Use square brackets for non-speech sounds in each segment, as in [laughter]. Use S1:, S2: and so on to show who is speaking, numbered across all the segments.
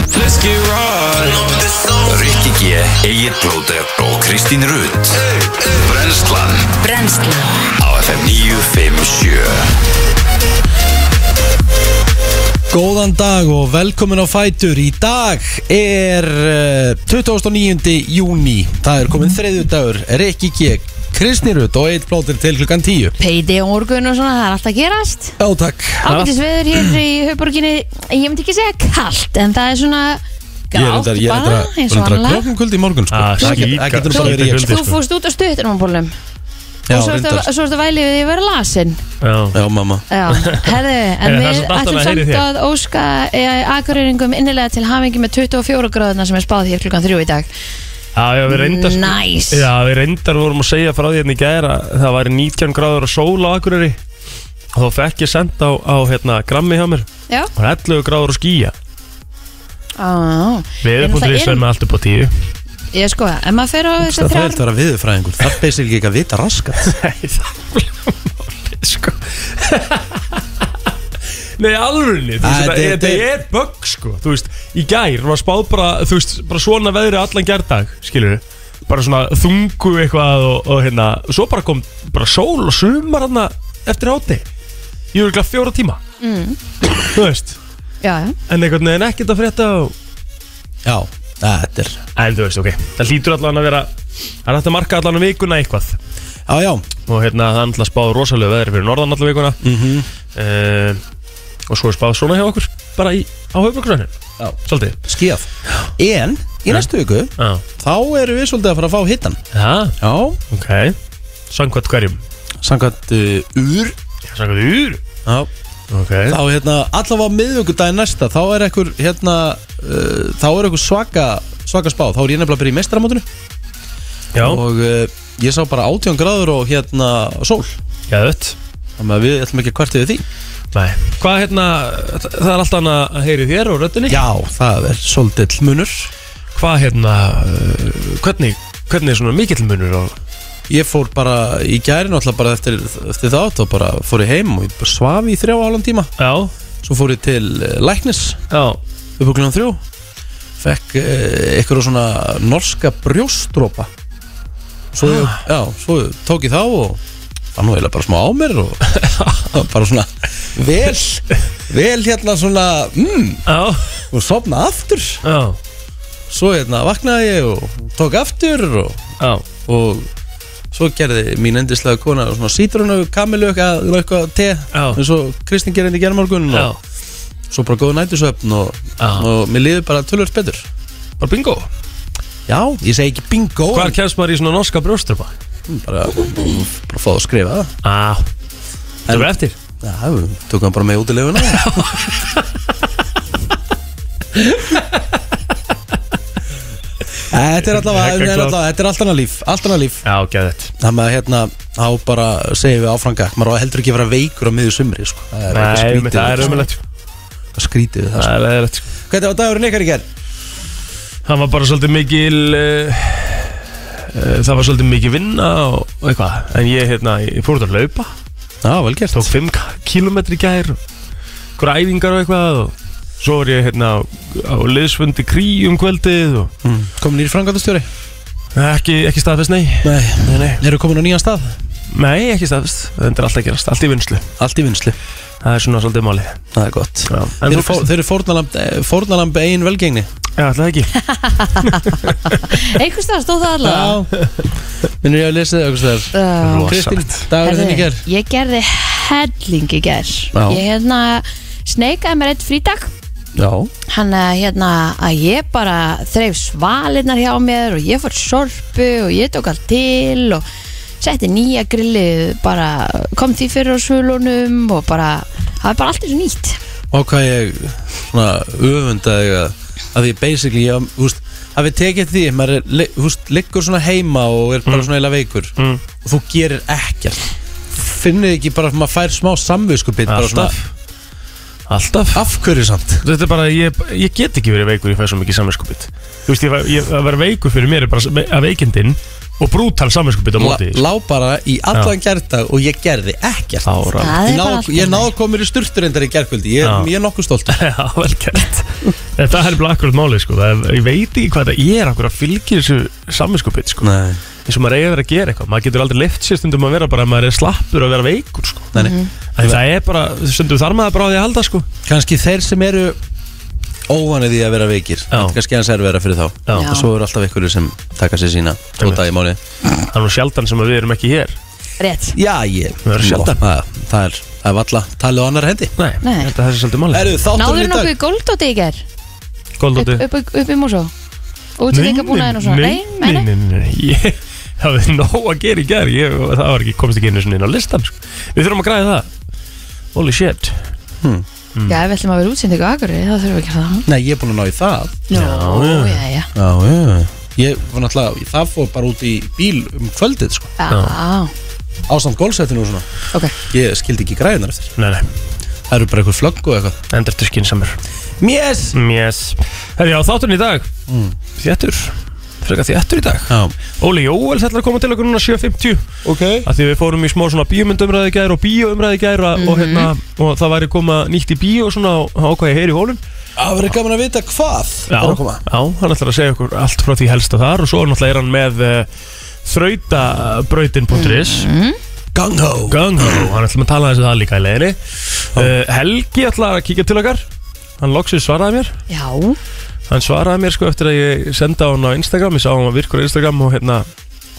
S1: ekki ráð
S2: Rikki G, Egil Blóter og Kristín Rutt Brenslan
S3: Brennslan
S2: á FM 957
S1: Góðan dag og velkomin á Fætur Í dag er eh, 29. júni Það er komin þriðju dagur Rikki G, Kristnirut og eitt blóttir til klukkan 10
S3: Payday á morgun og svona, það er alltaf að gerast
S1: Já takk
S3: Ágætis veður hér í höfborginni Ég myndi ekki segja kallt En það er svona
S1: Ég er þetta
S3: grátt bara Eins og annað
S1: klokkum kvöldi í morgun sko
S4: Ah,
S1: Það get-
S4: skíka-
S1: það getur nú bara verið ég sko
S4: skíka-
S3: Þú fórst út á stuttunumabólum
S1: Já,
S3: Og svo ertu
S1: reyndar
S3: svo ertu vælið við því að vera lasin
S4: Já,
S1: Já mamma
S3: Já, herðu En
S4: Heyrðu, það
S3: við
S4: er svo dásamlega
S3: ætlum
S4: að heyra í
S3: samt
S4: þér.
S3: að óska eh, Akureyringum innilega til hamingi með 24 gráðuna sem er spáð hér klukkan 3 í dag
S4: já, já við reyndar sko-
S3: Nice.
S4: Já, við reyndar vorum að segja frá því hérna í gæra Það væri 19 gráður og sól á Akureyri Og þá fekk ég sent á, á hérna, grammi hjá mér
S3: Já
S4: Og 11 gráður og skýja
S3: Á,
S4: Við erum búin að
S3: náttúrulega
S4: reysa
S3: erum-
S4: með allt upp á tíu
S3: Ég sko, ef maður fer á þessar
S1: Það er
S3: þrjár
S1: þetta að vera viðurfræðingur Það er basically ekki að vita raskat
S4: Nei, það er málið, sko Nei, alvörunni, þú veist,
S1: Æ,
S4: þetta
S1: þetta-
S4: er- þetta er bögg, sko Þú veist, í gær var spáð bara, þú veist, bara svona veðri allan gærdag, skilur við Bara svona þungu eitthvað og, og hérna Svo bara kom bara sól og sumar hérna eftir áti Ég er ekki fjóra tíma mm. Þú veist,
S3: Já, já
S4: en einhvern veginn ekkert að frétta og...
S1: Já, þetta er
S4: En þú veist, ok, það hlýtur allan að vera Það er hægt að marka allan um vikuna eitthvað
S1: Já, já,
S4: og hérna það er alltaf spáð rosalega veðri fyrir norðan allaveg vikuna
S1: Mhm.
S4: Eh, og svo er spáð svona hjá okkur bara í, á höfbruksvæðinu
S1: Já.
S4: svolítið
S1: skíðað En í næstu viku
S4: Já.
S1: þá erum við svolítið að fara að fá hittan
S4: Já,
S1: Já,
S4: ok Samkvæmt hverjum?
S1: samkvæmt uh, úr
S4: Samkvæmt úr
S1: Já,
S4: Ok
S1: þá hérna, allavega miðvöngudaginn næsta þá er ekkur, hérna, uh, þá er ekkur svaka, svaka spá þá er ég nefnilega að byrja í mestramótinu
S4: Já,
S1: og uh, ég sá bara 18 gráður og hérna sól
S4: gæðut
S1: þannig að við ætlum ekki að kvarta við því
S4: Nei Hvað hérna, þa- það er alltaf hann að heyri þér og röddinni
S1: [laughs] Já, það er svolítið munur
S4: Hvað hérna, eh, hvernig, hvernig er svona mikill munur og
S1: Ég fór bara í gæri náttúrulega bara eftir, eftir þátt og bara fór ég heim og ég bara svaf í þrjá álan tíma
S4: Já,
S1: svo fór ég til uh, Læknis
S4: já
S1: upp á klunum þrjú fekk eh, eitthvað svona norska brjóstrópa svo, ég,
S4: Ah.
S1: já, svo tók ég þá og það nú eiginlega bara smá á mér og [laughs] bara svona vel vel hérna svona mm,
S4: Já,
S1: og sopna aftur
S4: já,
S1: svo hérna vaknaði ég og tók aftur og,
S4: já
S1: og svo gerði mín endislega kona svona sítrunu kamilöka eða eitthvað te
S4: Já.
S1: eins og Kristinn gerði hérna í gerðmorgun
S4: Já,
S1: og svo bara góð nættisöfn og,
S4: Já.
S1: og mér liði bara tölvöld betur
S4: bara bingo
S1: Já, ég segi ekki bingo
S4: Hvar kemst maður í svona norska brjóstrupa?
S1: Bara, bara fá það að skrifa það
S4: Á, það er eftir
S1: Já, við tökum hann bara með út í [laughs] lefuna Þetta er allavega, þetta
S4: Hekka
S1: er
S4: klárt.
S1: allavega, þetta er allt annað líf, allt annað líf
S4: Já, gæðut
S1: Þannig að hérna, þá bara segjum við áfrangak Maður á heldur ekki að vera veikur á miðju sumri, sko Það er eitthvað
S4: Nei,
S1: skrítið,
S4: einmitt, það er
S1: við það,
S4: umhverlegt
S1: sko. Eitthvað skrítið við það,
S4: Það er leðilegt sko.
S1: sko Hvernig var dagurinn ykkar í gerð?
S4: Það var bara svolítið mikil uh, uh, Það var svolítið mikil vinna og, og eitthvað En ég, hérna, ég fór út að laupa
S1: Já, vel gert
S4: Tók 5 km í gær Græfingar og eitthvað og Svo var ég hérna á, á liðsfundi krí um kvöldið og
S1: mm. Komin í frangatastjóri?
S4: ekki, ekki staðfest, nei
S1: Nei
S4: Nei, nei,
S1: Eru komin á nýjan stað?
S4: nei ekki staðfest Þetta er allt að gerast, allt í vinslu
S1: Allt í vinslu
S4: Það er svona svolítið málið
S1: Það er gott
S4: Já,
S1: Þeir
S4: en
S1: eru
S4: þú
S1: fór-
S4: fórst
S1: þeir eru fórnalamb, eh, fórnalamb eigin velgengni
S4: Já, alltaf ekki
S3: Einhvers það stóð það allavega
S1: Minnur ég að lesa það okkur sver
S3: Já.
S4: Rosalegt.
S1: Kristín, dagur þinn í ger
S3: Herðu, Ég gerði helling í ger
S1: Já.
S3: Ég hérna sneikaði mér eitt frídag
S1: Já
S3: Hann að, hérna að ég bara þreif svalinnar hjá mér og ég fór sorpu og ég tók allt til og setti nýja grilli bara kom því fyrir á svölunum og bara, það er bara allt eins og nýtt
S1: Og hvað ég svona öfundaði að að því basically ég, húst, að við tekið því maður er, li- húst, liggur svona heima og er bara svona eila veikur
S4: Mm.
S1: og þú gerir ekkert finnið ekki bara að maður fær smá samviskupið bara svona
S4: Alltaf Alltaf
S1: af hverju samt
S4: Þetta er bara, ég, ég get ekki verið veikur, ég fæ svo mikið samvinskupið Þú veist, ég, ég, að vera veikur fyrir mér er bara að veikindin og brútal samvinskupið á móti sko.
S1: lá bara í allan gerðdag og ég gerði ekkert
S4: Ára
S1: Ég
S3: Það er bara
S1: náði, ég
S3: allt annað.
S1: náði að koma mér í sturtur endar í gerðkvöldi ég,
S4: Já.
S1: ég er nokkuð stolt
S4: [laughs] Já, vel gert En það er bara akkurat málið sko það, er- Ég veit ekki hvað það er akkurat að fylgja þessu samvinskupið sko
S1: Nei,
S4: eins og maður eigi að vera að gera eitthvað maður getur aldrei lift sér stundum að vera bara að maður er slappur að vera veikur sko
S1: nei,
S3: Mhm.
S1: nei.
S4: Æ, það er bara stundum þar maður bara á því að halda sko
S1: Kanski þeir sem eru óvanið í að vera veikir þetta er kannski hans erfiðara fyrir þá
S4: Já.
S1: og svo eru alltaf einhverju sem taka sér sína tvo
S4: Einmitt.
S1: dag í mánuði
S4: það er nú sjaldan sem að við erum ekki hér
S3: rétt
S1: Já, ég
S4: Það er sjaldan.
S1: Það það er, það er valla talið á annar hendi
S4: nei,
S3: Nei.
S4: þetta er þessi svolítið málið
S1: Erðu þátturinn
S3: Náður
S1: í
S3: nokkuð
S1: dag
S3: í góldóti í ger
S4: Góldóti
S3: upp, upp, upp í músó Útsendingabúnaðin og svona
S4: hérna nei, nei, nei, nei, nei. Ég [laughs] hafði nóg að gera í gerð ég, það var ekki, komst ekki einu svona inn á listan sko. við þurfum að græða það holy shit
S3: Já, ef við ætlum að vera útsendingu á Akureyri þá þurfum við ekki að gera
S1: Nei, ég er búin að ná í það
S3: það Nú, já, já, já
S1: Já, já Ég var náttúrulega, það fór bara út í bíl um kvöldið sko
S3: Já,
S1: Ásamt gólfsettinu og svona
S3: ok
S1: Ég skildi ekki græðunar eftir
S4: nei, nei,
S1: Það eru bara einhver flögg og eitthvað
S4: endur til skinsamur
S1: Mjess
S4: Mm, yes. herri, á þátturinn í dag þjættur, frekar þjættur í dag
S1: Já,
S4: Óli Jóels ætlar að koma til okkur núna 7.50
S1: ok
S4: að því við fórum í smá svona bíómyndumræði í gær og bíóumræði í gær og, og, hérna, og það væri koma nýtt í bíó og svona og ákvað ég heyri í hólum
S1: Það verður gaman að vita hvað
S4: já,
S1: er að koma.
S4: já, hann ætlar að segja okkur allt frá því helsta þar og svo náttúrulega er hann með uh, þrautabrautin.is
S1: Gung-ho
S4: Gung-ho, hann ætlar að tala þessi það líka í leiðinni uh, Helgi ætlar að kíkja til okkar hann loksins svaraði mér
S3: Já,
S4: hann svaraði mér sko eftir að ég senda hann á Instagram ég sá hann var virkur á Instagram og hérna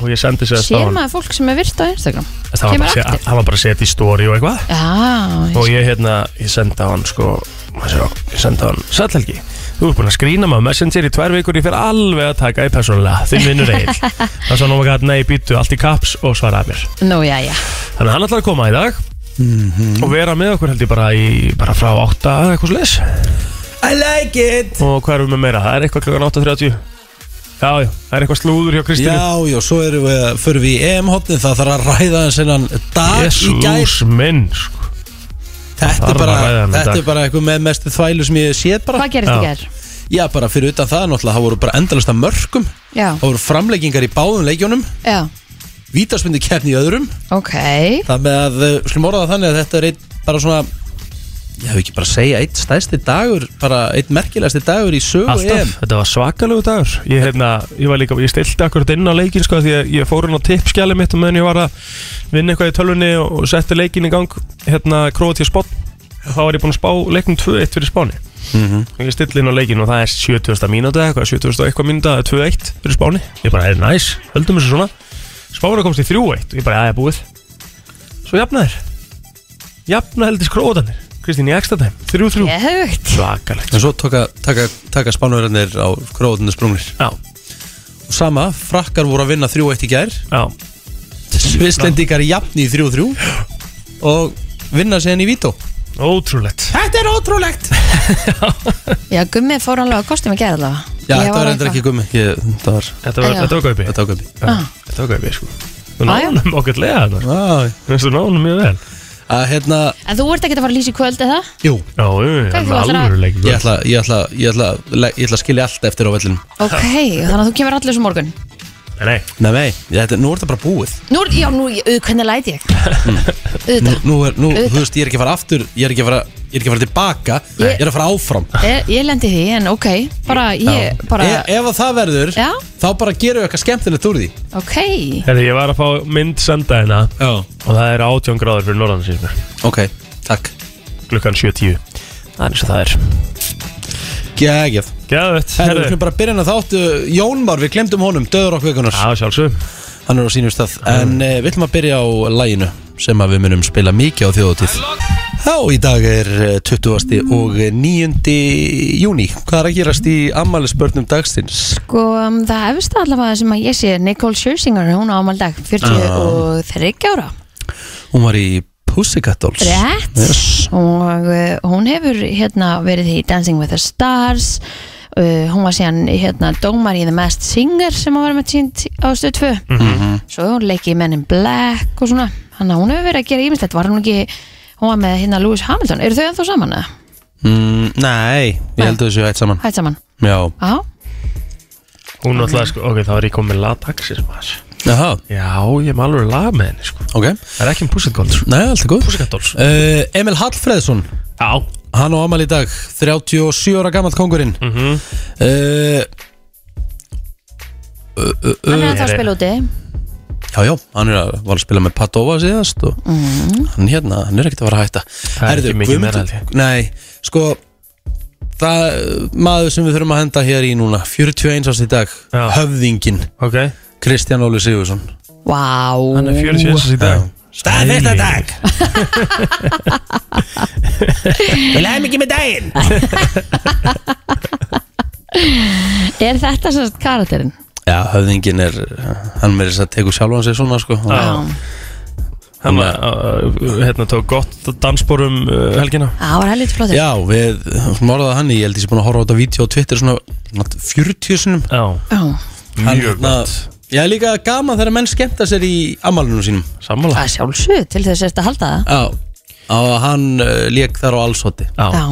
S4: og ég sendi sér
S3: sér maður fólk sem er virt á Instagram
S4: Það var
S3: Kemur
S4: bara að segja-
S3: aftur.
S4: hann var bara að setja í story og eitthvað
S3: Já,
S4: og ég hérna, ég senda hann sko, hvað sér á, ég senda hann Sallhelgi, þú ert búin að skrína maður messenger í tvær vikur, ég fer alveg að taka í persónulega þinn vinnur eil það svo náma gæt, nei, býttu allt í kaps og svaraði mér
S3: nú, já, já
S4: þannig að hann ætlaði að koma í dag
S1: Mhm.
S4: og vera með okkur held ég bara, í, bara frá 8 eða eitthvað slis
S1: I like it
S4: og hvað erum við með meira, það er eitthvað klokkan 8.30 já, já, það er eitthvað slúður hjá Kristínu
S1: Já, já, svo erum við, förum við í EM-hotnið Það þarf að ræða hans innan dag í gær
S4: Jésús minn sko.
S1: Þetta er
S4: þarf
S1: bara,
S4: að ræða þennan
S1: þetta
S4: dag.
S1: er bara eitthvað með mestu þvælu sem ég séð bara
S3: Hvað gerist
S4: Já.
S3: í ger?
S1: Já, bara fyrir utan það, náttúrulega, það voru bara endalasta mörgum
S3: Já,
S1: Það voru framleggingar í báðum leikjónum
S3: já,
S1: Vítarsmyndi keppni í öðrum
S3: ok
S1: Það með að, uh, slum orða það þannig að þetta er einn bara svona Ég hef ekki bara að segja, einn stæðsti dagur Bara einn merkilegasti dagur í sögu EM
S4: Alltaf, þetta var svakalegu dagur Ég, hérna, ég var líka, ég stilti akkurat inn á leikin sko, því að ég fór inn á tippskjæli mitt og meðan ég var að vinna eitthvað í tölvunni og og setti leikin í gang hérna Kroatia Spott þá var ég búinn að spá leiknum 2-1 fyrir Spáni og ég stilti inn á leikin og það er 70. mínúti eða eitthvað, 70. og eitthvað mínúti eða 2-1 fyrir Spáni, ég bara, er næs, höldum þessu svona Spáni komst í 3-1 og ég bara, aðja búið svo jafnaðir jafna heldist Kroatanir Kristín í ekstra tæm, 3-3
S3: Ég hef veikt
S4: svakalegt
S1: En svo taka, taka, taka spánverðarnir á króðunni sprunglir
S4: Já,
S1: Og sama, frakkar voru að vinna 3-1 í gær
S4: já,
S1: Svisslendingar jafni í 3-3 Og vinna síðan í Vító
S4: ótrúlegt
S1: Þetta er ótrúlegt
S3: Já, Gummi fór alveg að kostum að gera allavega
S1: Já,
S3: Ég
S1: þetta
S3: var
S1: var endur
S3: eitthvað.
S1: ekki gummi Ég- Þetta var,
S4: Þetta var,
S3: Já.
S4: þetta var gaupi
S1: þetta var gummi
S4: Já,
S3: Ah.
S4: Þetta var gaupi, sko Þú
S3: Ah, já.
S4: náðum okkur lega þarna
S1: Æ,
S4: Þú náðum mjög vel
S1: að hérna,
S3: En þú ert ekkert að fara að lýsa í kvöld eða?
S1: jú
S4: Já,
S3: Hvað
S4: við erum hérna
S3: þú ætlar að-
S4: alvöru leikur
S1: Ég ætla, ég ætla, ég ætla, ég ætla að skilja allt eftir á vellinum
S3: Ok, þannig að þú kemur allir sem morgun
S4: Nei, nei,
S1: Nei, nei, þetta, nú er þetta bara búið
S3: Nú, er- já, nú, ég- auð, hvernig læt
S4: [laughs]
S3: ég?
S1: Nú,
S3: Auðvitað
S1: nú er, nú,
S3: Auðvitað.
S1: þú veist, ég er ekki að fara aftur Ég er ekki að fara, ég er ekki að fara tilbaka
S3: Nei.
S1: Ég er að fara áfram
S3: Ég, ég lendi í því, en ok, bara ég, bara,
S1: e, Ef að það verður,
S3: Já.
S1: þá bara gerum við eitthvað skemmtilegt úr því
S3: ok
S4: Herri, ég var að fá mynd senda hérna
S1: Já
S4: Og það er 18 gráður fyrir norðan síðan mér
S1: Ok, takk
S4: Klukkan 7.10 Það er eins og það er
S1: Gægjaf
S4: Gæðvett,
S1: Herru, við
S4: herri
S1: skulum bara byrja hann að þáttu uh, Jón Már, við glemdum honum, döður okkur vikunar
S4: Já, sjálfsög
S1: Hann er á sínum stað En uh, við ætlum að byrja á læginu sem að við munum spila mikið á þjóðutíð Já, í dag er eh, 20. og 9. júni Hvað er að gerast í ammælisbörnum dagsins?
S3: Sko, um, það hefist allavega sem að ég sé Nicole Scherzinger, hún á ámaldag 43 ára
S1: Hún var í Pussycat Dolls
S3: Rétt
S1: Yes.
S3: Og uh, hún hefur hérna verið í Dancing with the Stars uh, Hún var síðan hérna dómar í The Masked Singer sem að var með tínt á stöð 2 Svo hefur hún leikið í Men in Black og svona Þannig að hún hefur verið að gera ímislegt Var hún ekki, hún var með hérna Lewis Hamilton Eru þau ennþá saman eða?
S1: mm, Nei, ég
S3: Nei.
S1: held að þessu hætt saman
S3: Hætt saman
S1: Já,
S3: Já,
S4: Hún náttúrulega, sko, ok, þá er ég komið með lataxis maður
S1: Jaha,
S4: Já, ég er með alveg lag með henni sko.
S1: ok
S4: Það er ekki um Pusset Gold sko.
S1: Nei, allt er góð
S4: Pusset Gold sko.
S1: uh, Emil Hallfreðsson
S4: Já
S1: Hann á amal í dag, 37 ára Eh, gammal kongurinn mm -hmm.
S3: Hann er að það spila úti
S1: Já, já, hann er að, var að spila með Padova síðast og hann hérna, hann er ekkert að fara að hætta
S4: Það er ekki mikið meira, held ég.
S1: Nei, sko það, maður sem við þurfum að henda hér í núna 41 ást í dag,
S4: Já.
S1: höfðingin
S4: Ok
S1: Kristján Óli Sigurðsson
S3: Vá
S4: Hann er 40 árs í dag
S1: Stað þetta dag Við lægum ekki með daginn
S3: Er þetta sem sagt karakterinn?
S1: Já, höfðingin er, hann meiri þess að tekur sjálfan sig svona sko
S3: Já
S4: Hann var, uh, hérna, tók gott dansbor um uh, helgina
S3: Það var helviti flottur
S1: Já, við morðaði hann í, ég held ég sé búin að horfa á þetta vídeo á Twitter svona svona 40 sinum
S4: Já
S3: Já.
S1: Hann,
S4: Mjög
S1: hérna,
S4: gott
S1: Ég er líka gaman þegar menn skemmta sér í amalunum sínum
S4: Sammála
S3: Það er sjálfsög til þess að þetta halda það
S1: Já, og hann uh, lék þar á allsóti
S4: Já
S3: Já,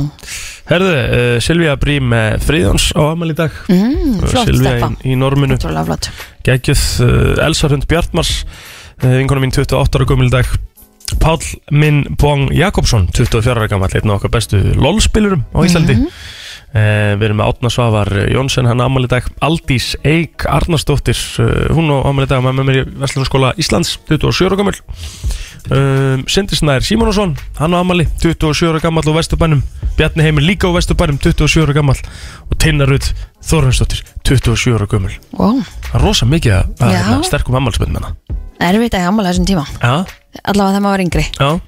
S4: Herðu, uh, Silvíja Brím uh, Fríðjóns á amal í dag mm,
S3: flott stelpa.
S4: í, í norminu
S3: trúlega flott
S4: Gækjöð uh, Elsa Rund Bjartmars uh, vinkona mín 28 ára gömul í dag Páll Minn Bóng Jakobsson 24 ára gammal, einn af okkar bestu lolspilurum á Íslandi mm við erum með Átna Svavar Jónsson, hann ámæli dag Aldís Eik Arnarsdóttir uh, hún á ámæli dag með með mér í Vestlunarskóla Íslands 27 ára gammal um, Sindisnær Simonsson hann á ámæli, 27 ára gammal og Vesturbænum Bjarni Heimir líka á Vesturbænum 27 ára gammal og Tinnarud Þorfinsdóttir 27 ára gammal
S3: wow.
S4: Það er rosa mikið að- að
S3: Já.
S4: hérna, sterkum ammálspöndum hérna.
S3: Erfitt að ég ammala þessum tíma
S4: Já,
S3: Allavega þegar maður var yngri
S4: já,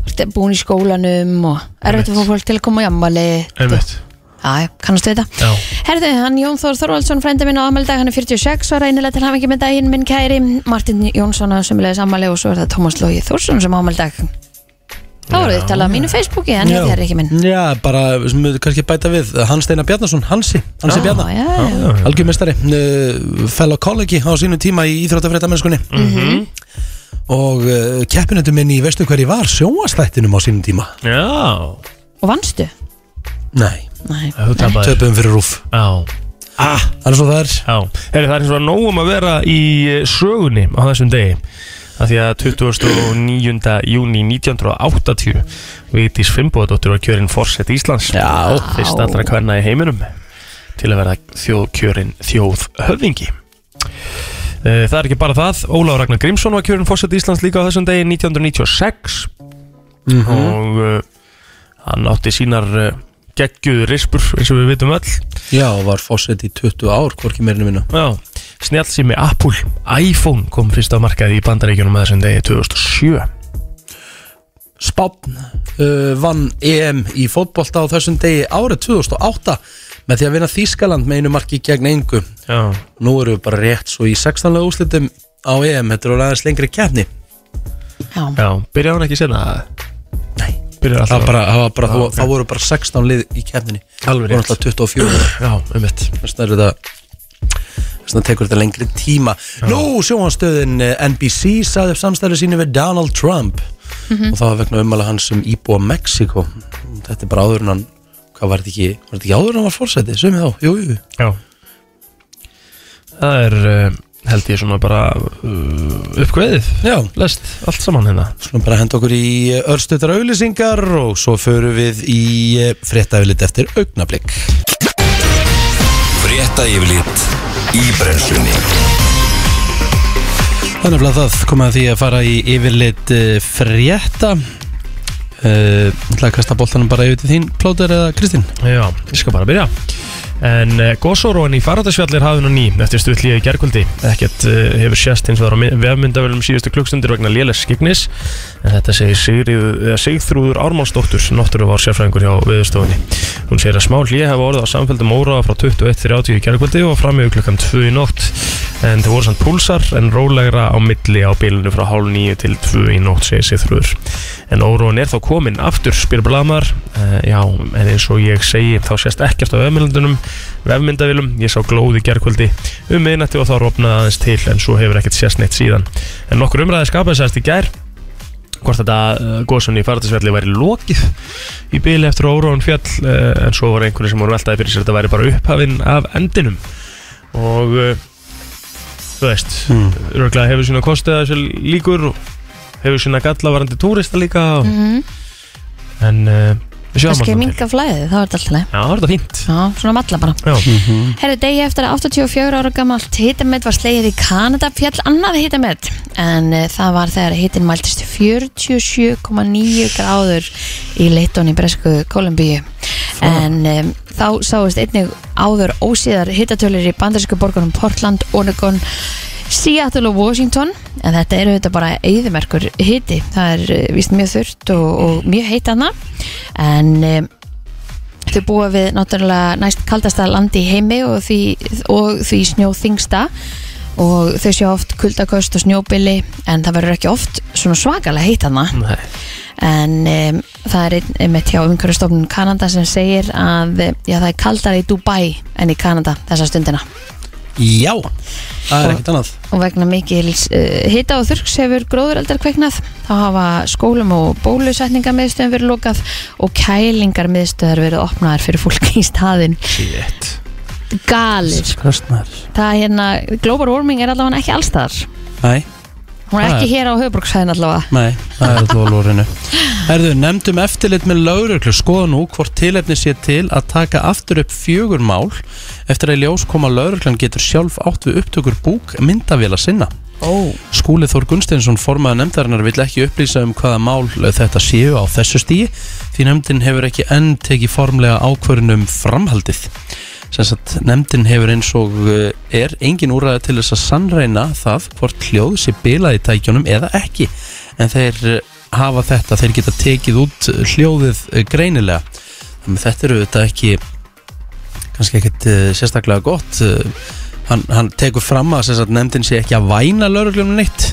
S3: Ertu Búin í skólanum og erfitt að fá fólk til að koma í ammali
S4: einmitt.
S3: Já, kannast við þetta
S4: Já.
S3: Herðu, hann Jón Þór Þorvaldsson, frænda minn á amaldag, hann er 46 og reynilega til hafingi með daginn minn kæri Martin Jónsson á sömulegis amali og svo er það Tómas Lógi Þórsson sem amaldag Það voru þið talað á mínu Facebooki, en þetta er ekki minn
S1: Já, bara, sem við kannski bæta við Hann Steinar Bjarnason, Hansi, Hansi
S3: Já,
S1: Bjarnar
S3: já, já.
S1: Algjör mestari, uh, fellow kollegi á sínu tíma í Íþróttafréttamennskunni
S3: Mhm.
S1: og uh, keppinöndum minn í veistu hverju var sjóastættinum á sínum tíma
S4: Já,
S3: Og vannstu?
S1: Nei,
S3: Nei,
S4: þú tapaðir.
S1: töpum fyrir rúf
S4: Já,
S1: ah. Þannig svo það er
S4: já. Heri, það er eins og nógum að vera í eh, sögunni á þessum degi. Af því að 29. júni 1980 Vigdís Fimboðadóttir var kjörin forsett Íslands.
S1: Já.
S4: Fyrst allra hverna í heiminum til að verða þjóðkjörin þjóðhöfðingi. Eh, Það er ekki bara það, Ólaf Ragnar Grímsson var kjörin fórsett Íslands líka á þessum degi 1996 og uh, hann átti sínar uh, geggjuðu rispur eins og við vitum öll
S1: Já, og var fósett í 20 ár, hvorki meirinu minna
S4: Já, snjálsými Apple iPhone kom fyrst á markaði í bandaríkjunum að þessum degi 2007
S1: Spátn uh, vann EM í fótbolta á þessum degi árið 2008 með því að vinna Þýskaland með einu marki gegn engu
S4: Já,
S1: Nú eru við bara rétt svo í 16. úrslitum á EM, þetta eru aðeins lengri keppni
S3: já,
S4: já, byrjaði hann ekki senna
S1: Nei,
S4: Byrjaði
S1: það,
S4: alltaf
S1: var bara, það, var bara,
S4: Já,
S1: það,
S4: ok.
S1: voru bara 16 lið í keppninni
S4: Alveg
S1: Það voru
S4: rétt.
S1: alltaf 24
S4: Já, um mitt
S1: Þessna er þetta Þessna tekur þetta lengri tíma Nú, eh, sjóhanstöðin NBC saði upp samstæðu sínu við Donald Trump og það var vegna umala hans um íbúa Mexiko Þetta er bara áður en hann Hvað var þetta ekki? Var þetta ekki áður en hann var fórsæti? Sveimi þá, jú, jú
S4: Já Það er, uh, held ég svona bara uh, uppkveðið
S1: Já,
S4: Lest allt saman hérna
S1: slúum bara henda okkur í örstuðar auglýsingar og svo förum við í fréttafilit eftir augnablik
S2: Frétta yfirlit í brennslunni
S1: Þannig að það kom að því að fara í yfirlit eh, frétta Það uh, að kasta boltanum bara yfir til þín, Plóter eða Kristín
S4: Já, ég skal bara byrja En uh, góðsóróin í faraldasfjallir hafði nú ný eftir stuttlíði í gerkvöldi. Ekkert uh, hefur sést hins vegar á mi- vefmyndavélum síðustu klukkstundir vegna léles skignis en þetta segir Sigríð- eða Sigþrúður Ármannsdóttur, náttúru var sérfræðingur hjá viðustofunni. Hún segir að smá hlýja hafa orðið á samfélgum óraða frá 21.30 í gerkvöldi og framjöðu klukkan 2 í nótt en það voru samt púlsar en rólegra á milli á bilinu frá hálf nýju til 2 í nótt segir Sigþrúður. En óróin er þá komin aftur, spyr Blamar uh, Já, en eins og ég segi þá sést ekkert á öfmyndunum vefmyndavilum, ég sá glóð í gerkvöldi um miðnætti og þá rofnaði aðeins til en svo hefur ekkert sést neitt síðan En nokkur umræði skapaði sérst í gær hvort þetta uh, góðsunni í farðisvelli væri lokið í byli eftir að óróin fjall uh, en svo var einhverju sem voru veltaði fyrir sér að þetta væri bara upphafinn af endinum og uh, eh, þú veist
S1: Hmm.
S4: Röglega hefur sína kostið að þessu líkur og hefur sína gallavarandi túrista líka og,
S3: Mm.
S4: En uh, við
S3: Mhm.
S4: sjáum
S3: kannski
S4: þarna til.
S3: minga flæðið, þá er þetta alltaf leið
S4: Já, það er þetta fínt
S3: Já, svona malla bara
S4: Já.
S3: Herri, degi eftir að 84 ára gamalt hitamet var slegið í Kanada fjall annað hitamet en uh, það var þegar hitin mæltist 47,9 gráður í Leiton í Bresku Kolumbíu en um, þá sáist einnig áður ósíðar hitatölur í bandarísku borgunum Portland, Oregon Seattle og Washington en þetta eru þetta bara eyðumerkur hiti, það er uh, víst mjög þurrt og, og mjög heit hana en um, Þau búa við náttúrulega næst kaldasta landi í heimi og því, og því snjóþingsta og þau sjá oft kuldaköst og snjóbili en það verður ekki oft svona svakalega heitt hana
S4: Nei.
S3: en um, það er einn um eitt hjá umhverjastofnun Kanada sem segir að eh, já, það er kaldara í Dubai en í Kanada þessa stundina
S1: Já, það er ekkert annað
S3: og vegna mikils uh, hita og þurks hefur gróðureldar kveiknað þá hafa skólum og bólusetningarmiðstöðum verið lokað og kælingarmiðstöðar verið opnaðar fyrir fólk í staðin
S4: Shit
S3: galið
S1: Skrastnar
S3: það er hérna, global warming er allavega ekki allstaðar
S1: Nei,
S3: hún er
S1: Það
S3: ekki hér á höfuborgsæðin allavega
S1: nei, það er alltaf lórinu Herðu, nefndum eftirlit með lauruglu Skoða nú hvort tilefni sé til að taka aftur upp fjögur mál Eftir að í ljós koma lauruglan getur sjálf átt við upptökur búk myndavila sinna
S3: oh.
S1: Skúli Þór Gunnsteinsson formaða nefndarinnar vill ekki upplýsa um hvaða mál þetta séu á þessu stíi því nefndin hefur ekki enn tekið formlega ákvörðin um framhaldið. Sem sagt, nefndin hefur eins og uh, er engin úræði til þess að sannreina það hvort hljóð sé bilað í tækjunum eða ekki en þeir uh, hafa þetta, þeir geta tekið út uh, hljóðið uh, greinilega. Þannig að þetta eru þetta ekki kannski ekkert uh, sérstaklega gott uh, hann, hann tekur fram að sem sagt, nefndin sé ekki að væna lauruglunum neitt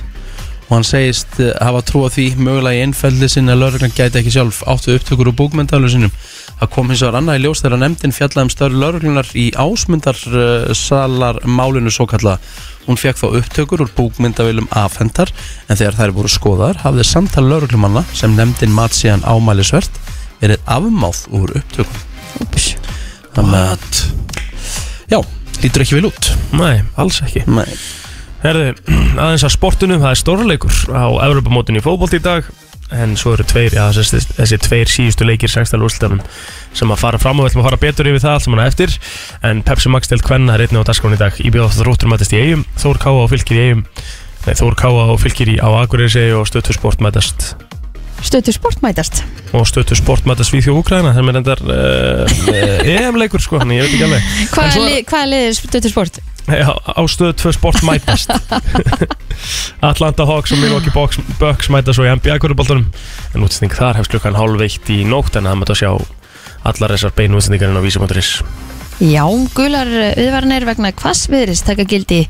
S1: og hann segist uh, hafa trúa því mögulega í einfeldi sinni að lauruglan gæti ekki sjálf áttu upptökur úr bókmyndalu sinum það kom hins vegar annað í ljós þegar nefndin fjallaði um störri lauruglunar í ásmundarsalar málinu svo kalla hún fekk þá upptökur úr bókmyndavilum afhendar en þegar þær voru skoðaðar hafði samtal lauruglumanna sem nefndin mat síðan ámælisvert verið afmáð úr upptökum þannig að já, lítur ekki vel út
S4: Nei, alls ekki
S1: Nei.
S4: Herði, aðeins að sportunum, það er stórleikur á Evropamótin í fótbolt í dag en svo eru tveir, já, þessi, þessi tveir síðustu leikir sextal úrslitanum sem að fara fram og við ætlum að fara betur yfir það allt sem hann eftir en Pepsi Max til Kvenna er einnig á dagskráni í dag í bjóðast rúttur mætast í eigum, Þór Káa og Fylkir í eigum Nei, Þór Káa og Fylkir í á Akureyri og Stöttur Sport mætast
S3: stötu sportmætast
S4: og Stöttur Sport mætast við þjóð Úkræna sem er endar [laughs] uh, EM-leikur sko, þannig ég veit ekki alveg En
S3: hvað
S4: svo-
S3: svo... lið, hvað er liðið stötu sport?
S4: Já, á stöðu tvö sport [laughs] mætast Atlanta Hawks og Milwaukee Bucks, Bucks mætast svo í NBA kvöruboltanum en útsending þar hefst klukkan hálf eitt í nótt en það mættu að sjá allar þessar beinu útsendingarinn á vísumóturis
S3: Já, gular viðvarnir vegna hvassviðris taka gildi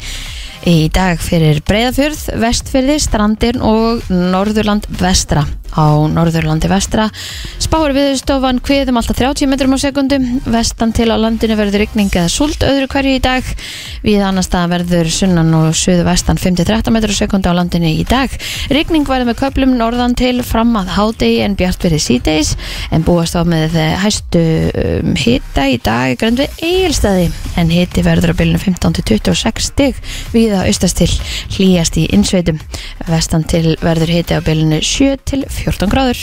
S3: í dag fyrir Breiðafjörð, Vestfjörði, Strandirn og Norðurland Vestra. Á Norðurlandi Vestra spáur viðstofan hviðum alltaf 30 metrum á sekundu. Vestan til á landinu verður rigning eða súld öðru hverju í dag. Við annars það verður sunnan og suðu vestan 5-13 metrum á sekundu á landinu í dag. Rigning verður með köplum norðan til fram að hádegi en bjart verið síðdeis en búast á með eh, hæstu um, hita í dag í grönd við eigilstæði en hiti verður á bylunum 15 til 26 stig við að austast til hlýjast í innsveitum vestan til verður hiti á bylunum 7 til 14 gráður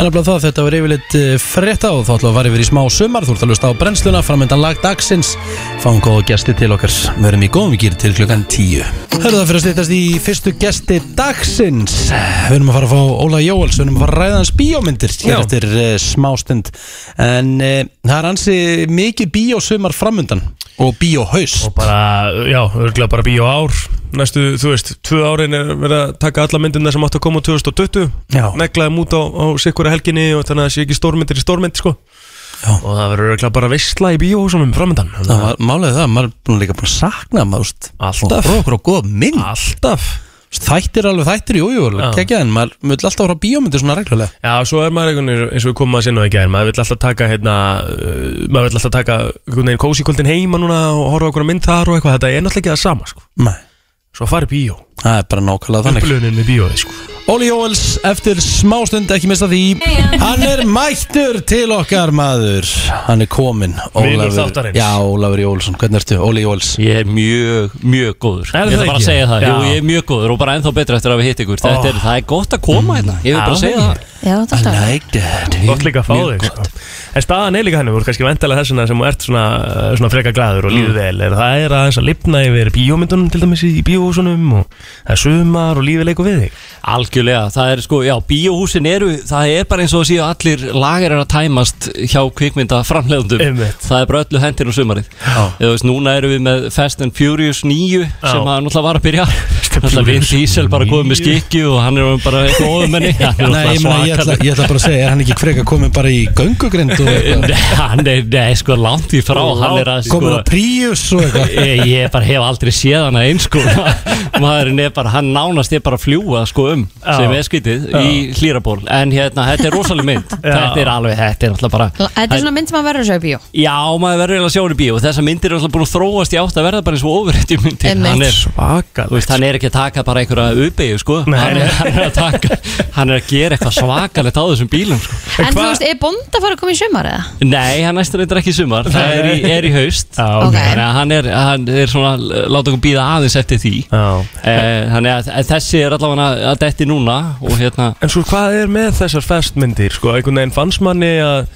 S1: En að það, þetta var yfirleitt eh, frétta og þá ætlum við að fara yfir í smá sumar Þú ert að lusta á brennsluna, framöndan lag dagsins Fáum góða gesti til okkar Verðum í góðum gýr til klukkan 10 Hörðu það fyrir að slítast í fyrstu gesti dagsins Við erum að fara að fá Óla Jóels Við erum að fara að ræða hans bíómyndir
S4: Já.
S1: Hér eftir uh, smástund En uh, það er ansi mikið bíósumar framöndan Og bíóhaust
S4: og bara, já, örgulega bara bíó ár næstu, þú veist, tvö árin er verið að taka alla myndina sem áttu að koma 2020
S1: Já.
S4: neglaðum út á, á sikkura helginni og þannig að það sé ekki stórmyndir í stórmynd sko.
S1: Já.
S4: og það verður örgulega bara veistla í bíóhúsumum framöndan
S1: Það var málið það, maður er búin líka búin að sakna maður, þú veist,
S4: Alltaf.
S1: Og okkur á góð mynd
S4: alltaf
S1: Þættir alveg þættir, jú, jú,
S4: Já.
S1: kekja en maður vill alltaf voru á bíómyndir svona reglulega
S4: Já, svo er maður einhvern veginn eins og við komum að sinna það í gæðin maður vill alltaf taka hérna uh, maður vill alltaf taka einhvern veginn kósi kvöldin heima núna og horfa okkur á mynd þar og eitthvað þetta er náttúrulega ekki það sama sko
S1: Nei,
S4: svo að fara í bíó
S1: það er bara nákvæmlega þannig
S4: upplöðin með bíóið sko
S1: Óli Jóels eftir smástund, ekki mista því Hann er mættur til okkar maður Hann er kominn
S4: Vinur
S1: Ólafur-
S4: þáttarins.
S1: Já, Ólafur Jólsson, hvernig ertu? Óli Jóels
S5: Ég er mjög, mjög góður
S4: Er
S5: Ég
S4: það
S5: ætla bara
S4: ekki?
S5: að segja það,
S4: Já.
S5: Jú, ég er mjög góður og bara ennþá betra eftir að við hitt ykkur Þetta er, það er gott að koma hérna, ég vil bara
S4: Já.
S5: segja það
S3: Já, þetta er alltaf
S1: like that
S4: Gott líka að fá þig sko. En staðan er líka henni, þú er kannski vendalega þess vegna sem þú ert svona, uh, svona freka glæður og líður vel er Það er aðeins að lifna yfir bíómyndunum til dæmis í bíóhúsunum og það er sumar og lífið leikur við þig
S5: Algjörlega, það er sko, já, bíóhúsin eru, það er bara eins og að séu allir lagar er að tæmast hjá kvikmynda framlegundum
S4: Einmitt.
S5: Það er bara öllu hendir og sumarið Eða veist, núna erum við með Fast and Furious 9 sem
S4: Já.
S5: að náttúrulega var að byrja Náttúrulega Vin
S4: Furious
S5: Diesel bara komið með
S4: 9.
S5: skikju og hann er
S1: [laughs]
S5: bara góðum henni
S1: Nei, ég, meina, ég, ætla, ég ætla bara að segja, er hann ekki frekar komin bara í göngugrind og eitthvað?
S5: [laughs] Nei, nei, nei, sko, langt í frá, hann er að sko
S1: Komin á Prius og eitthvað
S5: ég, ég bara hef aldrei séð hana eins
S4: [laughs]
S5: sko maðurinn er bara, hann nánast er bara að fljúa sko um,
S4: Já.
S5: sem er skytið í hlýraból, en hérna, þetta er rosaleg
S4: [laughs]
S5: mynd þetta er alveg, þetta er alltaf bara
S3: Þetta er svona mynd sem að verður svo í bíó
S5: já, maður verður eiginlega að sjá hann í bíó þessar myndir er alltaf búin að þróast í átt að verða bara eins og ofurrætti myndir,
S3: Einmitt.
S5: hann er
S4: Svaka,
S5: Þú veist, hann er ekki að taka bara einhverja uppeyju, sko
S4: Nei,
S5: hann,
S4: nei.
S5: er, hann, er að taka, hann er að gera eitthvað svakalegt á þessum bílum, sko
S3: En þú
S4: hvað-
S3: veist, er bónd að fara að koma í sumar eða?
S5: Nei, hann næstur reyndar ekki í sumar Það er í, er í haust
S4: Já,
S3: ok.
S5: Þannig að hann, er, hann er svona Láta okkur býða aðeins eftir því
S4: Já.
S5: Eh, Þannig að að þessi er allavega að detti núna og hérna
S4: En svo hvað er með þessar festmyndir sko? einhvern veginn fannst manni að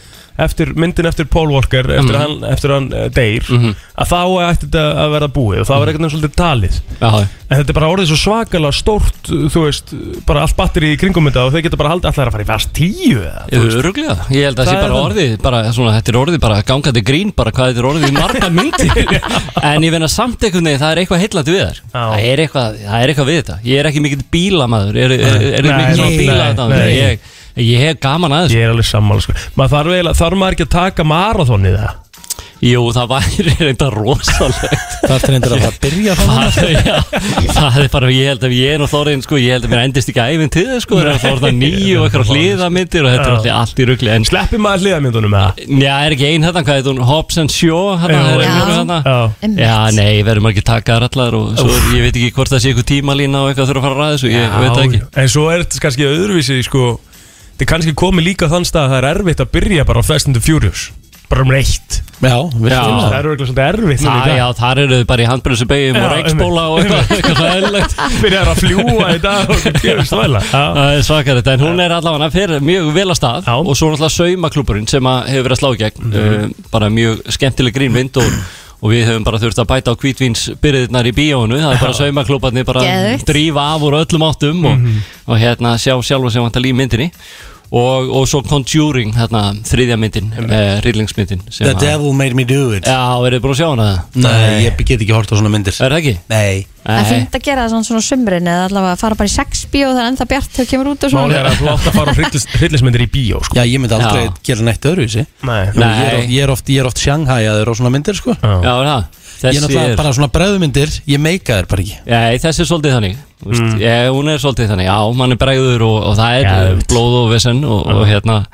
S4: eftir, myndin eftir Paul Walker eftir
S5: Mhm.
S4: mm. hann, eftir hann eh, deyr að þá ætti þetta að vera búið og
S5: Mhm.
S4: það var einhvern veginn svolítið talið
S5: já,
S4: en þetta er bara orðið svo svakalega stórt þú veist, bara allt batteri í kringum þetta og þau geta bara haldið allar að fara í fast tíu eða, þú veist.
S5: Öruglega, ég held að
S4: Það
S5: það sé
S4: er
S5: bara
S4: það.
S5: orðið bara, svona, Þetta er orðið bara gangandi grín bara hvað þetta er orðið í marga
S4: [laughs]
S5: myndi En ég finna samt einhvern veginn, það er eitthvað heillandi við þar það er, eitthvað, það er eitthvað við þetta Ég er ekki mikill bílamaður Er, er, er, er
S4: Nei,
S5: mikill svona
S4: nei,
S5: bílamaður
S4: nei.
S5: ég, ég hef gaman að þessu
S4: ég er alveg sammála sko. maður þarf, eiginlega- þarf maður ekki að taka marathonið það
S5: Jú, það væri reynda rosalegt
S1: Það er reyndir að fara að byrja þá núna.
S5: [laughs] það, já, það er bara, ég held að ég er nú þorðin sko, ég held að mér endist ekki æfinn til þess sko, það er þorðin nýju og eitthvað hliðamyndir og þetta er alltaf allt í rugli en
S4: sleppi maður hliðamyndunum eða
S5: Já, er ekki ein þetta, hvað heit hún, Hobbs and Shaw
S4: Já.
S5: hérna, það er einhver
S3: Já.
S5: hérna
S4: Já.
S3: Einmitt.
S5: Já, nei, verðum ekki takaðar allar og svo, er- ég veit ekki hvort það sé eitthvað tímalína og eitthvað þurfa að fara að ræða þessu, ég veit það ekki
S4: Já, en svo er þetta kannski öðruvísi sko, þetta er kannski komið líka á þann stað að það er erfitt að byrja bara á Fast and the Furious bara um reitt
S1: Já,
S5: Já.
S1: virkilega
S4: það er örgulega svolítið erfitt núna í
S5: Það,
S4: dag.
S5: Ah, já, þar eru þau bara í handbrennsubegjum og
S4: Já,
S5: reikspóla og eitthvað, eitthvað svo eðlilegt
S1: [laughs]
S4: byrjar að fljúa í dag
S5: [laughs]
S4: og gefist væla Já.
S5: Það er svakarett, en hún er allavega fyrir mjög vel að stað
S4: Já.
S5: og svo náttúrulega saumaklúburinn sem að hefur verið að slá í gegn
S1: Mhm.
S5: uh, bara mjög skemmtileg grínvind og, og við höfum bara þurft að bæta á kvítvínsbyrðirnar í bíónu, það er bara saumaklúbarnir bara
S3: Geðveikt.
S5: drífa af úr öllum áttum og,
S1: Mhm.
S5: og hérna sjá sjálfa sem vantar líf myndinni og, og svo Conjuring, hérna þriðja myndin, uh, rillingsmyndin sem
S1: The
S5: að-
S1: devil made me do it
S5: Já, er þið búin að sjá hana það?
S1: Nei, ég get ekki hort á svona myndir
S5: Er það ekki? Eh,
S1: Nei
S3: Það er fint að gera það svona, svona sumrin eða allavega að fara bara í sex bíó það er ennþá bjart þegar kemur út og
S4: málið
S3: svona
S4: er að þú átt að fara á hryllis- hryllismyndir í bíó sko.
S1: Já, ég myndi aldrei
S5: Já.
S1: gera neitt öðruvísi
S4: Nei.
S1: Jú, Ég er
S5: Nei.
S1: oft- ég er oft, ég er oft shanghaiaður á svona myndir sko
S5: Já, er það?
S1: Ég er
S5: Þessi
S1: náttúrulega bara svona bregðumyndir Ég meika þær bara ekki
S5: Nei, þessi er svolítið þannig mm. ég, Hún er svolítið þannig, já, mann er bregður og, og það er
S4: Já,
S5: já,
S4: einmitt.
S5: blóð og vesen og, og hérna,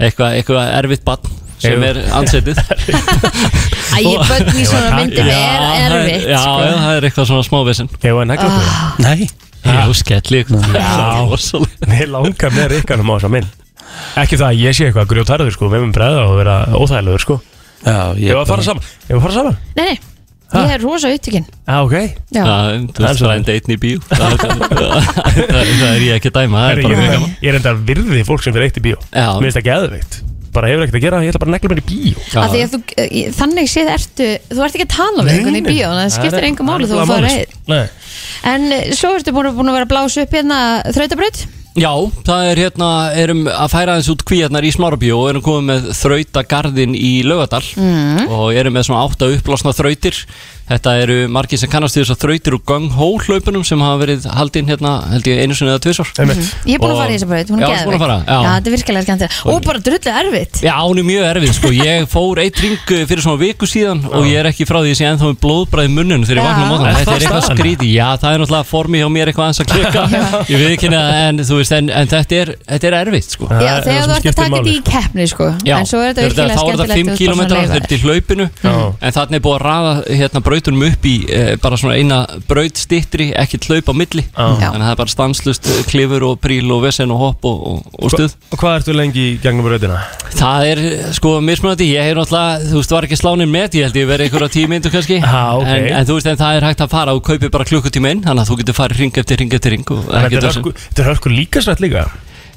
S5: eitthvað eitthva erfitt barn sem
S4: Jú.
S5: er ansetið
S3: Æ, ég bönn í svona
S4: það-
S3: myndum er
S5: það er-
S3: erfitt
S5: Já,
S3: sko.
S5: já, það er eitthvað svona smá vesen
S4: hefur það negla
S3: Ah.
S4: okkur
S1: Nei
S5: Jú, skelli [laughs]
S4: Já. mér langar með rikkanum á þessa minn ekki það að ég sé eitthvað grjótarður sko, við erum breða og vera óþægilegur sko.
S1: Já, ég
S4: ég var að fara saman ég var að fara saman
S3: Nei, nei, ég er rosa upptökin
S4: ah, ok
S3: Já,
S5: Þú
S4: Það er
S5: veist
S4: svo.
S5: bara enda einn í bíó Það er- [laughs] það- það er ég ekki að dæma Það
S4: Herri,
S5: er bara
S4: ég,
S5: mjög gaman
S4: ég er enda að virði fólk sem fyrir eitt í bíó
S5: Já.
S4: mér finnst það geðveikt bara hefur ekkert að gera ég ætla bara að negla mér í bíó
S3: Af því að þú, eh, þannig séð ertu þú ert ekki að tala við einhvern í
S4: Nei, nei.
S3: bíó þannig að það skiptir
S4: er-
S3: engum
S4: það er
S3: máli þú
S4: nefnilega
S3: að fara
S4: málið,
S3: einn
S4: sko. Nei.
S3: En eh, svo ertu búin að, búin að vera að blása upp hérna þrautabraut
S5: Já, það er hérna, erum að færa aðeins út kvíarnar í Smárabíó og erum komið með þrautagarðin í Laugadal og erum með svona átta uppblásna þrautir Þetta eru margir sem kannast því þessar þrautir og ganghól hlaupunum sem hafa verið haldinn hérna, held ég einu sinni eða tvisvar
S4: Einmitt.
S3: Ég er búin að
S5: Og-
S3: fara í þessa braut, hún
S5: Já,
S3: er
S5: þú ert búin að
S3: geðveik
S5: fara, já.
S3: Já, þetta er virkilega skemmtilega Og bara drullu erfitt
S5: Já, hún er mjög erfið, sko, ég fór eitt ring eh, fyrir svona viku síðan og ég er ekki frá því að ég sé ennþá með blóðbræði munnun þegar
S3: Já.
S5: ég vakna á móðan,
S4: Er
S5: þetta
S4: það
S5: er eitthvað
S4: staðan?
S5: skríti Já, það er náttúrulega formið hjá mér eitthvað aðeins að klika Ég veit ekki en þú veist, veist, en, en þetta, er, þetta er erfitt sko.
S4: Það
S3: Já,
S4: er það
S3: þegar
S4: sem
S3: þú ert að
S4: skiptir
S3: taka
S4: máli,
S3: þetta í keppni sko.
S5: Já,
S3: En svo er þetta virkilega
S5: þá er það
S3: skemmtilegt
S5: 5
S3: ef þú ert bara svona
S5: km þetta er
S3: leifar.
S5: til hlaupinu
S4: Já.
S5: en þannig er búið að raða hérna, brautunum upp í eh, bara svona eina braut stittri ekki hlaup á milli
S3: Já.
S5: þannig að það er bara stanslust eh, klifur og príl og vesen og hopp og, og, og stuð
S4: Og hvað ertu lengi í gegnum rautina?
S5: það er eh, sko mismunandi ég hef náttúrulega, þú veist, var ekki slánin með ég held ég verið einhverja tíu myndu kannski
S4: Já, ok.
S5: en, en þú veist, en það er hægt að fara og kaupir bara klukkutíma inn þannig að þú getur farið ring eftir ring eftir ring og
S4: En
S5: ekkert
S4: Þetta er
S5: vesen.
S4: hörku- þetta er hörkur líkasrætt líka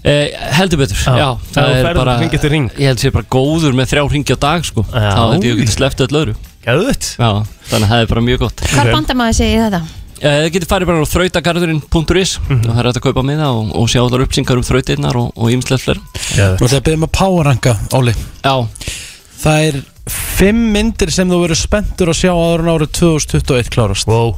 S5: Eh, heldur betur,
S4: Já.
S5: já,
S4: Þú ferð hring eftir hring.
S5: ég held sér bara góður með þrjá ringi á dag sko,
S4: Já.
S5: þá held ég að geta sleppt öll öðru
S4: Gæðuðt
S5: Já, þannig að það er bara mjög gott
S3: Hvar bandamaði segir þetta?
S5: Eh, Þið getur farið bara á þrautagarðurinn.is og það er hægt að kaupa miða og, og sjá allar uppsingar um þrautirnar og, og ýmislegt fleira
S1: Nú ætla ég að byrja með powerranka, Óli
S5: Já,
S1: Það er fimm myndir sem þú verður spenntur að sjá áður en árið 2021 klárast
S4: Wow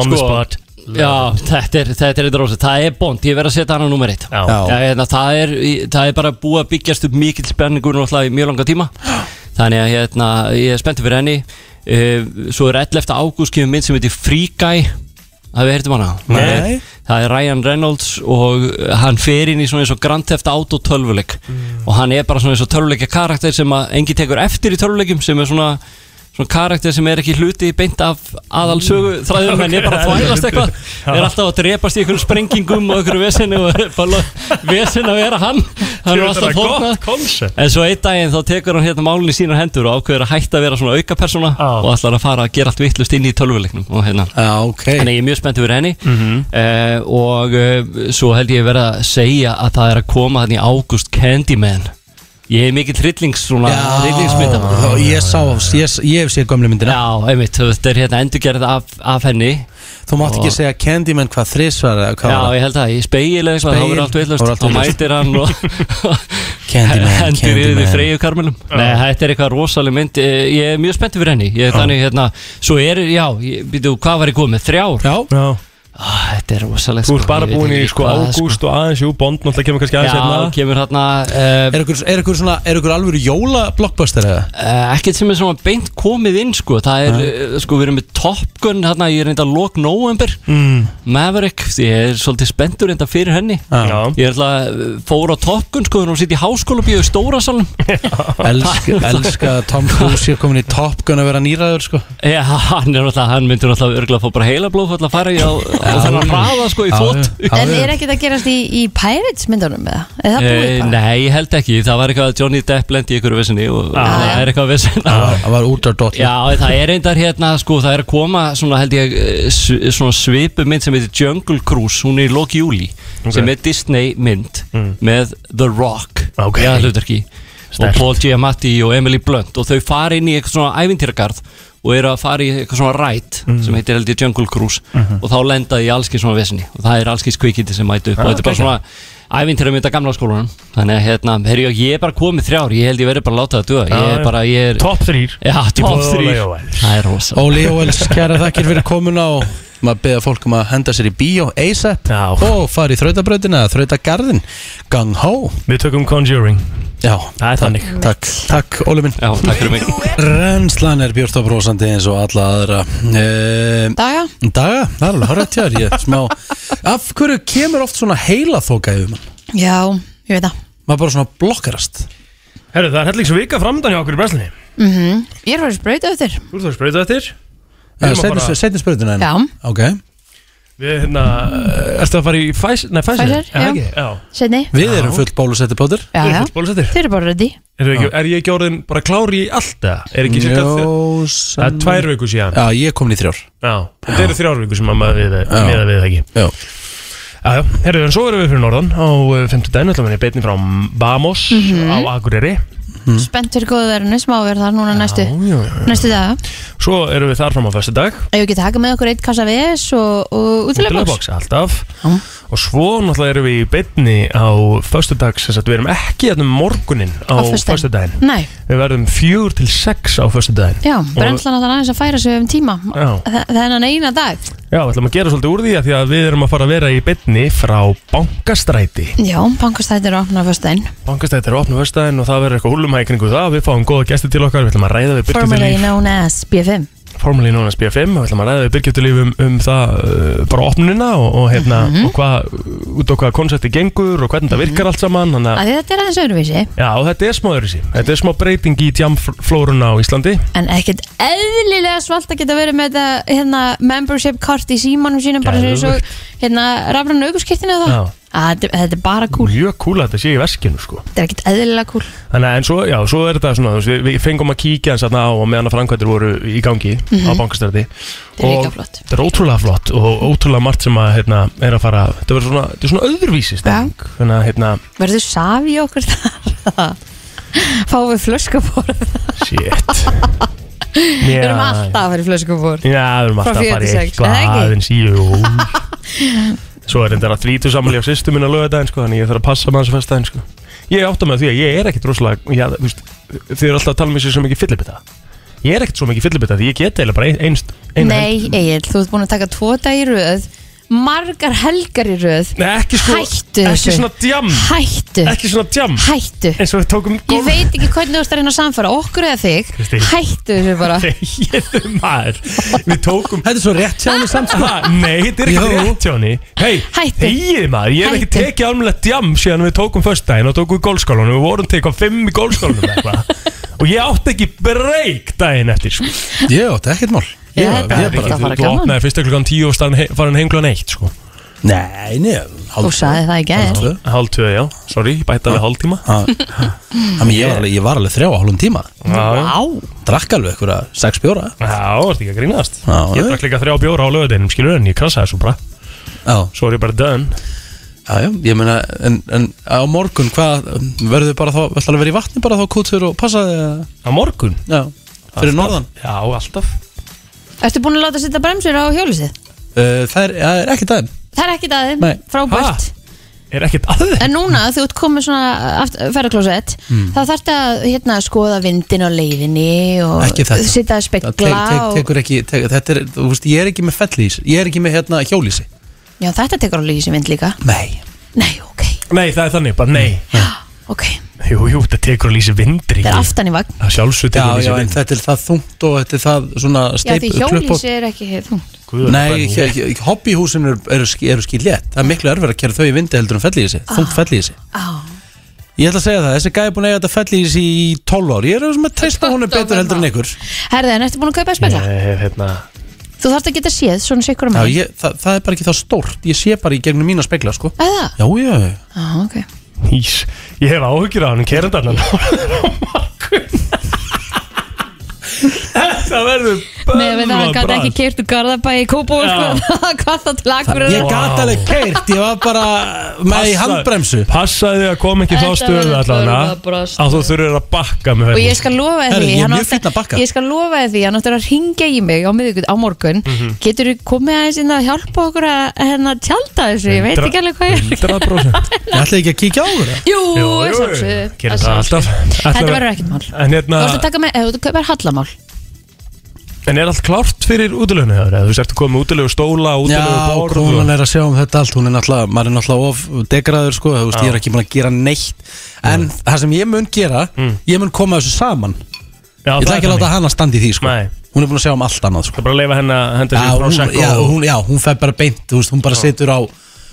S4: On the
S5: Sko,
S4: spot
S5: já þetta er þetta er eitthvað rosa, það er bond, ég verð að setja hana nummer eitt
S4: Já.
S1: Já.
S5: Já, hérna, það, er, það er bara búið að byggjast upp mikill spenningur náttúrulega í mjög langa tíma Þannig að hérna, ég er spenntið fyrir henni uh, Svo er 11. ágúst kemur mynd sem heitir Free Guy Það við heyrtum um hana
S1: Nei.
S5: Það er Ryan Reynolds og hann fer inn í svona eins og Grand Theft Auto tölvuleik Og hann er bara svona eins og tölvuleikja karakter sem að engi tekur eftir í tölvuleikjum sem er svona Svona karakter sem er ekki hluti beint af aðalsögu þræðum en er bara að
S4: [laughs]
S5: þvælast eitthvað er alltaf að drepast í einhverjum sprengingum og einhverju vesinu og [laughs] er bara vesin að vera hann hann er alltaf fórnað
S4: koncept
S5: En svo einn daginn þá tekur hann hérna málun í sínar hendur og ákveður að hætta að vera svona aukapersona
S4: Já.
S5: og ætlar að fara að gera allt vittlust inn í tölvuleiknum og hérna
S1: Já, ok
S5: Þannig ég er mjög spenntið fyrir henni
S4: Mhm.
S5: eh, og eh, svo held ég verið að segja að það er að koma hann í August Candyman Ég er mikill hryllings svona hryllingsmynda
S1: Já, Ég sá, ég, ég hef séð gömlu myndina
S5: Já, einmitt, þetta er hérna endurgerð af, af henni
S1: Þú mátt ekki segja Candyman hvað þrisvar eða hvað
S5: Já,
S1: var það?
S5: ég held að í speil eða eitthvað,
S1: Spegil,
S5: þá verður allt
S1: þá verður allt
S5: veitlaust Þá
S1: vitlaust.
S5: mætir hann og
S1: [laughs]
S5: [laughs]
S1: Candyman,
S5: hendur yfir því
S1: Candyman.
S5: freyju karmelum Nei, þetta er eitthvað rosaleg mynd Eh, Ég er mjög spenntið fyrir henni Ég er þannig hérna, svo er, já, býtu, hvað var ég komið? Þrjár?
S1: Já,
S4: Já
S5: Ah, Þetta er rosaleg
S4: Þú ert bara búin í sko ágúst og aðeins jú Bond náttúrulega kemur kannski aðeins
S5: Já,
S4: hérna
S5: kemur hérna eh,
S1: er ykkur, er ykkur svona, er ykkur alvöru jóla blockbuster eða?
S5: eh, Ekkert sem er svona beint komið inn, sko Það er, eh, sko, við erum með Top Gun hérna Ég er reynda lok november
S4: Mm.
S5: Maverick, ég er svolítið spenntur reynda fyrir henni
S4: Já
S5: Ég ætla að fóra á Topgun sko þegar hún sitt í háskóla bíu í stóra salum
S1: Elska, [laughs] elska að Tom Cruise sé komin í Top Gun að vera nýraður sko
S5: Já, hann er alltaf, hann myndur alltaf örgulega að fá bara heila blóð að fara í á, á þennan hraða sko í
S1: Já,
S5: þvott
S1: já, já,
S3: En
S1: já.
S3: er ekkert að gerast í, í Pirates myndunum eða? Er það búið
S5: Eh,
S3: bara?
S5: Nei, ég held ekki, það var eitthvað að Johnny Depp lendi í ykkur vissinni og það er eitthvað vissin
S1: Það var- það var út af dotla
S5: Já, en það er reyndar hérna, sko, það er að koma svona held ég, eh, sv- svona svipu mynd sem heitir Jungle Cruise, hún er í loki júli sem er Disney mynd með The Rock
S4: Mm. Ok.
S5: í aðhlutverki og Paul Giamatti og Emily Blunt og þau fara inn í eitthvað svona ævintýragarð og eru að fara í eitthvað svona rætt
S4: Mm.
S5: sem heitir held ég Jungle Cruise
S4: Mhm.
S5: og þá lenda þau í allskins svona vesinni og það er allskins kvikindi sem mætu upp
S4: Ah,
S5: og þetta er bara svona ævintýra mynda gamla skólanum þannig að hérna, herri, ég er bara komið þrjár ég held ég verði bara að láta það duga ég
S4: Já,
S5: er bara, ég er
S4: Top 3
S5: Já, top
S4: boði á
S5: 3
S4: Leiðarvæl.
S5: Það er rosa
S1: Óli Jóels, kæra þakkir fyrir komuna og maður beða fólk um að henda sér í bíó ASAP
S4: Já.
S1: og fara í þrautabrautina eða þrautagarðin Gang Ho
S4: Við tökum Conjuring
S1: Já,
S4: Það er þannig.
S1: Takk, takk, Óli minn
S5: Já, takk fyrir mig
S1: Renslan er Björn Tóprósandi eins og alla aðra ehm,
S3: Daga?
S1: Daga, það er alveg horrið tjár ég, smá, Af hverju kemur oft svona heila þóka yfir mann?
S3: Já, ég veit það
S1: Maður bara svona blokkarast
S4: Herru, það er hellingsvika framdann hjá okkur í brennslinni
S3: Ég er farið spröyt eftir
S4: Þú ert að sprauta eftir
S5: Eh,
S1: Eh,
S4: Við erum að fara-
S1: Setjum spurðina
S3: Já,
S1: Ok,
S4: Við hérna eh, Ertu að fara í Pfizer Nei, Pfizer
S3: Pfizer,
S4: Já,
S3: já.
S4: ekki? Já
S3: setni
S1: við erum full bólusetti bóður
S3: Já,
S4: Við erum
S3: já
S4: fullt bólusettir
S3: Þeir eru bara ready
S4: Erum við ekki- Er ég ekki orðin bara klár í allt það? Er ekki cirka þe- Það er tvær viku síðan
S1: Já, ég er komin í þrjár
S4: Já Þetta eru þrjár viku sem maður við meða við það ekki
S1: Já,
S4: Já, já Herru, en svo erum við fyrir norðan á 50 daginn Þannig að við beinni frá Bamos
S3: Mhm.
S4: á Akureyri
S3: Spennt fyrir góðu verðinu, smá verð þar núna næstu
S4: Mm. já, já
S3: Næstu daga
S4: Svo erum við þar fram á fyrstu dag
S3: Ef við getum taka með okkur eitt kassa VS og, og útilegboks
S4: Útilegbox alltaf Og svo náttúrulega erum við í beinni á föstudags Þess að við erum ekki hérna um morgunin á
S3: Á föstudaginn.
S4: föstudaginn
S3: Nei,
S4: Við verðum fjögur til sex á föstudaginn
S3: já, brennslan að það aðeins að færa sig um tíma
S4: Já.
S3: Þa- Þennan eina dag
S4: Já, við ætlum að gera svolítið úr því að því að við erum að fara að vera í beinni frá bankastræti
S3: Já, bankastættir og opna fyrst einn
S4: Bankastræti er opnum föstudaginn og það verður eitthvað húlumhækningu það Við fáum góða gæsti til okkar, við ætlum að ræða við Birgit
S3: Formerly known as B5
S4: formerly known as BFM og við ætlum að ræða við Birgjöldulíf um, um það uh, bara opnunina og, og hérna
S3: Mhm.
S4: og hvað, út á hvað konsepti gengur og hvernig þetta virkar allt saman þannig að
S3: Af því þetta er aðeins öðruvísi
S4: Já, og þetta er smá öðruvísi. Þetta er smá breyting í jamflórunna á Íslandi.
S3: En ekkert eðlilega svalt að geta verið með þetta hérna, membership kort í símanum sínum bara eins og hérna, rafrann augurskirtinu og það
S4: Já.
S3: að, þetta, þetta er bara cool,
S4: Mjög cool að þetta sé í veskinu, sko.
S3: þetta er ekkert eðlilega cool
S4: Þannig að, en svo, já, svo er þetta svona, þú veist, við, við fengum að kíkja hans aðna á og meðan að framkvæmdir voru í gangi á bankastræti.
S3: Mhm. Þetta er
S4: Og
S3: líka flott.
S4: Þetta er ótrúlega flott og ótrúlega margt sem að, hérna, er að fara af. Þetta er svona, þetta er svona öðruvísi steng. Þannig að, hérna,
S3: Verður safi okkur þar [laughs] Fáum við flöskuborð
S4: shit.
S3: [laughs] Við erum alltaf að fara í flöskuborð
S4: Já, við erum alltaf
S3: Frá
S4: að
S3: fjögur
S4: fara
S3: til
S4: í
S3: sex,
S4: eitthvað
S3: er það ekki?
S4: aðeins í
S3: [laughs]
S4: Svo er þetta að þrítu samlíf á sýstu minna lögadaginn sko, þannig ég þarf að passa með þessu festaginn sko. Ég átta með því að ég er ekkit rosalega já, þú veist, Þið eru alltaf að tala með sér sem ekki fyllibita Ég er ekkit svo mikið fyllibita því ég get eiginlega bara ein- einst ein
S3: Nei, Egil, þú ert búin að taka tvo dag í röð Margar helgar í röð
S4: Nei, ekki sko
S3: Hættu
S4: Ekki
S3: þessu.
S4: svona djam
S3: Hættu,
S4: Ekki svona djam
S3: hættu
S4: eins og við tókum
S3: Ég
S4: golf
S3: veit ekki hvernig þú ert að reyna að samfara okkur eða þig
S4: Kristín.
S3: Hættu þessu bara
S4: [laughs] Þegiðu, maður Við tókum
S1: Þetta er svo rétt hjá henni samt
S4: [laughs]
S1: sko.
S4: Ha, Nei, þetta er ekki
S1: Jú.
S4: rétt hjá henni Hei,
S3: Hættu.
S4: þegið maður, ég hef ekki
S3: Hættu.
S4: tekið almennilegt djam síðan við tókum föstudaginn og tókum við gólskólanum við vorum til eitthvað fimm í gólskólanum eitthvað. og ég átti ekki breyk daginn eftir sko.
S1: Ég átti ekkert mál
S3: Ég
S1: Ég,
S3: held að
S1: ég
S3: þetta
S1: bara
S3: var
S4: þú,
S3: bara
S4: þú
S3: gaman.
S4: opnaði fyrsta klukkan tíu og starf farin heimglan eitt sko.
S1: Nei, nei
S3: Þú sagði það í gær.
S4: Hálf tvöð, já, sorry, ég bæta við hálftíma
S1: Þannig ég var alveg, ég var alveg þrjá á hálfum tíma
S4: Já,
S3: Á,
S1: Drakk alveg ykkur að sex bjóra
S4: já, það var ekki að grínast
S1: Já,
S4: Ég
S1: já.
S4: drakk líka þrjá bjóra á lögadeinum, skilur en ég krassaði svo bara
S1: Já,
S4: Svo er ég bara done
S1: já, já, ég meina En, en á morgun, hvað Verður bara þá, ætlar að vera í vatni bara þá kútur og passa þig eða?
S4: Á morgun
S1: Já, fyrir norðan
S4: Já, alltaf
S3: ertu búin að láta setja bremsur á hjólusið?
S1: Uh, Það er, það er ekki dæm
S3: Það er ekkit aðeim,
S1: Nei.
S3: frábært
S4: Er ekkert aðeins
S3: En núna þú ert komið svona ferðarklósett
S1: Hmm.
S3: mm. þá þarf þetta hérna, að skoða vindin á leiðinni og
S1: Ekki þetta.
S3: sitja að
S1: Það
S3: spekla
S1: te, te,
S3: og,
S1: tekur ekki, te, þetta er, þú veist, ég er ekki með fellís Ég er ekki með hérna hjólísi
S3: Já, þetta tekur alveg í sem vind líka
S1: Nei
S3: Nei, ok,
S4: Nei, það er þannig, bara nei
S3: ok
S4: Jú, jú, þetta tekur að lýsa vindri
S3: Það er aftan í vagn
S4: Það sjálfsög
S1: Já,
S4: tekur að
S1: já,
S4: lýsa
S1: en
S4: vind
S1: þetta er það þungt og þetta er það svona
S3: Já,
S1: steip,
S3: því hjólísi er ekki þungt
S4: Guð,
S1: Nei,
S4: hvað er ég-
S1: hér- hér- hobbyhúsin eru, eru, ski- eru skil létt Það er miklu erfið að kæra þau í vindi heldur en fellísi Þungt fellísi
S3: Á,
S1: Ég ætla að segja það, þessi gæði búin að eiga þetta fellísi í 12 ár Ég er sem að treysta hún er betur heldur en ykkur Já,
S3: herðið, en ertu búin að kaupa að spekla?
S4: Ég hef hérna
S3: Þú þarft að geta séð svona sikur um
S1: ég, það, það er bara ekki það stórt Ég sé bara í gegnum mína spekla, sko
S3: Eða?
S1: Já, já,
S3: Á, ok
S4: Ís Ég hef áhyggjur á hann Kerðarnan Það verður
S3: Nei, við það gæti ekki kert úr Garðabæ í Kópó
S4: Já.
S3: [laughs] Hvað þá til akkurir
S1: ég gat alveg keirt Ég var bara með í handbremsu
S4: Passaði að koma ekki í þá
S3: Þetta
S4: stöðu
S3: verður
S4: allan
S3: börðabrost.
S4: Að þú þurfir að bakka með
S3: Og ég
S4: ferðinni.
S3: skal lofa þér
S1: Herri,
S3: því
S1: ég er
S3: hann
S1: mjög
S3: átti-
S1: fínn að bakka.
S3: Ég skal lofa þér því, hann áttur að ringja í mig á miðugut á morgun mm
S1: Mhm.
S3: -hmm. Getur þú komið aðeins inn að hjálpa okkur að hérna tjálta þessu, ég veit ekki alveg hvað ég er
S4: 100%
S3: [laughs]
S1: Ég ætla ekki að kíkja á það
S3: Jú,
S4: Jú,
S3: að
S4: jú,
S3: sjálfsögðu,
S4: gerum
S3: að
S4: það
S3: sjálfsögðu.
S4: alltaf
S3: Þetta
S4: Ætlar-
S3: verður ekkert mál Þú
S4: En hérna
S1: Ah.
S3: ert að taka með, ef þú kaupar hallamál
S4: En er allt klárt fyrir útileguna hjá þér? Eða Þú sért að koma með útilegu stóla, útilegu
S1: Já,
S4: borð og-
S1: krúnan er að sjá um þetta allt Hún er náttúrulega, maður er náttúrulega of degraður sko, þú veist, Ég er ekki búin að gera neitt En það sem ég mun gera
S4: Mm.
S1: Ég mun koma þessu saman
S4: Já,
S1: Ég
S4: það
S1: ætla
S4: er
S1: ekki að láta
S4: þannig.
S1: hana standa í því sko.
S4: Nei.
S1: Hún er búin að segja um allt annað sko.
S4: Það er bara að leifa henni að henda
S1: já,
S4: sér
S1: hún,
S4: Prosecco
S1: já,
S4: og-
S1: hún, já, hún fer bara beint þú veist, Hún bara situr á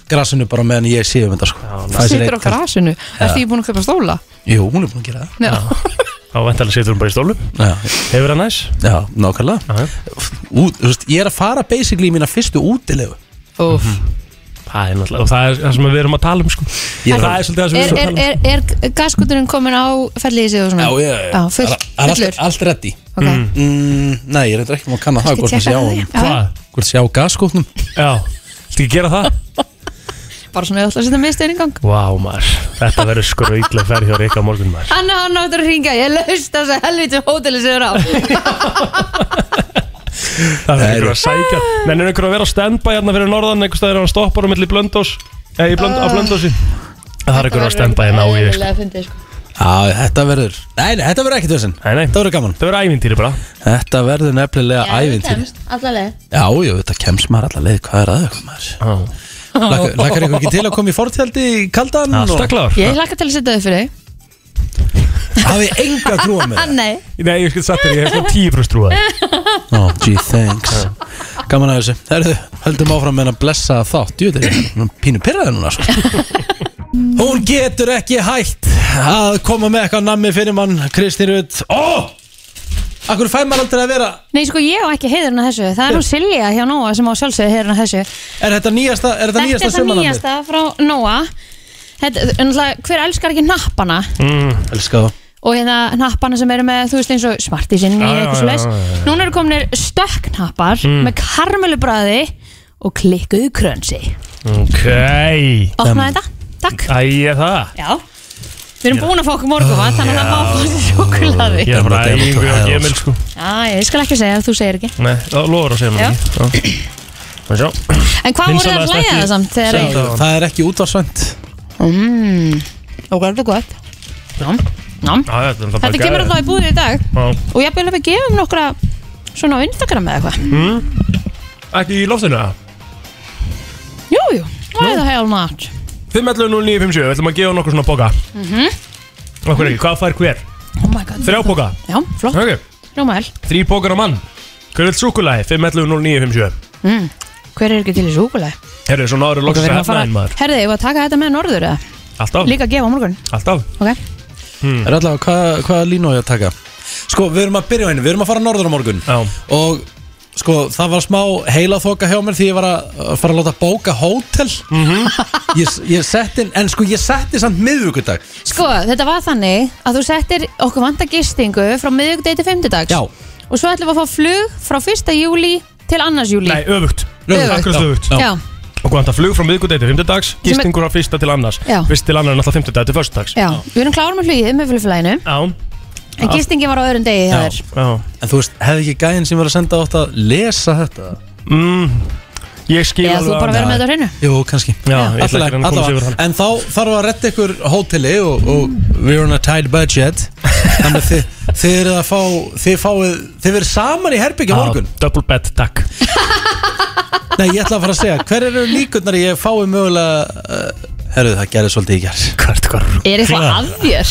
S1: grasinu bara meðan ég sé um þetta sko. Fær sér
S3: Sittur á
S1: eitt-
S3: grasinu, ertu ég búin að kaupa stóla?
S1: Jú, hún er búin að gera það [laughs]
S3: Já,
S4: Þá vantarlega situr hún bara í stólum
S1: Já,
S4: Hefur það næs?
S1: já nákvæmlega
S4: Já,
S1: Ú, þú veist, Ég er að fara basically í mína fyrstu útilegu
S3: úf
S1: Mhm.
S4: Það er náttúrulega Og það er það sem við erum að tala um sko
S1: Ég er
S4: Það
S1: að-
S4: er svolítið það sem við
S3: Er,
S4: erum að
S3: er,
S4: tala um
S3: er, er gaskuturinn komin á fellið sig og svona?
S1: Já, ég
S3: Já, full,
S1: Það er
S3: fullur
S1: allt, allt reddi
S3: Ok,
S1: mm, Nei, ég er reyndar ekki búin að um kanna það
S3: ég
S1: Hvort það sé á
S3: tjekka það
S1: honum.
S3: því. Já,
S4: Hvað?
S1: Hvort sé á gaskóknum
S4: Já Þetta ekki gera það?
S3: Bara svona ég ætla að setja miðstöðin í gang
S4: Vá maður Þetta verður skröðla ferð hjá Rika morgun maður
S3: Anna hann áttur að ringa, ég laust þess að helviti hóteli sem er á
S4: Það
S1: Nei,
S4: er ykkur að sækja Menn er ykkur að vera á standby hérna fyrir norðan Einhvers staðar er hann stoppar um milli blöndós Eða í blönd, á blöndósi Það er ykkur að standby hérna á í þig sko.
S1: Já, þetta verður Nei, nei, þetta verður ekkert þessin
S4: Nei, nei.
S1: Þetta verður gaman
S4: Það verður ævintýri bara
S1: Þetta verður nefnilega ævintýri Já, já, þetta kemst maður allar leið, hvað er aðeins maður? [laughs] Lakar, lakar ykkur ekki til að koma í fortjaldi í kaldan?
S4: Alltaf klár
S3: Ég hlakka til að setja þau fyrir þau
S1: Hafið þið enga trúa [laughs] með það?
S3: Nei,
S4: Nei, ég skal sagt þér, ég hef svona 10% trú á því.
S1: No, gee, thanks Gaman að þessu Herðu, höldum áfram með að blessa þátt Jú, þetta er ég pínu pyrraði núna [laughs] sko. Hún getur ekki hægt að koma með eitthvað nammi fyrir mann Kristín Rutt Ó! Akkur fær maður aldrei að vera
S3: Nei, sko, ég á ekki heiðurinn að þessu Það er nú Silja hjá Nóa sem á sjálfsögðu heiðurinn að þessu
S1: Er þetta nýjasta, er þetta
S3: Þetta
S1: nýjasta
S3: er það
S1: sumarnammi?
S3: nýjasta frá Nóa Þetta, náttúrulega, hver elskar ekki nappana
S1: Elska það
S3: og hérna hnappana sem eru með, þú veist eins og smartísinn í
S4: Já, já,
S3: eitthvað
S4: já,
S3: svo leys
S4: já, já, Mm.
S3: núna eru kominir stökknappar með karmelubræði og klikkuðu krönsi
S4: Ok.
S3: opnaði þetta, takk
S4: Æja það.
S3: já, við erum búin að fá okkur morgunva þannig að það má fá þessi sjokulaði
S4: Ég er bara
S1: Demótt, demótt og
S4: ægur og
S1: hæðar,
S4: gemil, sko.
S3: já, ég skal ekki segja, þú segir ekki
S4: Nei, það lofur að segja
S3: Já.
S4: mér ekki. Já. Já.
S3: en hvað voru það að
S4: Vinsælasta
S3: hlæja
S4: ekki-
S3: það samt þegar
S4: Sem-
S3: ég,
S1: Það það er ekki útvarsvænt
S3: mm, og hvað er þetta gott já, já
S4: Já, þetta er bara
S3: þetta kemur alltaf í búðir í dag
S4: gæði.
S3: og ég byrja að gefa um nokkra svona á Instagram eða eitthvað
S4: Ekki í loftinu, það?
S3: jú, jú, why the hell not
S4: 5.11.09.57, við ætlum að gefa nokkur svona boka mm
S3: Mhm.
S4: -hmm. Okkur ekki, hvað fær hver?
S3: oh my god,
S4: Þrjá boka
S3: já, flott,
S4: okay.
S3: hljóma vel
S4: Þrý bókar á mann Hvernig súkulæði? 5.11.09.57
S3: Mm. Hver er ekki til í súkulega?
S4: Herðu, svo náður
S3: Við
S4: loksins
S3: erum
S4: að
S3: að fara
S4: hefnaðin maður
S3: Herði, ég var að taka þetta með norður eða?
S4: Alltaf,
S3: Líka að gefa á morgun
S4: alltaf
S3: okay.
S1: Er allavega, hvað, hvað línu á ég að taka? Sko, við erum að byrja á einu, við erum að fara norður á morgun
S4: Já.
S1: Og sko, það var smá heila þoka hjá mér því ég var að að fara að láta bóka hótel [laughs] ég, ég setti, inn- en sko, ég setti samt miðvikudag
S3: Sko, þetta var þannig að þú settir okkur vanta gistingu frá miðvikudegi til fimmtudags
S1: Já.
S3: Og svo ætlum við að fá flug frá 1. júli til 2. júli
S4: Nei, öfugt
S3: Öfugt.
S4: Akkurat öfugt
S1: Já.
S3: Já,
S4: Og hvað það flug frá miðgudegi til 5. dags
S3: Sem er-
S4: Gistingur á fyrsta til annars
S3: Já.
S4: Fyrst til annar en alltaf 5. til 1. dags
S3: já, við erum klárum með flugið með flugflæginu
S4: Já,
S3: En gistingin var á öðrum degi hjá
S1: Já.
S3: þér
S4: já
S1: En þú veist, hefði ekki gæðin sem var að senda átt að lesa þetta?
S4: mm, Ég skil
S3: Eða þú bara verður með þetta á hreinu
S1: Jú, kannski
S4: Já, ég ætla ekki
S1: Allavega,
S4: að reyna að koma sér
S1: allavega.
S4: yfir hann.
S1: En þá þarf að retta ykkur hóteli og, og we're on a tight budget Þannig að þið,
S4: [laughs]
S1: þið eruð að fá þið fáið, þið verið saman í herbyggja morgun
S4: Double bed, takk
S1: Nei, ég ætla að fara að segja, hver eru líkurnar ég fái mögulega uh, Herðu, það gerði svolítið í gerð
S4: Hvert, hvert
S3: Er eitthvað að [laughs] þér?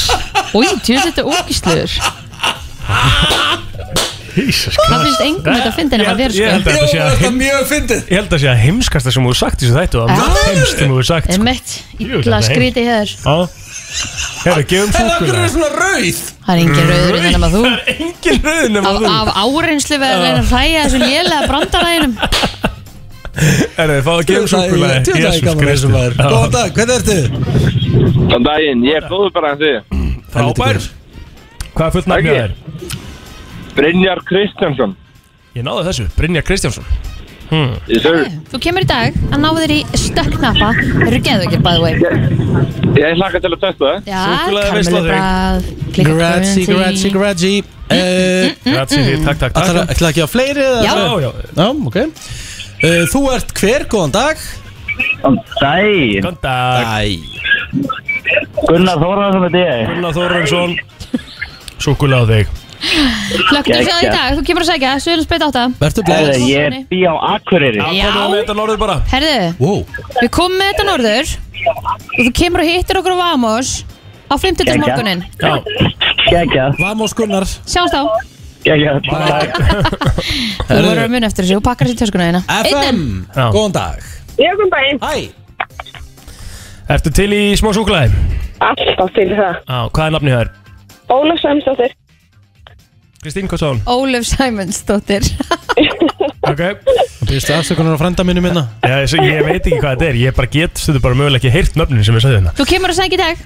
S3: Új, tjóðs þetta ógísluður
S4: Jesus
S3: Það finnst engum þetta að fyndin að vera
S4: Ég held
S3: sko
S4: að þetta sé að heim-
S1: mjög fyndið
S4: Ég held að sé að heimskasta sem þú hefur sagt í þessu þættu Það er heimst sem þú hefur sagt
S3: Er
S4: sko.
S3: mitt
S4: Jú,
S3: illa
S4: þetta er heim.
S3: skrítið hjá þér
S4: Já Herra, gefum
S1: En það
S4: súkuna
S1: er svona rauð
S3: Það er engin rauður innan um að þú
S4: Það er engin rauð nema
S3: af,
S4: þú
S3: af áreinslu við að reyna að hlæja þessu lélega brandaræðinum
S4: Herra, fá að gefum súkuna
S1: Tjóðlega er gaman að þessu
S4: sko.
S1: maður Góðan dag, hvernig ertu?
S6: Þann daginn, ég er góður bara en þið
S4: Frábær Hvað er fullt nafnið
S6: Takk
S4: þér?
S6: Brynjar Kristjánsson
S4: Ég náði þessu, Brynja Kristjánsson
S6: Ég sör,
S3: Þú kemur í dag að ná þér í stökknappa Eru geðveikir by the way
S6: ég hlaka til að testa það
S3: Já,
S4: Súkkulaði veisla þig.
S3: karmelubræð
S1: Grazi, grazi, grazi
S4: Mm, Grazie, þið, takk, takk,
S1: Ætlar
S4: takk
S1: að Eh, ekki á fleiri? eða?
S3: Já.
S4: Já, já,
S1: Já, ok Eh, Þú ert hver, góðan dag
S7: Góðan daginn,
S4: góðan dag
S1: Æ
S7: Gunnar Þóraðarsson með ég.
S4: Gunnar Þórensson Súkula á þig
S3: Klökkum þú í
S7: Geggjað.
S3: dag, þú kemur að segja Suðurlands beitt átta
S1: Vertu
S7: Herðu,
S1: bless
S7: ég er bí á Akureyri.
S4: Já,
S3: Já.
S4: komum við þetta norður bara
S3: Herðu,
S1: Wow,
S3: við komum með þetta norður og þú kemur og hittir okkur á Vamos á flimtutus morgunin
S4: Já,
S7: Gekja,
S1: Vamos Gunnar
S3: Sjáumst á,
S7: gekja, takk.
S3: [laughs] þú voru að muna eftir þessu og pakkar sér töskuna þína
S1: FM,
S4: Já.
S1: góðan dag
S8: Ég kom bara einn
S1: Hæ,
S4: ertu til í smá súkulaði?
S8: alltaf til það.
S4: Já, hvað er nafnið þér?
S8: Ólaf Sæmsdóttir.
S4: Kristín, hvað sá hún?
S3: Ólöf Sæmundsdóttir
S4: Ok
S1: býrstu afsökunar á frænda hérna. minni minna
S4: Já, ég, ég veit ekki hvað þetta er, ég bara get, þetta bara mögulega ekki heyrt nöfnin sem ég sagði hérna
S3: Þú kemur að segja í dag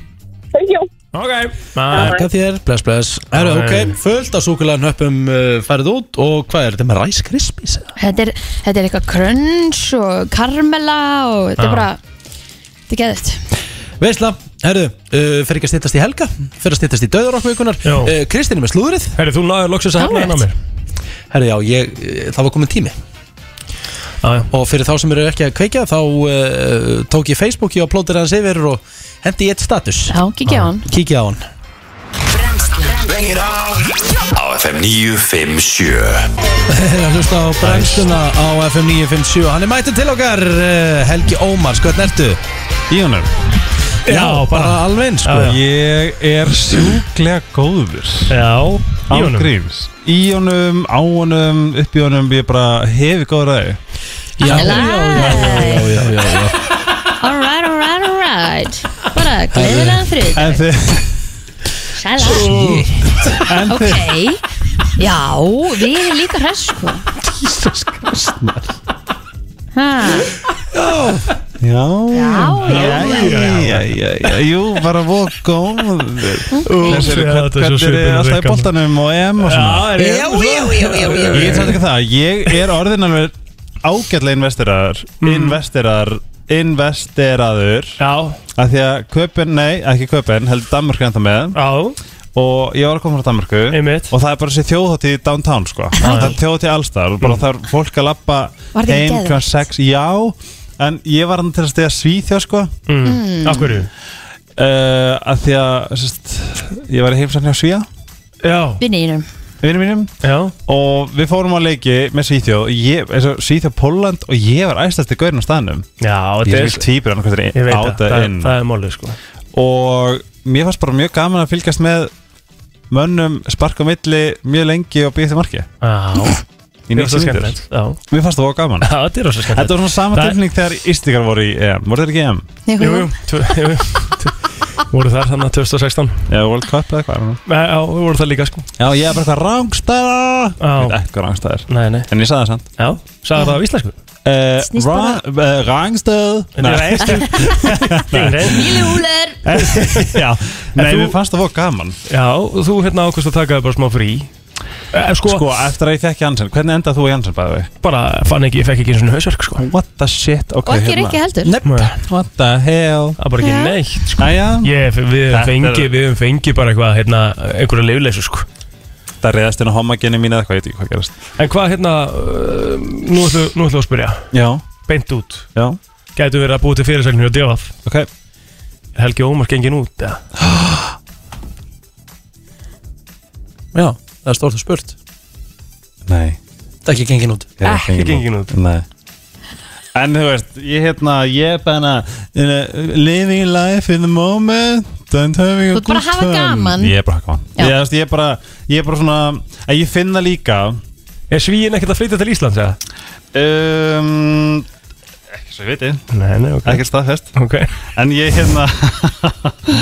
S8: Jó,
S4: Ok, maður
S1: Takk að þér, bless bless Herru,
S4: Já,
S1: ok, fullt af súkulega nöppum uh, færið út og hvað er þetta með Rice Krispies? eða?
S3: Þetta er, þetta er eitthvað crunch og karmela og þetta
S4: Já.
S3: er bara Þetta er geðitt
S1: Veisla, herru, uh, fer ekki að stýttast í helga fer að stýttast í döður okkur vikunar
S4: Já.
S1: uh, Kristín er með slúðrið
S4: Herri, þú náður loksins að hefna
S3: Alright.
S4: hérna á mér
S1: Herru, já, ég, uh, það var komin tími
S4: Já, já.
S1: og fyrir þá sem eru ekki að kveikja þá uh, tók ég Facebooki og plótir hans yfir og hendi ég eitt status
S3: Já, kikið á hann
S1: Kíkja á hann
S2: Bengir á Á FM 957
S1: Þeir að hlusta á brennstuna á FM 957 Hann er mættur til okkar eh, Helgi Ómars, hvernig ertu?
S9: Íonur
S4: Já, bara
S1: bara alveg eins sko.
S4: Já, já.
S9: Ég er sjúklega góður
S4: Já,
S9: Á
S4: í honum
S9: gríms Í honum, á honum, upp í honum Ég bara hefi góður aðeins
S1: já,
S3: Alright.
S1: já, já, já, já.
S3: Alright, alright, alright Bara gleðilega þrið
S9: En þið
S3: Sæla
S9: En
S3: Ok Já, við erum líka hress sko Jesus Christ ha,
S9: þið Já
S3: Já, já, já
S9: Jæja, jæja, Jú, bara voð góður Þessi eru
S4: já,
S9: hvern-
S4: [laughs] þetta er svo
S9: hvernig
S4: svipur
S9: er
S4: og
S9: alltaf í
S4: Rikkan.
S9: boltanum og EM og svona
S4: Já, er ég
S9: Ég get sagt ekki það, ég er orðin alveg ágætlega investeraður
S4: Mm.
S9: Investeraður Investeraður
S4: Já,
S9: Af því að köpinn, nei, ekki köpinn Heldur Danmörk er ennþá með
S4: já,
S9: Og ég var að koma frá Danmörku
S4: einmitt
S9: Og það er bara þessi þjóðhátíð í downtown sko Það er þjóðhátíð allstar Bara
S4: Mm.
S9: það er fólk að lappa
S3: Var þetta ekki
S9: heim
S3: geðveikt?
S9: kvæðan sex Já, en ég var hann til að stiga svíþjóð sko
S4: Mm. Af hverju?
S9: uh, Af því að, sérst, ég var í heimsækni á svíða
S4: Já,
S3: Vinnínum
S9: Vinum mínum
S4: já
S9: Og við fórum á leiki með Svíþjóð og ég, eins og Svíþjóð Póland og ég var æstast í gaurinn á staðnum
S4: Já,
S9: Ég
S4: þetta
S9: er
S4: er
S9: vilt týpur hann hvernig
S4: Ég veit það,
S9: átta
S4: það,
S9: inn
S4: það er málið sko
S9: Og mér fannst bara mjög gaman að fylgjast með mönnum sparka á milli mjög lengi og býja eftir marki
S4: Já,
S9: í 90
S4: þetta er
S9: mínútur.
S4: skemmtilegt Já,
S9: Mér fannst það var
S4: [laughs]
S9: gaman
S4: Já, þetta er rosa skemmtilegt
S9: Þetta var svona sama
S4: Það-
S9: tilfinning þegar Ístikar voru í EM Voru þeir ekki í EM?
S3: Jú,
S4: Jú, jú, tvö- jú, jú tvö- Voru þar þannig að 2016
S9: Eða World Cup eða hvað
S4: Já, Já, við vorum það líka sko
S9: Já, ég er bara eitthvað rángstæða Ég veit
S4: Já,
S9: ekki hvað rángstæða er
S4: nei, nei
S9: En ég sagði það samt
S4: Já, sagði það á íslensku
S3: Snýst
S9: uh, Rángstæð
S4: Þetta er [laughs] einstaklega
S3: Júler
S4: [laughs]
S9: Já Nei,
S4: þú-
S9: mér fannst það var gaman
S4: Já, og þú hérna ákvæmst að taka þér bara smá frí Eh, Sko,
S9: Sko, eftir að ég fekk Janssen Hvernig endað þú í Janssen bæði við?
S4: bara fann ekki, ég fekk ekki eins og hausverk sko
S9: What the shit
S3: Og ekki Rikki heldur
S9: Hérna. Nei.
S4: Nei,
S9: What the hell
S4: Það er bara ekki
S3: Já.
S4: neitt sko
S9: Æja
S4: Ég, við
S9: Þetta
S4: höfum
S9: er-
S4: fengið, við höfum fengið bara eitthvað, hérna, einhverja leifleysu sko
S9: Það reyðast inn á homaginni mín eða hvað, ég veit ekki hvað gerast
S4: En hvað, hérna, uh, nú ætlum nú ætlum við að spyrja,
S9: Já,
S4: beint út
S9: já,
S4: Gætu verið að búið til fyrirsæknir og djáfað
S9: ok
S4: Helgi Ómar gengin út, eða?
S1: já, það er stórt og spurt
S9: Nei
S1: það er ekki gengin út
S9: ég er
S4: Ekki gengin út.
S9: Nei En þú veist, ég hérna, ég er bara you know, Living life in the moment And having a
S3: Þú ert bara
S9: good
S3: að hafa
S9: time
S3: gaman.
S9: Ég er bara að hafa gaman
S3: Já.
S9: Ég, þú veist, ég er bara, ég er bara svona En ég finn það líka
S4: Er svíin ekkert að flytja til Íslands, eða?
S9: um, Ekki svo ég veit
S4: Nei, nei, ok
S9: Ekkert staðfest
S4: Ok
S9: En ég hérna [laughs]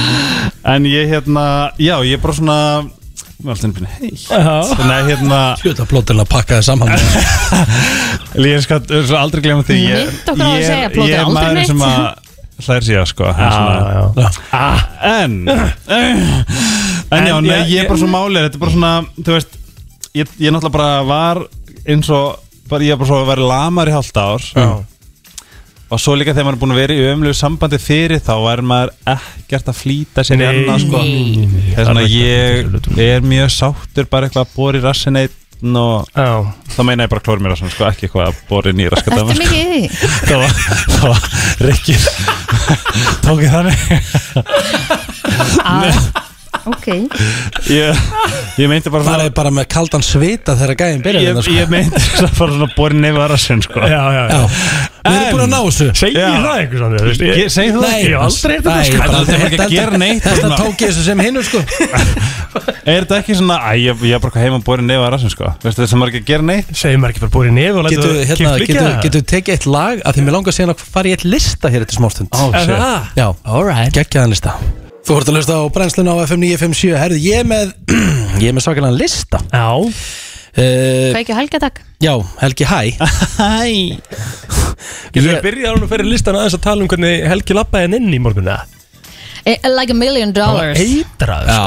S9: En ég hérna Já, ég er bara svona Mér er alltaf innbyrni heitt
S4: Já
S9: Nei, hérna
S1: Sjöta plótin að pakka það saman [laughs]
S9: Ég skal svo aldrei glemma því Ég,
S3: Minntu okkur á að
S9: ég,
S3: segja,
S9: ég,
S3: plótið
S9: ég er
S3: aldrei
S9: maður
S3: neitt.
S9: sem að Hlær sér sko en svona-
S4: Já, já
S9: En En já, nei,
S4: En ég-
S9: ég er bara svo málið Þetta er bara svona, þú veist Ég, ég náttúrulega bara var eins og bara, Ég er bara svo að vera lamar í hálft ár
S4: Já
S9: Og svo líka þegar maður er búin að vera í ömlu sambandi fyrir þá væri maður ekkert að flýta sér í
S4: Nei,
S9: annað sko.
S3: nei,
S9: Það er svona ég er mjög sáttur bara eitthvað að bóra í rassin einn og
S4: Já
S9: þá meina ég bara klór mér rassin sko, ekki eitthvað að bóra inn í raskadama
S3: Ertu
S9: sko.
S3: mikið í því?
S9: Það var, það var, Rikki tók ég þannig
S3: Já Ok
S9: ég, ég meinti bara hérna,
S1: það
S9: svona
S1: er bara með kaldan svita þegar gæðin byrjar
S9: ég,
S1: þetta, sko.
S9: ég meinti svona bara svona bóra inn yfir rassin sko.
S4: Já, já,
S1: já, við erum búin að ná þessu
S4: Segir
S9: Já.
S4: það einhvers veginn, þú veist
S9: Ég- segi þú
S1: Nei,
S4: Ég hef aldrei heyrt þetta,
S1: nei,
S4: sko.
S1: bara-
S9: Þetta er bara ekki að gera neitt,
S1: Þetta
S9: svona.
S1: tók ég þessu sem hinn sko.
S9: er þetta ekki svona, æ, ég, ég er bara heima að bóra inn yfir rassin sko. Veistu, þetta sem maður ekki að gera neitt
S4: Segir maður ekki bara búið í nef og lætur
S1: Getur
S4: það
S1: hérna,
S4: kippt
S1: getu,
S4: liggja?
S1: getu tekið eitt lag af því mér langar síðan að fara í eitt lista hér eftir smástund
S9: Ó,
S4: Er
S9: shit.
S4: það?
S1: Já, right. geggjaðan lista Þú hort að lista á brennsluna á FM 957 Herðu, ég er með, [clears throat] ég er með svakalega lista
S4: Já
S1: uh,
S3: Kveikju helgadag
S1: Já, Helgi Hæ Hæ
S4: Getur við byrjað hún að fyrir listan aðeins að tala um hvernig Helgi lappaði henn inn í morgunna
S3: Eh, Like a million
S4: Það var
S3: dollars
S4: eitrað
S1: Já,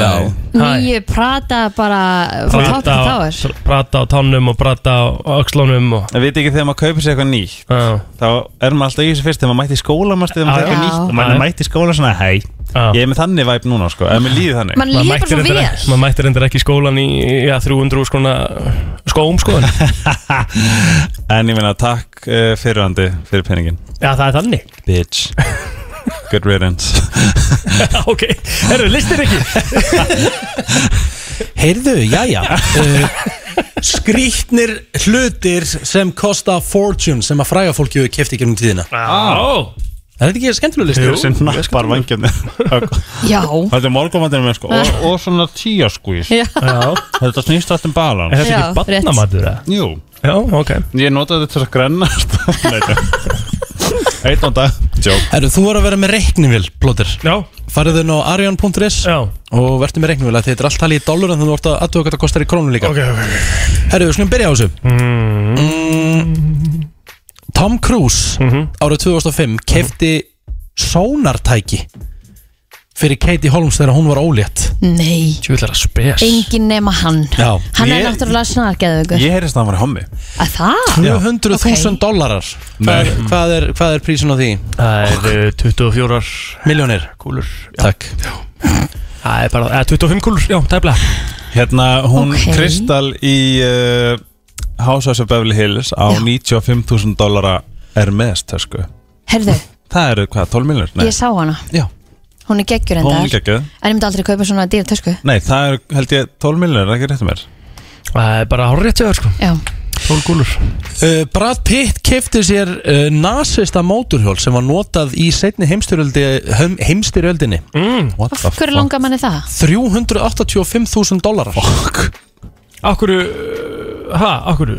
S1: já
S3: Nýju prata bara Frá
S4: Prata
S3: tátum
S4: á-
S3: táir
S4: tr- Prata á tannum og prata á öxlónum og
S9: Það veit ekki þegar maður kaupir sér eitthvað nýtt
S4: Já,
S9: þá er maður alltaf í þessu fyrst þegar maður mætti í skóla maður þegar maður
S4: Já,
S9: þarf eitthvað
S3: já.
S9: nýtt og maður
S4: Já.
S9: mætti í skóla svona hei
S4: já.
S9: ég er með þannig væp núna sko eða mér líði þannig
S3: Man líður bara svo
S4: reyndar
S3: vel
S4: ekki- maður mætti reyndar ekki í skólan í já, 300 skona skóm sko en-
S9: en ég meina takk uh, fyrirhandi fyrir peningin
S4: Já, það er þannig
S9: bitch good riddance
S4: Ok, erum við listir ekki
S1: Heyrðu,
S4: [laughs]
S1: jæja uh, Skrýtnir
S4: Ah.
S1: hlutir sem kosta fortune sem að fræga fólki hefur keft í gegnum tíðina
S4: Já
S1: Er þetta ekki skemmtileg listi?
S9: sem nappar vangjörni [laughs]
S3: Já,
S9: Þetta er morgunvandinu með sko og, og svona sko, tíja skvís
S3: já,
S4: [laughs] Já,
S9: Þetta snýst allt um balan
S4: er þetta
S3: Já,
S4: ekki barnamatur eða?
S9: Jú,
S4: Já, ok
S9: ég notaði þetta til að grennast Nei, tjók. Einn á dag Jók
S1: Herru, þú voru að vera með reiknivél, Plóter
S4: Já,
S1: Farðu inn á arjan.is
S4: já,
S1: og verður með reiknivél af því Þetta er allt talið í dólar en þú vart að aðtöða hvað það kostar í krónu líka
S4: ok, ok
S1: Herru, við skulum byrja á þessu mm. Tom Cruise
S4: Mhm.
S1: árið 2005 kefti sónartæki fyrir Katie Holmes þegar hún var ólétt
S3: nei
S4: Tjúvillar að spes
S3: Engin nema hann
S1: Já.
S3: Hann er
S9: Ég-
S3: náttúrulega snargeðugur
S9: Ég heyrist að hann var í hommi
S3: Að það?
S1: 200.000
S3: Ok.
S1: dólarar hvað, er- hvað, er- hvað er prísin á því?
S4: Það er eh, 24
S1: Miljónir
S4: kúlur
S1: Takk
S4: Það er bara, eða 25 kúlur, já, tæmlega
S9: Hérna, hún
S3: Ok.
S9: Kristal í uh, House of Beverly Hills á
S3: Já.
S9: 95.000 dólara Hermes tösku
S3: Herðu,
S9: sko. Það eru hvað, 12 miljonir? Nei,
S3: ég sá hana
S1: Já.
S3: Hún er geggjur
S9: hún
S3: endar
S9: ekki ekki
S3: En ég myndi aldrei kaupa svona dýra tösku
S9: Nei, það eru held ég 12 miljonir, er það ekki rétt um mér
S4: Það er bara hárið tjóður, sko
S3: Já,
S4: 12 kúlur
S1: Uh, Brad Pitt kefti sér uh, nasista móturhjól sem var notað í setni heimstyröldi, heim, heimstyröldinni
S4: Mm.
S9: What the
S3: af
S9: fuck?
S3: hverju langar manni það?
S1: 385.000 dólarar
S4: Akkur, uh, ha, akkur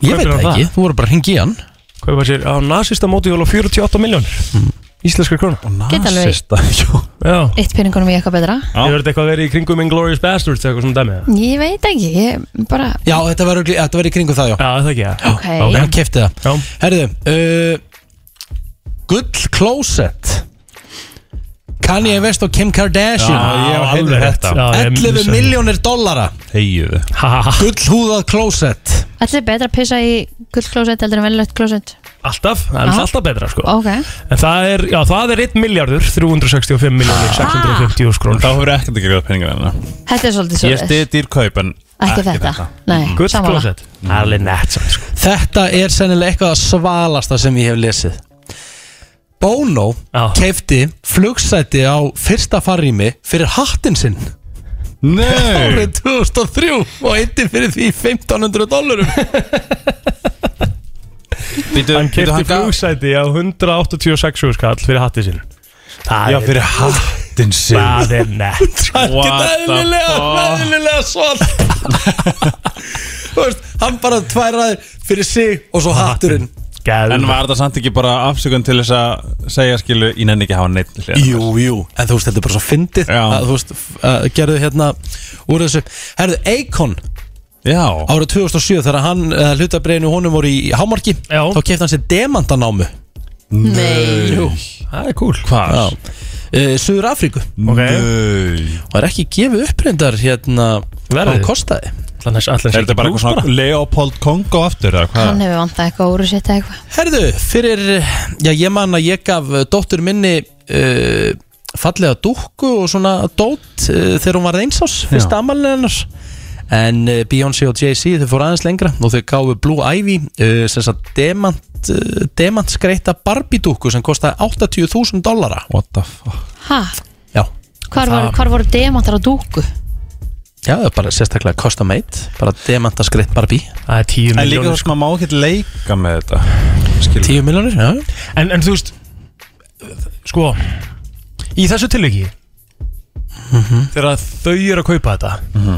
S1: Ég veit
S4: Kaupir hann
S1: það ekki, þú voru bara að hringi í hann
S4: Hvað var sér, á nasista mótihjóla 48 miljónir Íslenskri krónu
S3: Get
S1: [laughs]
S3: alveg-
S9: Nasista, jú.
S4: Mm. Já
S3: Eitt peningunum í eitthvað betra
S9: Já.
S4: Ég verði eitthvað að vera í kringum Inglourious Bastards eitthvað svona dæmi eða?
S3: Ég veit ekki, ég bara
S1: Já, þetta var, örugglega- þetta var í kringu það, já
S4: Já, það ekki, já
S3: Ok,
S1: okay. Hann kefti það
S4: Já,
S1: Herðu, uh, Gull Closet Kanye West og Kim Kardashian
S9: Já, ég heyrði
S1: alveg
S9: þetta.
S1: rétt.
S4: Ah. Já, ég missti
S1: 11
S4: það.
S1: miljónir dollara
S9: Þegiðu
S4: ha, ha, ha
S1: Gull húðað Closet
S3: allir betra að pissa í gullklósett heldur en venjulegt klósett
S4: Alltaf, það er
S3: Já.
S4: alltaf betra, sko
S3: Ok,
S4: En það er, já, það er 1 miljardur 365 miljónir 650
S9: Þá
S4: krónur
S9: hefur ekkert ekki greiða peningar hennar
S3: þetta er svolítið
S9: Ég
S3: svolítið
S9: stið dýr kaup en
S3: Ekki þetta, nei,
S4: Gull
S3: sammála.
S4: klósett Það er alveg nett samt, sko
S1: Þetta er sennilega eitthvað að svalasta sem ég hef lesið Bono
S4: Já.
S1: keifti flugsæti á fyrsta farrými fyrir hattinn sinn
S9: Nei,
S1: árið 2003 og eittir fyrir því 1500 dollurum
S9: býtu,
S4: Hann
S9: býtu
S4: kefti
S9: gaf-
S4: flugsæti á 186 skall fyrir hattið sinn Það
S9: Já,
S4: er-
S9: fyrir hattin sig
S4: Það er
S9: [laughs]
S4: nett sko.
S9: What the fuck?
S1: eðlilega svart Þú veist, hann bara tværaður fyrir sig og svo hatturinn
S9: En
S4: Geðveikt.
S9: var það samt ekki bara afsökun til þess að segja skilu Ég nenni ekki að hafa neitt til hliðar.
S1: Jú, jú, en þú veist, þetta er bara svo fyndið
S9: Já.
S1: að þú veist, f- að gerðu hérna úr þessu Herðu, Akon
S9: Já
S1: árið 2007 þegar hann uh, hlutabreiðinu honum voru í hámarki
S4: Já.
S1: þá kefti hann sér demantanámu
S3: Nei,
S4: Það er cool
S9: Hvað?
S1: uh, Suður Afríku
S9: Mm.
S4: Ok.
S9: Nei.
S1: og er ekki gefið uppreyndar hérna hvað
S4: Verðið?
S1: hann kostaði
S4: Allan þess allan
S9: Er þetta bara eitthvað
S4: Bruce
S9: svona Leopold Kongo aftur eða
S3: hann
S9: hvað?
S3: hefur vantað eitthvað úr sitt eitthvað
S1: Herðu, fyrir já ég man að ég gaf eh, dóttur minni uh, fallega dúkku og svona dót uh, þegar hún var einsás fyrst amalinn hennar en uh, Beyoncé og Jay-Z þau fóru aðeins lengra og þau gáfu Blue Ivy uh, sem sagt demant, uh, demant skreita Barbie dúkku sem kostaði 80.000 dollara
S9: What the fuck?
S3: Ha,
S1: já
S3: hvar, var, hvar voru demantar á dúku?
S1: Já, það er bara sérstaklega custom made bara demanta skreitt Barbie
S4: Það er sko. 10
S9: En líka
S4: miljónir
S9: þess að maður má ekkert leika með þetta Skilu
S1: 10 miljonir, já
S4: en, en þú veist Sko Í þessu tilviki
S9: Mhm.
S4: Þegar þau eru að kaupa þetta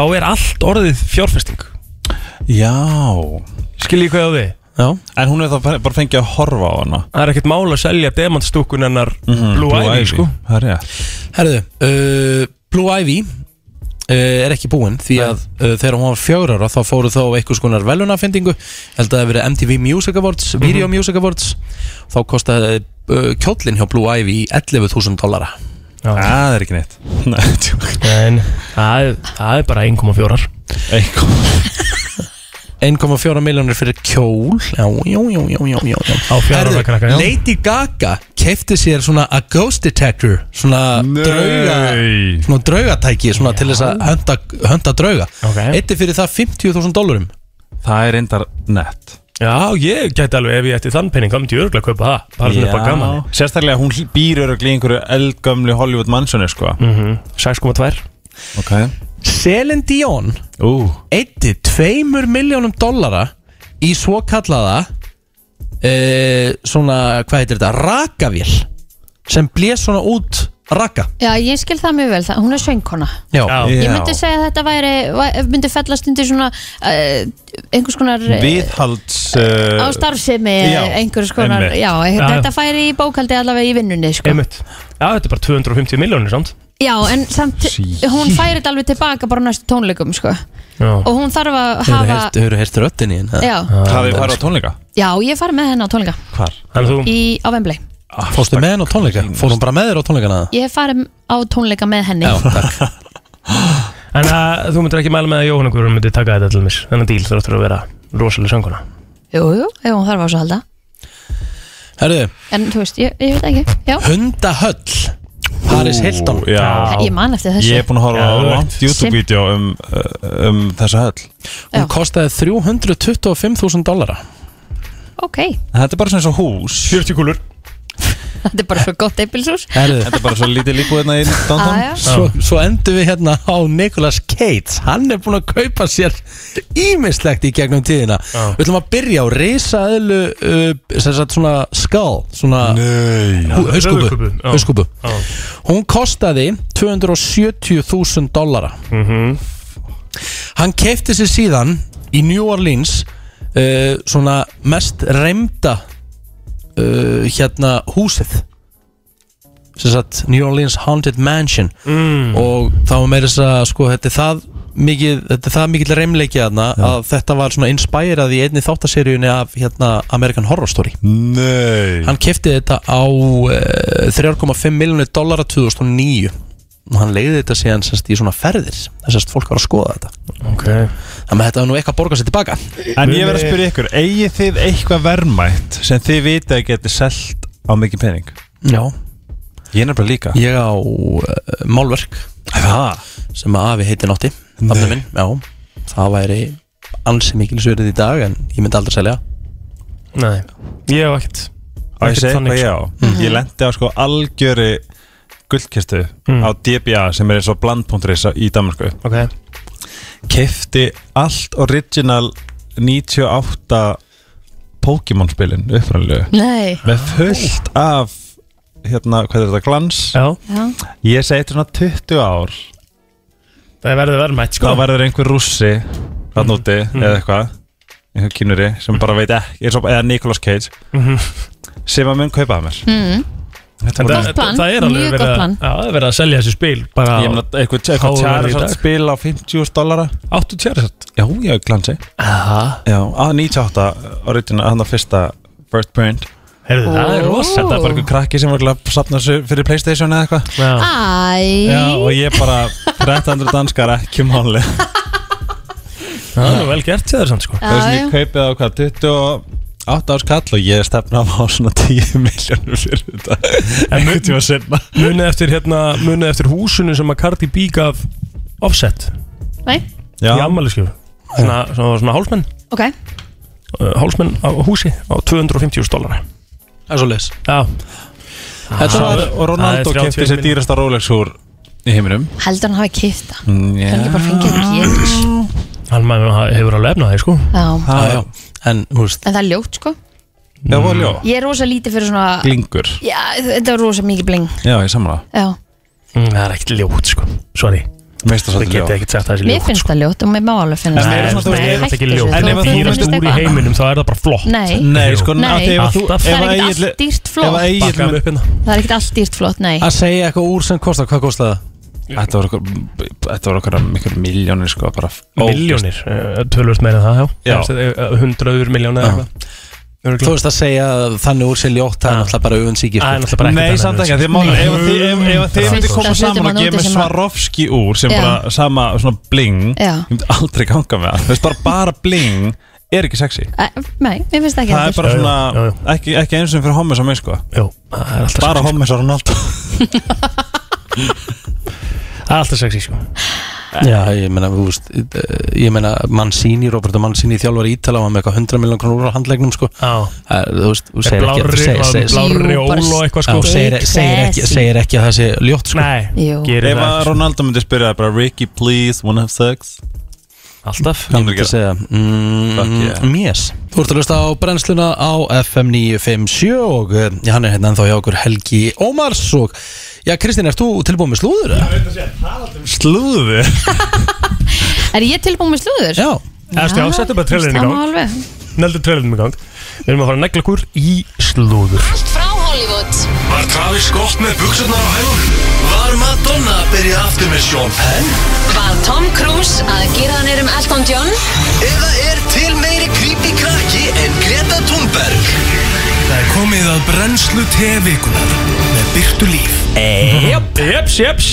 S4: Þá er allt orðið fjárfesting
S9: Já
S4: Skiljið hvað ég á við
S1: Já,
S9: En hún er þá bara fengið að horfa á hana
S4: Það er ekkert mál að selja demantstúkun hennar
S9: Mm,
S4: Blue Ivy sko
S9: Það er rétt
S1: herðu uh, Blue Ivy uh, er ekki búinn því að uh, þegar hún var fjögur ára þá fóru þá einhvers konar velunafendingu held að það hafi verið MTV Music Awards
S4: Mhm.
S1: Video Music Awards þá kostaði uh, kjóllin hjá Blue Ivy í 11.000 dollara
S4: Já.
S9: Það er ekki neitt [laughs] Nei, tjók.
S4: En það er- það er bara 1,4
S9: Eitthvað
S1: 1,4 miljonir fyrir kjól Já, já, já, já, já, já, já.
S4: Á fjárhundra
S1: Herðu,
S4: krakka, já.
S1: Lady Gaga kefti sér svona a ghost detector svona drauga
S9: Nei.
S1: svona draugatæki svona til þess að hönda, hönda drauga
S4: Ok.
S1: eitthi fyrir það 50.000 dólarum
S9: Það er reyndar nett
S4: Já, ég gæti alveg ef ég ætti þann penning þá myndi ég örgulega að kaupa það bara svona bara gaman
S9: Sérstaklega hún hl- býr öruglega í einhverju eldgömlu Hollywood mansioni sko
S4: mm 6,2
S9: Ok
S1: Celine Dion
S9: Ú
S1: eitthi 2 miljónum dólara í svo kallaða eh, svona, hvað heitir þetta, rakavél sem blés svona út raka
S3: Já, ég skil það mjög vel, það, hún er söngkona
S1: Já,
S4: Já.
S3: Ég myndi segja að þetta væri, væ- myndi fellast undir svona uh, einhvers konar eh,
S9: Viðhalds
S3: á
S9: uh,
S3: starfsemi
S9: já,
S3: einhvers konar,
S9: einmitt.
S3: já,
S4: Já, já.
S3: þetta færi í bókaldi allavega í vinnunni, sko
S4: Einmitt. Já, þetta er bara 250 miljónir samt
S3: Já, en samt, hún færi þetta alveg tilbaka bara á næstu tónleikum, sko
S4: Já.
S3: og hún þarf að hafa
S1: Hefur þú heyrt hérna? röttin í henn?
S3: já,
S9: Hafið farið á tónleika?
S3: já, ég fari með henni á tónleika
S4: Þannig að þú,
S3: í, á Vembley,
S1: Ah, Fórstu með henn á tónleika? Fór hún bara með þér á tónleikana?
S3: ég fari á tónleika með henni
S1: Já, takk
S4: en, uh, þú myndir ekki mæla með að Jóhann Guðrún myndi taka þetta til mér Þennan díl þarf að vera rosalega sönguna
S3: Jú, jú, ef hún þarf á svo halda
S1: Herðu,
S3: en þú veist, ég, ég veit ekki, já
S1: hundahöll Paris Hilton
S9: Já
S3: ég man eftir þessu
S9: Ég er búin að horfa á
S4: Geðveikt.
S9: langt YouTube-vídeó um, uh, um þessa höll
S3: Já.
S1: Hún kostaði 325.000 dollara
S3: ok,
S9: Þetta er bara svona eins og hús
S4: 40 kúlur
S3: þetta er bara svo gott eipilisús
S1: Herðu,
S9: Þetta er bara svo lítið líbúðina í
S3: aðja,
S9: downtown
S1: svo, svo endur við hérna á Nicolas Cage Hann er búinn að kaupa sér ímislegt í gegnum tíðina Við ætlum að byrja á risaðlu uh, sem sagt svona skál svona hauskúpu
S4: höfuðkúpu, já.
S1: hauskúpu.
S4: Já.
S1: Hún kostaði 270.000 dollara Mhm. Hann keipti sér síðan í New Orleans uh, svona mest reymda uh, hérna húsið sem sagt New Orleans Haunted Mansion mm. og þá var meira þess að sko þetta er það mikið, þetta er það mikið reymleiki þarna að þetta var svona inspirað í einni þáttaseríunni af hérna American Horror Story
S9: Nei
S1: hann kefti þetta á uh, 3,5 miljónu dollara 2009 og hann leiði þetta síðan semst í svona ferðir þess að fólk var að skoða þetta
S4: okay.
S1: þannig að þetta var nú eitthvað að borga sér tilbaka
S9: En ég verð að spyrja ykkur, eigið þið eitthvað verðmætt sem þið vitið að getið selt á mikið pening?
S1: Já.
S9: Ég er nefnilega líka
S1: ég á uh, málverk
S9: Það?
S1: sem að afi heiti Nótti nafni minn, já, það væri ansi mikil sverið í dag en ég myndi aldrei selja
S4: Nei, ég hef ekkert
S9: Og ég segi
S4: þannig,
S9: hvað ég á Ég lendi á sko algjöri guldkistu
S1: Mhm.
S9: á DBA sem er eins og bland.is í Danmarku
S4: Ok,
S9: Kefti allt original 98 Pokémon spilin upprænlegu
S3: nei
S9: með fullt af hérna, hvað er þetta, glans
S4: já,
S3: já.
S9: ég segi þetta svona 20 ár
S4: það verður verðmætt
S9: þá
S4: sko
S9: verður einhver rússi hann úti eða eitthvað einhver kínuri sem bara veit ekki eins og- eða Nicolas Cage sem að mun kaupa það mér
S3: Mm.
S4: En
S3: Gott
S4: það-
S3: plan,
S4: það er alveg
S3: mjög
S4: verið
S3: gott
S4: að-
S3: plan.
S4: Já, það er verið að selja þessu spil bara
S9: ég meina eitthvað,
S4: Háar
S9: eitthvað
S4: verður í
S9: Charizard
S4: dag.
S9: spil á 50.000 dollara
S4: 8 tjærisat
S9: já, já, glansi já, að 98 original, hann að fyrsta first print
S4: Heyrðu, það er
S3: Ó.
S4: rosa
S9: það var eitthvað krakki sem var örugglega að sapna þessu fyrir Playstation eða eitthvað
S3: Ah.
S4: Já,
S9: já,
S3: Æ,
S9: og ég bara 300 danskar ekki máli
S4: það er nú vel gert tjæðar samt sko
S3: Já,
S9: Það er sem
S3: já.
S9: ég kaupið á hvað 28 árs kall og ég stefna á svona 10 [laughs] miljónum fyrir þetta einhvern tíma senna
S4: Munið eftir, hérna, munið eftir húsinu sem að Cardi B gaf offset
S3: nei,
S9: Já,
S4: í ammæliskef svona, svona, svona hálsmenn
S3: ok
S4: uh, hálsmenn á húsi á 250 dólar
S1: það er svo leis
S4: Já,
S9: þetta var og Ronaldo
S4: Það er 30
S9: kefti sér
S4: milljón.
S9: dýrasta Rolex úr í heiminum
S3: heldur hann hafi kipta hann ekki
S9: yeah.
S3: bara fengið það getur
S4: hann maður hefur alveg efnað það sko
S3: já.
S1: ah, já. en þú veist,
S3: en það er ljótt sko
S9: Já, voljó
S3: ég er rosa lítið fyrir svona
S9: Glingur
S3: já, þetta er rosa mikið bling
S9: Já, ég samla
S3: já.
S4: Mm, Það er ekkert ljótt sko, sorry
S9: Meista
S4: Við
S9: svolítið
S4: getum
S9: ljó
S4: ekkert sagt að það sé
S3: mér
S4: ljótt sko.
S3: finnst það ljótt og mér má alveg finna
S9: En
S4: Nei,
S9: meira
S4: það
S9: svona, sko. þú veist,
S4: er
S3: hættu
S4: þetta ekki
S3: þessu,
S4: ljótt
S9: En
S4: Þú
S9: ef
S4: ert
S9: þú
S4: dýrast
S9: finnst
S4: úr í
S3: eitthvað.
S4: heiminum þá er það bara flott
S3: nei,
S9: Nei, sko,
S3: Nei.
S9: að því ef þú
S4: Alltaf.
S9: ef
S3: það er
S9: að
S3: ekkert
S9: Egill- Ef að Egill
S3: allt dýrt flott
S9: myndi-
S4: Bakkaðum upp hérna
S3: það er ekkert allt dýrt flott, nei
S1: að segja eitthvað úr sem kostar, hvað kostar það?
S9: Þetta voru okkur Þetta voru okkur mikil miljónir sko bara
S4: Miljónir, tölvöld Eh, meira en það, já, eh,
S9: Já.
S4: Hundraður miljónir eða eitthvað
S1: þú
S4: Örugglega.
S1: veist að segja að þannig úr sér ljótt það er
S4: Ah.
S1: náttúrulega bara sko. auðvinsíkir
S4: Það er náttúrulega bara
S9: Nei, samt ekki,
S4: annað en
S9: því málið er, ef
S3: Nei.
S9: að þið- ef- ef að þið
S4: Það
S9: myndi
S4: er
S9: koma
S3: fullt af
S9: saman og
S3: hlutum að
S9: gefa
S3: nota
S9: mig
S3: sem að-
S9: Swarovski úr sem
S3: Já.
S9: bara sama svona bling
S3: Já.
S9: ég myndi aldrei ganga með það, þú veist bara bara bling er ekki sexy
S3: Æ, nei, mér finnst það ekki
S9: það er
S3: heldur
S9: bara
S4: Já, já,
S9: svona,
S4: já, já.
S9: ekki, ekki eins og fyrir hommes á mig sko,
S4: Jú, það er sko. alltaf
S9: bara hommes á Ronaldo
S4: Það er alltaf sexy sko
S1: Já, ég meina, þú veist, eh, ég meina Mancini, Roberto Mancini, þjálfar Ítala var með eitthvað 100 miljón krónur úr á handlegnum, sko
S4: Já,
S1: Það er, Þú veist, þú segir ekki
S4: blárri,
S1: segir- segir-
S3: blá-
S4: blárri
S3: Jú,
S4: ól
S3: bara
S4: og eitthvað
S1: Já,
S4: sko
S1: segir, segir, ekki, segir ekki að það sé ljótt, sko
S4: Nei,
S3: Jú.
S4: gerir
S9: ef að
S4: það sko.
S9: Ronaldo myndi spyrja bara Ricky please, wanna have sex
S4: alltaf
S9: hann er
S1: Ég
S9: ekki
S1: segja,
S9: Fuck
S1: mm,
S9: yeah.
S1: Mies Þú ert að hlusta á brennsluna á FM 957 og eh, já, hann er hérna ennþá hjá okkur Helgi Ómars og já, Kristín, ert þú tilbúin með slúður? eða?
S4: Slúðu
S3: Er ég tilbúin með slúður?
S1: Já,
S4: Erstu, já, settu bara trailerinn í
S3: það
S4: gang.
S3: má alveg.
S4: Neldur trölinum í gang Við erum að fara að negla okkur í slúður
S2: Var Travis gott með buksunar á hælunum? Var Madonna að byrja aftur með Sean Penn?
S10: Var Tom Cruise að gera hann erum Elton John?
S2: Eða er til meiri creepy krakki en Greta Thunberg? Það er komið að brennslu tevikunar með byrtu líf.
S4: Jöps, jöps, jöps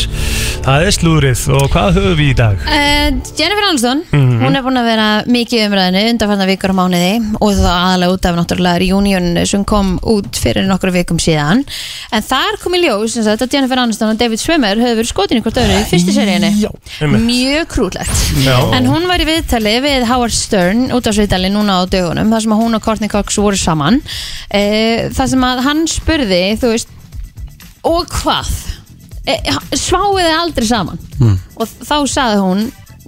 S4: Það er slúðrið og hvað höfum við í dag? Mhm.
S3: Uh, Jennifer Aniston, hún er búin að vera mikið í umræðinu undanfarnar vikur á mánuði og það aðalega út af náttúrulega reunion sem kom út fyrir nokkru vikum síðan en þar kom í ljós sem sagt að Jennifer Aniston og David Schwimmer höfðu verið skotin í hvort öðru í fyrstu seríunni
S4: Já, einmitt.
S3: mjög krútlegt
S4: Já.
S3: en hún var í viðtali við Howard Stern út af svitali núna á dögunum þar sem að hún og Courtney Cox voru saman uh, þar sem að hann spurði þú veist, og hvað Eh, sváuð þið aldrei saman og þá saði hún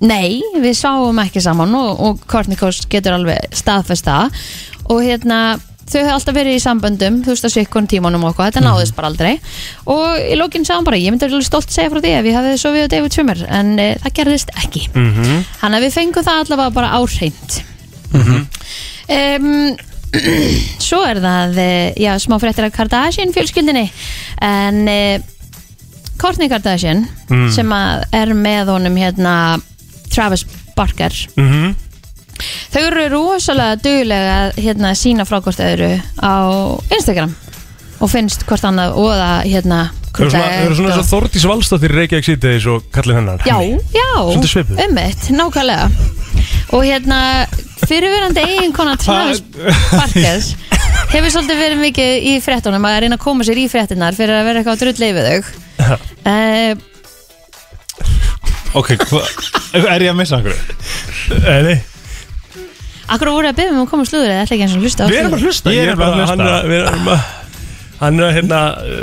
S3: nei, við sváum ekki saman og, og Kornikos getur alveg staðfest það og hérna þau hefur alltaf verið í samböndum, þú veist að svikkun tímanum og okkur, þetta náðist bara aldrei og í lókinn sagði hún bara, ég myndi alveg stolt segja frá því að við hafið sofið á David Svimmer en e, það gerðist ekki mm -hmm. hann að við fengum það allavega bara áhreint um, Svo er það eh, já, smá fréttir af Kardashian fjölskyldinni en eh, Kourtney Kardashian
S4: Mm.
S3: sem að er með honum hérna Travis Barker
S4: Mhm.
S3: þau eru rosalega duglega að hérna, sína frá hvort öðru á Instagram og finnst hvort annað og það hérna
S4: Þau eru svona, þau eru svona
S3: hvort
S4: eins og Þordís Valstóttir Reykjavík Citys og kallin hennar
S3: Já, já,
S4: Svolítið svipuð.
S3: ummitt, nákvæmlega Og hérna, fyrirverandi eiginkona Travis Barkers Hefur svolítið verið mikið í fréttunum að reyna að koma sér í fréttinar fyrir að vera eitthvað drullið við þau uh,
S9: Ok, hva- [laughs] er ég að missa okkur?
S4: Eh, Nei, nei,
S3: Akkur voru að byrja um að koma slúður eða ætla ekki eins og hlusta á
S4: Við erum að
S3: slúður
S4: hlusta
S9: Ég er bara að hlusta.
S4: Hann er að, við erum að Hann er að, hérna,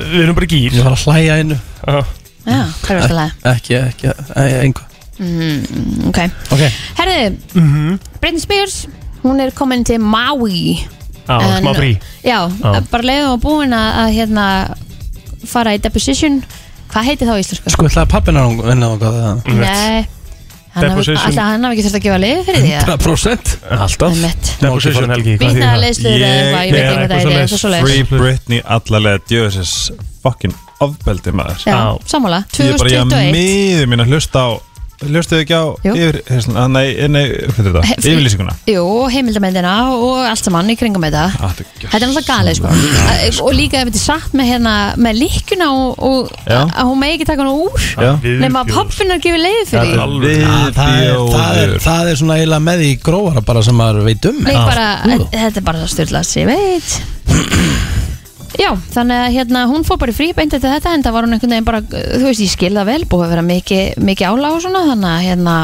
S4: við erum bara í gýr
S1: ég var að hlæja einu
S4: Já.
S3: Já, hvað er þetta lag?
S1: Ekki, ekki, einhver
S4: Eh.
S3: Ok,
S1: Ok,
S3: herðu
S4: Mhm.
S3: Britney Spears, hún er komin til Maui
S4: Já,
S3: En-
S4: smá frí
S3: Já,
S4: Já.
S3: bara leiðum að búin að, að hérna fara í deposition Hvað heitir þá í íslensku?
S1: sko ætlaði pappina hún vinna og hvað það
S3: Nei Hann hafi-
S4: Deposition.
S3: Alltaf hann hafi ekki þurft að gefa lið fyrir því
S1: [laughs]
S3: að
S1: 100%
S4: Alltaf
S3: Einmitt.
S4: Deposition Helgi hvað
S3: Vitnaða
S4: þýðir það?
S3: leiðsluður eða eitthvað, ég veit
S4: Ég-
S3: ekki hvað það
S4: eitthvað
S3: er
S4: svoleiðis.
S3: eitthvað svo
S9: Free Britney allalega djöðisins fucking ofbeldi maður
S3: Já,
S4: Já.
S3: sammála,
S9: Ég er bara ég að
S3: 2021
S9: miður mín að hlusta á Hlustuðu ekki á
S3: Jú.
S9: yfir, hérna, nei, nei, hvað er þetta?
S3: Hef-
S9: Yfirlýsinguna
S3: Jú, og heimildamendina og allt saman í kringum þetta
S9: Ah, Þetta er
S3: Þetta er náttúrulega galið sko Að- Og líka ef þetta er satt með hérna með líkuna og, og
S9: Já.
S3: að hún megi ekki taka hana úr
S9: Já.
S4: Við-
S3: Nefn að popfinnar gefur leið fyrir því
S1: Ah, það er, það, er,
S9: Viðbjóður
S1: það er svona eiginlega með í grófara bara sem maður veit um
S3: Nei,
S1: Já.
S3: bara, eh,
S1: Jú.
S3: þetta er bara það styrlað sem ég veit Já, þannig að hérna, hún fór bara í frí beint eftir þetta en það var hún einhvern veginn bara, eh, þú veist, ég skil það vel búið að vera mikið, mikið álág og svona þannig að hérna,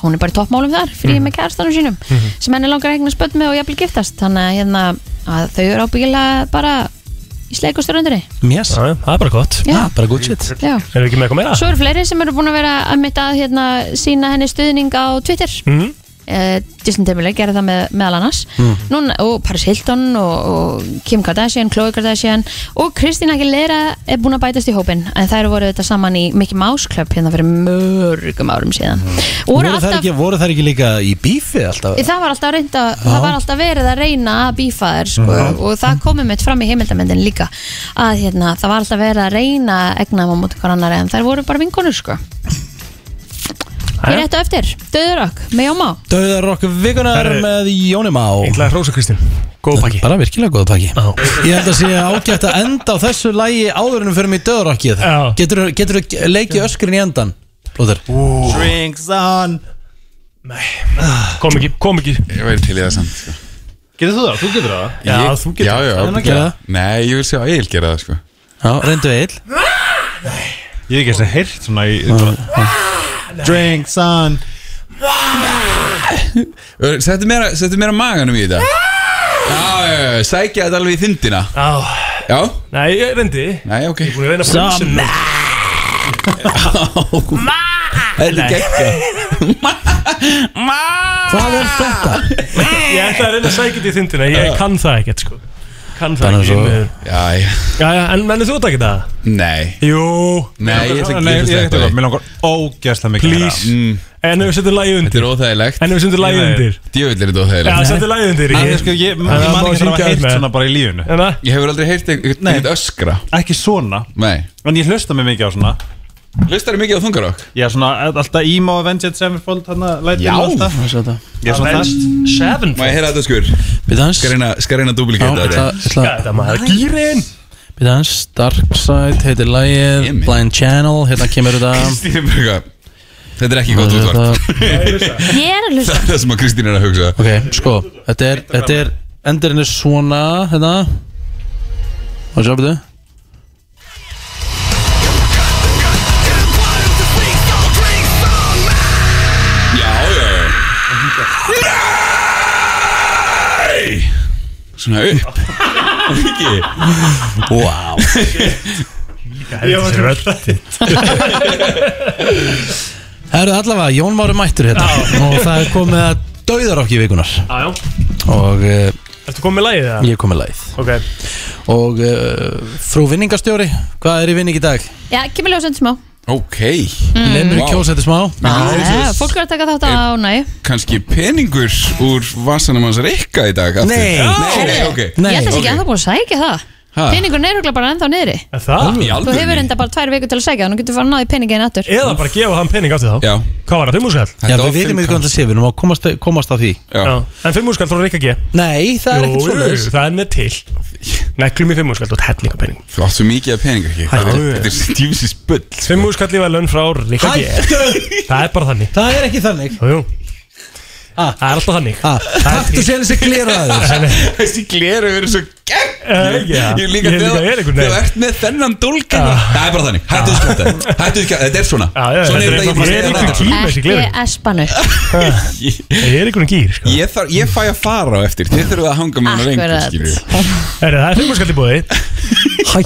S3: hún er bara í toppmálum þar frí með kærastanum sínum sem henni langar að hegna spött með og jafnvel giftast þannig að, hérna, að þau eru ábyggilega bara í sleikusturöndinni
S1: Yes,
S4: Já, Það er bara gott
S3: Já.
S1: ah, bara good shit
S3: Já
S4: Erum við ekki með eitthvað meira?
S3: Svo eru fleiri sem eru búin að vera að mitt að hérna, sína henni stuðning á Twitter
S4: Mhm.
S3: Eh, Justin Timberlake gerði það með, meðal annars
S1: Mhm.
S3: Núna, og Paris Hilton og, og Kim Kardashian, Khloe Kardashian og Kristina Aguilera er búin að bætast í hópin en þær voru þetta saman í Mickey Mouse Club hérna fyrir mörgum árum síðan mm.
S1: Voru Mhm. þær ekki, voru þær ekki líka í bífi alltaf?
S3: Það var alltaf reynda, það var alltaf verið að reyna að bífa þær sko, og það komið mitt fram í heimildamendin líka að hérna, það var alltaf verið að reyna að egna á móti hver annar en þær voru bara vinkonur sko. Ég réttu eftir, döðurök, með Jóma
S1: Dauðar okkur vikunar
S4: Herri.
S1: með Jóni Má
S4: Ég ætla að hrósa Kristín Góð pakki
S1: Bara virkilega góð pakki
S4: Já.
S1: Ég held að sé ágætt að enda á þessu lægi áður en fyrir mig döðrakkið
S4: Já.
S1: Getur þú leikið öskrin í endan? Blóður
S9: Drinks on
S4: Kom ekki, kom ekki
S11: Ég væri til í það samt sko.
S9: Getur þú það? Þú getur það?
S4: Já,
S11: Ég-
S4: þú getur
S11: Já, já,
S1: Það er að gera það.
S11: Nei, ég vil sjá að Egil gera það sko.
S1: Já, reyndu eil
S9: Ég hef ekki þessi heyrt svona í Drinks on
S11: Ö, Settu meira, settu meira maganum í þetta Já, já, já, sækja þetta alveg í þindina
S4: Já
S11: Já,
S4: Nei, ég reyndi
S11: nei, ok
S4: Búin að reyna að brunsa
S11: Þetta er geggja
S1: Hvað er þetta?
S4: Ég ætla að reyna að sækja þetta í þindina Ég kann það ekkert sko Kann það
S11: Þannig
S4: ekki
S11: svo-
S4: svo...
S11: Jæja
S4: Jæja, en mennir þú þetta ekki það?
S11: Nei
S4: Jú
S11: Nei, ég ætla
S9: Ég
S11: ekki- ég ætla að
S9: ætla
S11: sleppa
S9: ekki
S11: því.
S9: Mér langar ógæsla mikið að
S4: Please
S9: heyra.
S4: En ef við setjum lagið undir
S11: Þetta er óþægilegt
S4: En ef við setjum lagið undir
S11: Djöfull er þetta
S4: Já,
S11: óþægilegt
S4: setjum lagið undir Hérna.
S9: Nei, sko, ég- ég man ekki að hafa heyrt svona bara í lífinu.
S11: Ég hefur aldrei heyrt eitthvað eitthvað öskra
S9: Ekki svona
S11: Nei
S9: En ég hlusta mig mikið á svona
S11: Hlustar mikið á þungarokk?
S9: Já, svona alltaf emo Avenged Sevenfold Þarna lætin
S11: Já.
S9: og alltaf
S1: Ég svona
S9: þess
S4: Sevenfold
S11: Má ég heyra þetta skur?
S1: Bitans
S11: Skal reyna- Skal reyna að duplikata þetta
S1: Þetta
S4: maður Gýrin
S1: Bitans Darkside heitir lagið Blind Channel Hérna kemur þetta Hérna
S11: Kristín er bara eitthvað, Þetta er ekki gott útvart
S3: Ég er að
S11: [laughs] Það
S3: hlusta
S11: er það sem að Kristín er að hugsa
S1: Ok, sko Þetta er, þetta er Endurinn er svona Hérna Og sjá betur
S11: Já, já, já Nei Svona upp Ekki Wow
S1: Það eru allavega Jón Mári mættur hérna Og það er komið að Dauðarokki vikunar
S4: Jájá
S1: Og uh,
S4: Ertu komið með lagið það?
S1: ég er komið læð
S4: Ok
S1: Og uh, frú vinningastjóri Hvað er í vinning í dag?
S3: Já, kemur ljósend smá
S11: Ok
S1: Mm. Lemur
S11: Vá.
S1: wow. kjósa þetta smá
S3: Já, eh, Fólk er að taka þátt á næ
S11: Kanski peningur úr vasanum hans reyka í dag aftur.
S1: Nei.
S11: Nei, nei, ok
S1: Nei.
S3: Ég ætla
S11: Ok.
S3: ekki ennþá búin að sækja það
S11: Ha.
S3: Peningurinn er okkur bara ennþá niðri
S4: Það?
S11: Í
S3: Þú hefur
S11: alvörni
S3: enda bara tvær vikur til að sækja Nú getur fara að náði peningin aftur
S4: Eða bara gefa hann pening aftur þá
S11: Já
S4: Hvað var það? Fimmúskall?
S1: Já,
S11: Þetta var
S1: við
S11: fimm
S1: veitum ekki hvað
S11: kall.
S1: það sé Við erum að komast, komast að því
S11: Já
S4: En fimmúskall frá Rikka G
S1: Nei, það er
S4: Jú,
S1: ekkert
S4: jú,
S1: svoleiðis
S4: það er með til Neglum í fimmúskall og tætninga pening
S11: Þú átt svo mikið af peningur ekki Þetta er- þetta er stífisins bull
S4: Fimmúskall í velun frá Rikka G
S1: Hættu!
S4: Það er bara þannig
S1: Það er ekki þannig
S4: Jú, jú
S1: Ah.
S4: Það er alltaf þannig
S1: Ah, Taktu sér þessi glera að þér
S11: Þessi gleru eru svo
S4: Eh,
S11: gegn
S4: já.
S11: Ég er líka
S4: Ég er líka
S11: þegar
S4: er einhvern
S11: Þegar
S4: veginn.
S11: þú ert með þennan dólkan Það er bara þannig Hættu þú skjátt Hættu þú skjátt Þetta er svona
S4: Já, já,
S11: Svona
S4: þetta
S11: er
S4: er
S11: þetta
S4: bara-
S11: ég
S4: ég er
S11: bara-
S4: einhvern
S11: þetta er
S4: tíma þessi
S3: Ekki
S4: gleru
S3: espanu
S4: Ég er einhvern gýr sko
S11: Ég þarf Ég fæ að fara á eftir Þið þurfum að hanga með hún reyngu
S3: Akkurat
S11: skilju
S4: Herri, það er fimmúskall í bóði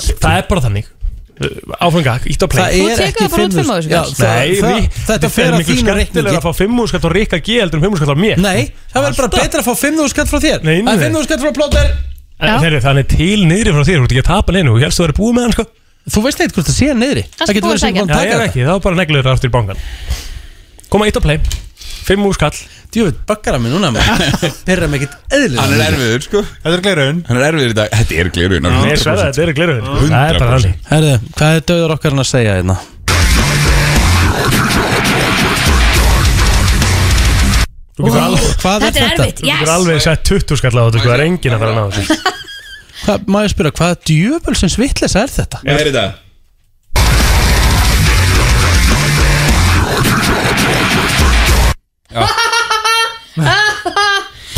S4: Það er bara þannig Eh, Áfengak, ítt á play
S1: Það
S3: Þú
S1: er
S3: tekur
S1: ekki
S3: það bara út
S1: fimm
S3: fimm
S1: þús-
S3: þúsund.
S1: Já,
S4: Nei,
S1: það- það-
S4: við-
S1: Þetta fer að
S4: miklu
S1: þínu
S4: skemmtilegra
S1: reikningi
S4: að fá 5 skall og Rikka G heldur en 5 skall á mér
S1: Nei, það verður bara betra að fá 5.000 skall frá þér
S4: Nei,
S1: Það
S4: nei.
S1: er 5.000 skall frá plóter
S4: En
S3: Já.
S4: Þeirri, þannig til niðri frá þér, þú ert ekki að tapa neinu Ég helst þú verið búið með hann sko
S1: Þú veist eitthvað hvort það sé niðri
S3: Kannski
S1: getur
S3: búið
S1: verið sem
S3: að sækja.
S1: búin að
S4: Já, ég er
S1: taka
S4: ekki, þá bara neglir það aftur í bankan Koma eitt á play Fimm úr skall
S1: það Djöfitt, bakkar að mig núna
S4: [laughs]
S1: maður. Perra mig ekkert
S11: Hann er
S1: eðlilega
S11: erfiður sko
S9: Þetta er gleirun
S11: Hann er erfiður í dag Þetta er gleru
S4: Ég sverða þetta eru gleruðin Það er bara þannig
S1: Herðu, hvað er döður okkar hann að segja hérna?
S4: Þú getur alveg,
S1: Hvað er
S3: Þetta er
S1: þetta?
S3: erfitt,
S4: þú getur
S3: yes
S4: alveg sett 20 skall á þetta sko, Það er engin að fara að ná þessu
S1: Hvað- Má ég spyrja, hvaða djöfulsins vitleysa er þetta?
S11: Hvað er þetta?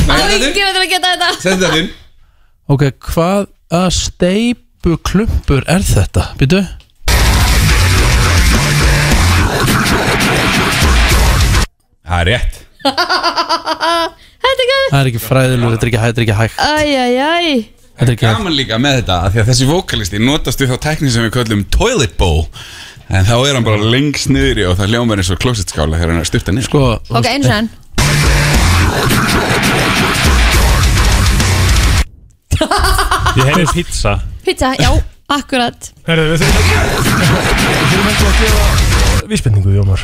S3: Það er
S11: þetta er-
S3: ekki að geta þetta
S11: Sett þetta inn
S1: Ok, hvaða steipu klumpur er þetta? Býtu?
S11: Það er rétt
S3: Þetta er gæð
S1: Það er ekki fræðilur, þetta er ekki, þetta er ekki hægt
S3: Æjæjæj
S1: Þetta er ekki hægt
S11: Gaman líka með þetta af Því að þessi vokalisti notast við þá tekni sem við köllum toilet bowl En þá er hann bara lengst niðri og það hljómar eins og klósitskála þegar hann er styrta niður
S1: Sko,
S3: Ok, eins og enn
S4: Ég hefði pizza
S3: Pizza, já, akkurat
S4: Herðu, við þurfum Við þurfum ekki að gefa Vísbendingu, Jómar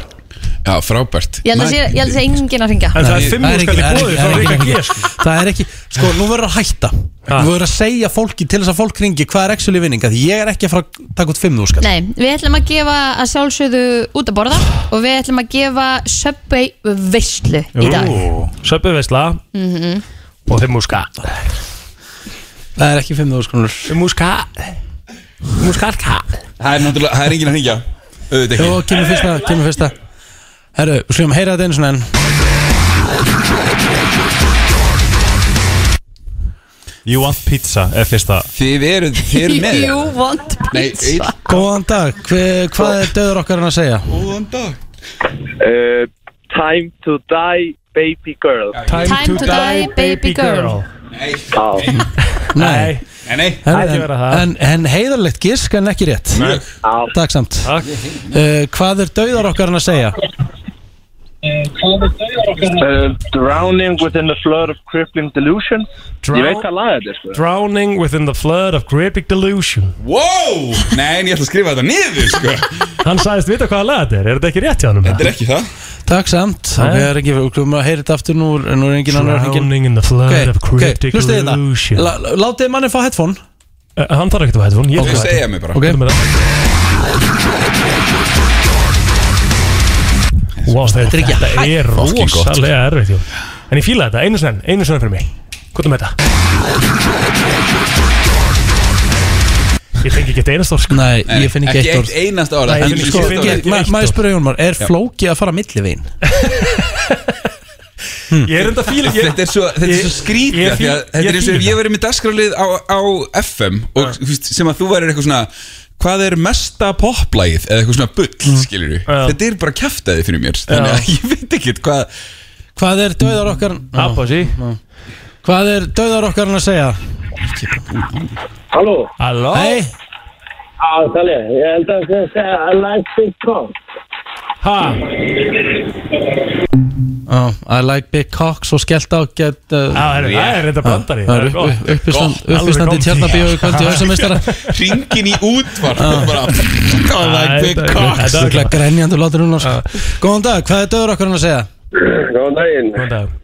S11: Já, frábært
S3: Ég held að sé, ég held að sé enginn að ringa
S4: En það
S1: Nei,
S4: er fimm úr skall í bóði Það er ekki að gera
S1: Það er ekki, sko, nú verður að hætta
S4: Ha?
S1: Nú verður að segja fólki til þess að fólk ringi Hvað er actually vinning, að ég er ekki að fara að taka út 5 skall
S3: Nei, við ætlum að gefa að sjálfsögðu út að borða og við ætlum að gefa Subway veislu í dag
S4: Söpbu veisla Og fimm úr skall
S1: Það er ekki 5 skallur
S4: Fimm úr skall Fimm úr skall kall
S11: Það er náttúrulega, það er enginn að hringja Auðvitað
S1: Jó,
S11: ekki
S1: kemur fyrsta, kemur fyrsta Herru, við slum heyra þetta einu svona enn
S9: You want pizza er fyrsta
S11: Þið eru, þið eru með
S3: You want
S11: Nei,
S3: pizza
S11: einn,
S1: Góðan dag, hver, hvað er döður okkar hann að segja?
S11: góðan dag
S6: Time to die
S12: baby girl
S4: Time Time to to die, die, baby baby girl. girl.
S12: Nei Já
S1: Nei,
S11: nei, nei.
S1: Herru, en, en, en heiðarlegt gisk en ekki rétt
S11: Nei.
S1: Takk samt
S4: Takk.
S1: Eh, Hvað er dauðar okkar hann að segja?
S12: Uh, Eh, drowning within a flood of crippling delusion
S4: Drown-
S12: Ég veit hvað lag þetta er sko
S4: Drowning within the flood of creeping delusion
S11: Wow, nei en ég ætla að skrifa þetta niður sko.
S4: Hann sagðist vita hvaða lag þetta er, er þetta ekki rétt hjá hann? Þetta
S11: er ekki það
S1: Takk samt
S4: Nei.
S1: Það er ekki, við klumum að heyra þetta aftur Nú, er- nú er engin annar
S4: Drowning in the flood of cryptic
S1: hlustið
S4: illusion.
S1: þetta hérna. Látið manni fá headphone
S4: Uh, hann þarf ekkert að hætta hún
S1: Ok. Segja mér bara. Ok.
S4: Wow, þetta,
S1: er ekki
S4: þetta
S1: hægt.
S4: er
S1: Fucking gott.
S4: rosalega erfitt Jón. En ég fíla þetta, einu sinni, einu sinni fyrir mig Hvað er með þetta? Ég fengi ekki eitt einast orð sko.
S1: Nei, ég finn ekki, eitt orð
S11: orð.
S1: En
S11: Ég finn
S1: sko,
S11: ekki eitt orð.
S1: ma- Maður spyrja Jónmar, er
S11: Já.
S1: flóki að fara milli veginn?
S4: Ég er enda fíla ég-
S11: Þetta er svo, þetta er
S4: ég-
S11: svo skrítið
S4: ég
S11: af því að
S4: fíla-
S11: Þetta
S4: ég
S11: er eins og
S4: fíla
S11: ef ég verið með dagskrálið á, á FM og, þú veist, sem að þú værir eitthvað svona hvað er mesta poplægið eða eitthvað svona bull, mm. skilur við Þetta er bara kjaftaði fyrir mér þannig að [laughs] ég veit ekkert hvað
S1: Hvað er dauðar okkar
S4: Apasi
S1: Hvað er dauðar okkar hann að segja?
S12: Halló
S4: Halló
S1: Hei
S12: Já, Kalli, ég held að það sé I like big cock
S4: Ha?
S1: Oh, I like big cocks og skellt á get uh,
S4: Já, herri, það er þetta brandari, það er gott. Gott, alveg
S1: Uppistandi
S4: gott.
S1: tjarnabíu í kvöldi
S4: [laughs]
S1: Hauðsamistara
S11: Ringin í útvarp og bara I like big cocks
S1: Þetta er ekki grænjandi látur hún sko. Góðan dag, hvað er döður okkar hann að segja?
S12: Góðan daginn
S4: Góðan dag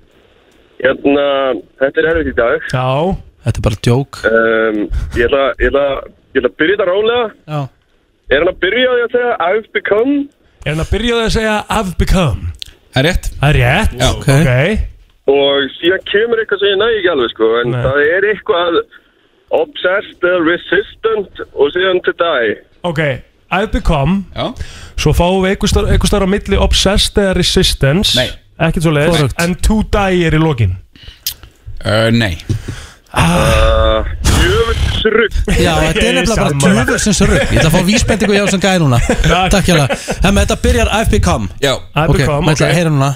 S12: Hérna, þetta er erfitt í dag
S4: Já
S1: Þetta er bara djók
S12: um, Ég ætla ég ætla, ég ætla að byrja þetta rólega
S1: Já
S12: Er hann að byrja á því að segja I've become
S4: Er hann að byrja á því að segja I've become
S11: Það er rétt
S4: Það er rétt
S11: Já.
S4: Ok, okay.
S12: og síðan kemur eitthvað sem ég næ ekki alveg sko en það er eitthvað obsessed, uh, resistant og síðan to die
S4: Ok, I've become
S11: Já.
S4: Svo fáum við einhver star- einhver starf á milli Obsessed eða resistance
S11: Nei.
S4: Ekkert svo leiðis
S11: Hvorugt.
S4: En to die er í lokin
S11: uh, Nei
S12: uh, Jöfus rugg
S1: Já, þetta er nefnilega bara djöfusins rugg Ég ætla að fá vísbendingu hjá sem gæði
S4: [laughs]
S1: núna Takk hjá það Þetta byrjar I've become
S11: Já
S4: I've
S1: Ok,
S4: become,
S1: maður ætla
S4: ok.
S1: að heyra núna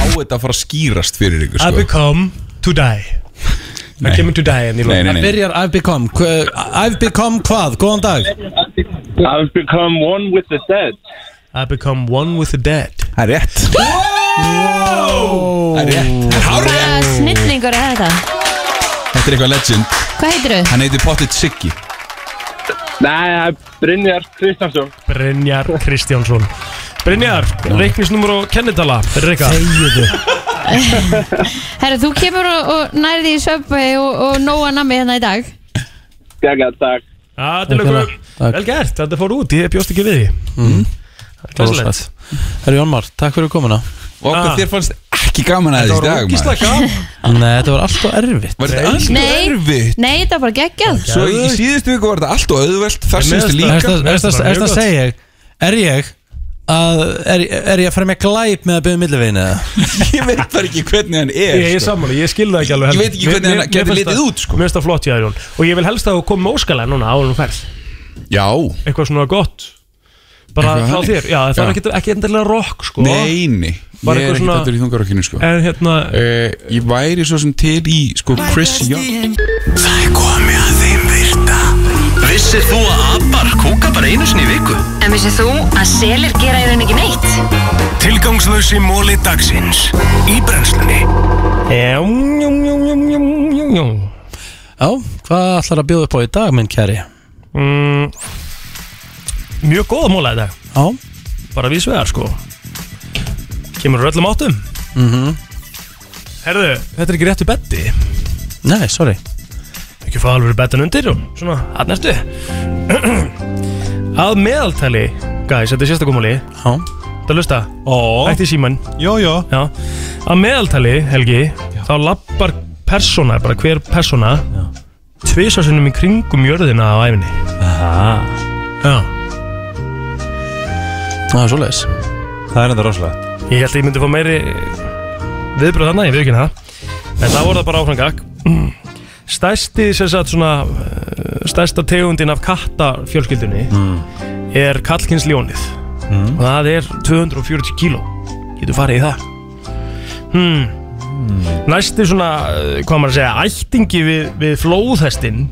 S11: Á þetta að fara að skýrast fyrir ykkur
S4: I've
S11: sko.
S4: become to die Það kemur to die en í
S11: Nei,
S4: lokin
S11: nei, nei.
S1: Það byrjar I've become Hva- I've become hvað? Góðan dag
S12: I've become one with the dead
S4: I've become one with the dead
S11: Það er rétt
S4: Wow
S11: Það er rétt
S3: Hvaða snillingur er þetta?
S11: Þetta er eitthvað legend
S3: Hvað heitir þau?
S11: Hann heitir Pottit Siggi
S12: Nei, það er Brynjar Kristjánsson
S4: Brynjar Kristjánsson Brynjar, reiknisnúmer og kennitala Fyrir Rikka
S1: Þegiðu
S3: Herra, þú kemur og, og nærði í söpvei og, og nóa nammi hérna í dag
S12: Gæga, takk
S4: Já, til okkur Vel gert, þetta fór út, ég bjóst ekki við því
S11: Mhm.
S1: Mm.
S4: Glæsilegt
S1: Herru Jónmar, takk fyrir komuna
S11: Og okkur
S4: Ah.
S11: þér fannst ekki gaman að
S4: Þetta
S11: þessi
S4: var
S11: dag
S4: ógísla
S11: maður.
S4: gaman
S1: Nei, þetta var alltaf erfitt
S11: Var þetta allt og
S3: Nei,
S11: erfitt
S3: nei, þetta var bara geggjað
S11: Svo í síðustu viku var þetta allt og auðvelt Þar
S4: Ég
S11: síðustu
S4: meðast
S11: líka
S1: Er
S4: það.
S11: [laughs]
S4: Þetta var mjög
S1: það að
S4: gott.
S1: segja ég Er ég að, er, er ég að fara með glæp með að byrja millivegin eða?
S11: Ég veit bara ekki hvernig hann er
S4: Ég er
S11: sko.
S4: sammála, ég skilði það ekki alveg
S11: Ég
S4: heldur.
S11: veit ekki hvernig
S4: Mér-
S11: hann
S4: mér-
S11: gæti
S4: mér finnst
S11: litið
S4: það-
S11: út, sko.
S4: Mér finnst það flott í það Jón Og ég vil helst að þú komið með óskala núna á hún ferð
S11: Já
S4: Eitthvað svona gott Bara
S11: Eitthvað
S4: frá
S11: þannig.
S4: þér, já það
S11: Já.
S4: er ekki, ekki endilega rock sko
S11: Neini Ég
S4: Bara
S11: er
S4: eitthvað
S11: ekki
S4: svona-
S11: dættur í þungarokkinu sko
S4: En hérna
S11: Eh, Ég væri svo sem til í sko Chris Young
S2: Það er komið að þeim virta Vissir þú að abar kúka bara einu sinni í viku?
S10: En vissið þú að selir gera í raun ekki neitt?
S2: Tilgangslösi móli dagsins Í brennslunni
S4: Jum, jum, jum, jum, jum, jum, jum
S1: Já, hvað ætlar að bjóða upp á í dag, minn kæri?
S4: Mm, Mjög góða móla þetta
S1: Já
S4: Bara vísvegar sko Kemur úr öllum áttum
S1: mm
S4: Herðu, Mhm. þetta er ekki réttu beddi
S1: Nei, sorry
S4: Ekki fá alveg bettan undir og svona, að næstu Að meðaltali, guys, þetta er sérstakumóli
S1: Já
S4: Það lusta, ætti síman
S9: Jó, jó
S4: Já, að meðaltali, Helgi Þá lappar persóna, bara hver persóna Tvisasunum í kringum jörðina á æfinni
S9: Aha.
S4: Já
S1: Það er svoleiðis
S9: Það er enda rosalegt
S4: Ég held að ég myndi fá meiri viðbröð þarna, ég veit ekki um það En það voru það bara áfram gag Stærsti, sem sagt, svona eh, Stærsta tegundin af kattafjölskyldunni
S9: Mm.
S4: Er kallkins ljónið og það er 240 kíló getur farið í það hmm. næsti svona eh, hvað á maður að segja, ættingi við, við flóðhestin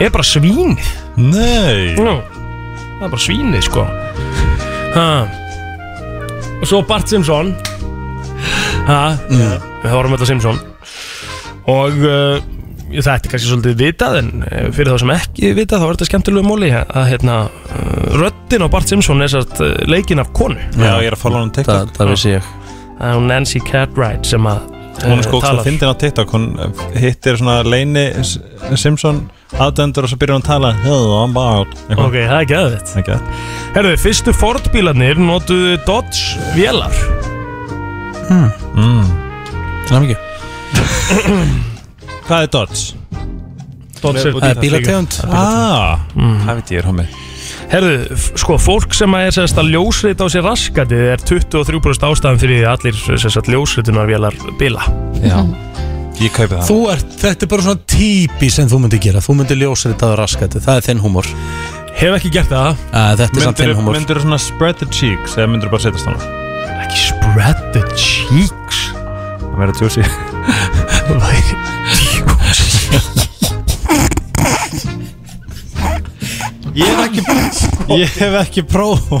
S4: er bara svínið
S9: nei
S4: Nú, það er bara svínið sko ha. og svo Bart Simpson ha,
S9: Mm.
S4: við horfum þetta Simpson og uh, þetta er kannski svolítið vitað en eh, fyrir þá sem ekki vitað þá er þetta skemmtilegu móli að hérna uh, röddin á Bart Simpson er satt uh, leikin af konu
S9: Já, ég er að follow hann á TikTok. Það- það vissi ég.
S4: Það er hún Nancy Cartwright sem að
S9: Hún
S4: eh,
S9: er sko ógst
S4: talar.
S9: að fyndin á TikTok Hún eh, hittir svona Leini S- Simpson aðdöndur og svo byrjar hún að tala Hello, I'm out
S4: Ok, það er geðvitt
S9: Það er geðvitt
S4: Herðu, fyrstu Ford-bílarnir notuðu Dodge vélar
S9: mm. Það er mikið Hvað er Dodge?
S4: Dodge er-
S9: Það er bílategund
S4: Það er bílategund.
S9: Ah, það veit ég er homið
S4: Herðu, f- sko, fólk sem að er sérst að ljósrita á sér raskatið er 23% ástæðan fyrir því að allir sérst að ljósritunarvélar bila.
S9: Já, ég kaupi
S1: Þú ert, þetta er bara svona típi sem þú myndir gera Þú myndir ljósa þetta á raskati, það er þinn húmor
S4: Hef ekki gert það
S1: Að, Þetta er samt þinn húmor
S9: Myndur þú svona spread the cheeks eða myndur þú bara setjast hana?
S4: Ekki spread the cheeks
S9: Það verður juicy Ég hef [laughs] ekki Ég hef ekki prófa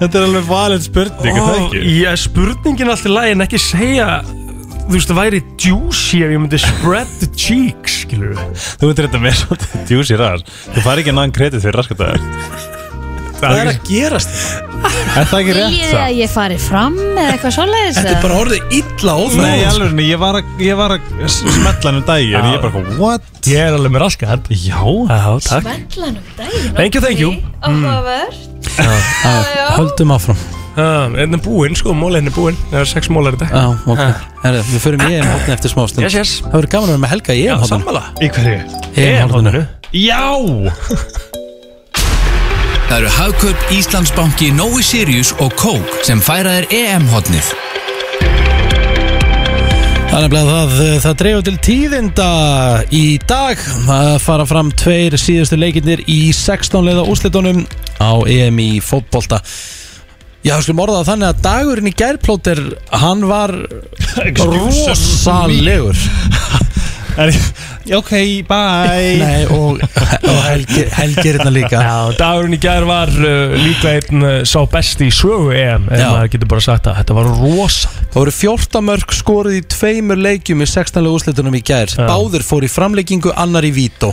S9: Þetta er alveg valin spurning er það
S4: Ó,
S9: ekki?
S4: Já, spurningin alltaf læg en ekki segja þú veist, það væri juicy ef ég myndi spread the cheeks, skilur við
S9: Þú veitir þetta með svolítið djúsi ræðar Þú fari ekki náðan kredit fyrir raskataðar
S1: Hvað er að gerast?
S9: Er það ekki rétt
S3: Viljið þið
S9: það?
S3: að ég fari fram eða eitthvað svoleiðis?
S9: Þetta er bara
S1: orðið illa
S9: Nei, sko. alveg, ég var að, ég var að smetla hann um dagi En ég er bara, eitthvað, what?
S4: Ég er alveg með raskat
S9: Já, já
S4: takk
S3: Smellan um daginn
S4: Thank you, thank you.
S3: Áhugaverð
S1: Já, Höldum áfram
S4: Enn er búinn, sko, mólinn er búinn Það er sex mólar í dag
S1: Já, ok Herra, Við förum í EM hotni eftir smá stund
S4: Yes, yes.
S1: Það verður gaman að vera með Helga í
S4: Já,
S1: EM hotni
S4: sammála Í hverju?
S1: EM hotni
S4: Já
S2: Það eru Hagkaup Íslandsbanki Nói Sirius og Kók sem færa þér E EM-hotnið.
S1: Það er nefnilega það, eh, það dreifur til tíðinda í dag að fara fram tveir síðustu leikinnir í 16 leiða úrslitunum á EM í fótbolta Já, við skulum orða það þannig að dagurinn í gærplóter, hann var rosalegur
S9: Ok, bye
S1: Nei, og, og Helgi, Helgi er hérna líka
S4: Já, dagurinn í gær var uh, líklega einn uh, sá besti í sögu EM En
S1: Já.
S4: maður getur bara sagt að þetta var rosa
S1: Það voru 14 mörg skorið í tveimur leikjum í 16 leiða úrslitunum í gær Báðir fór í framleikingu, annar í vító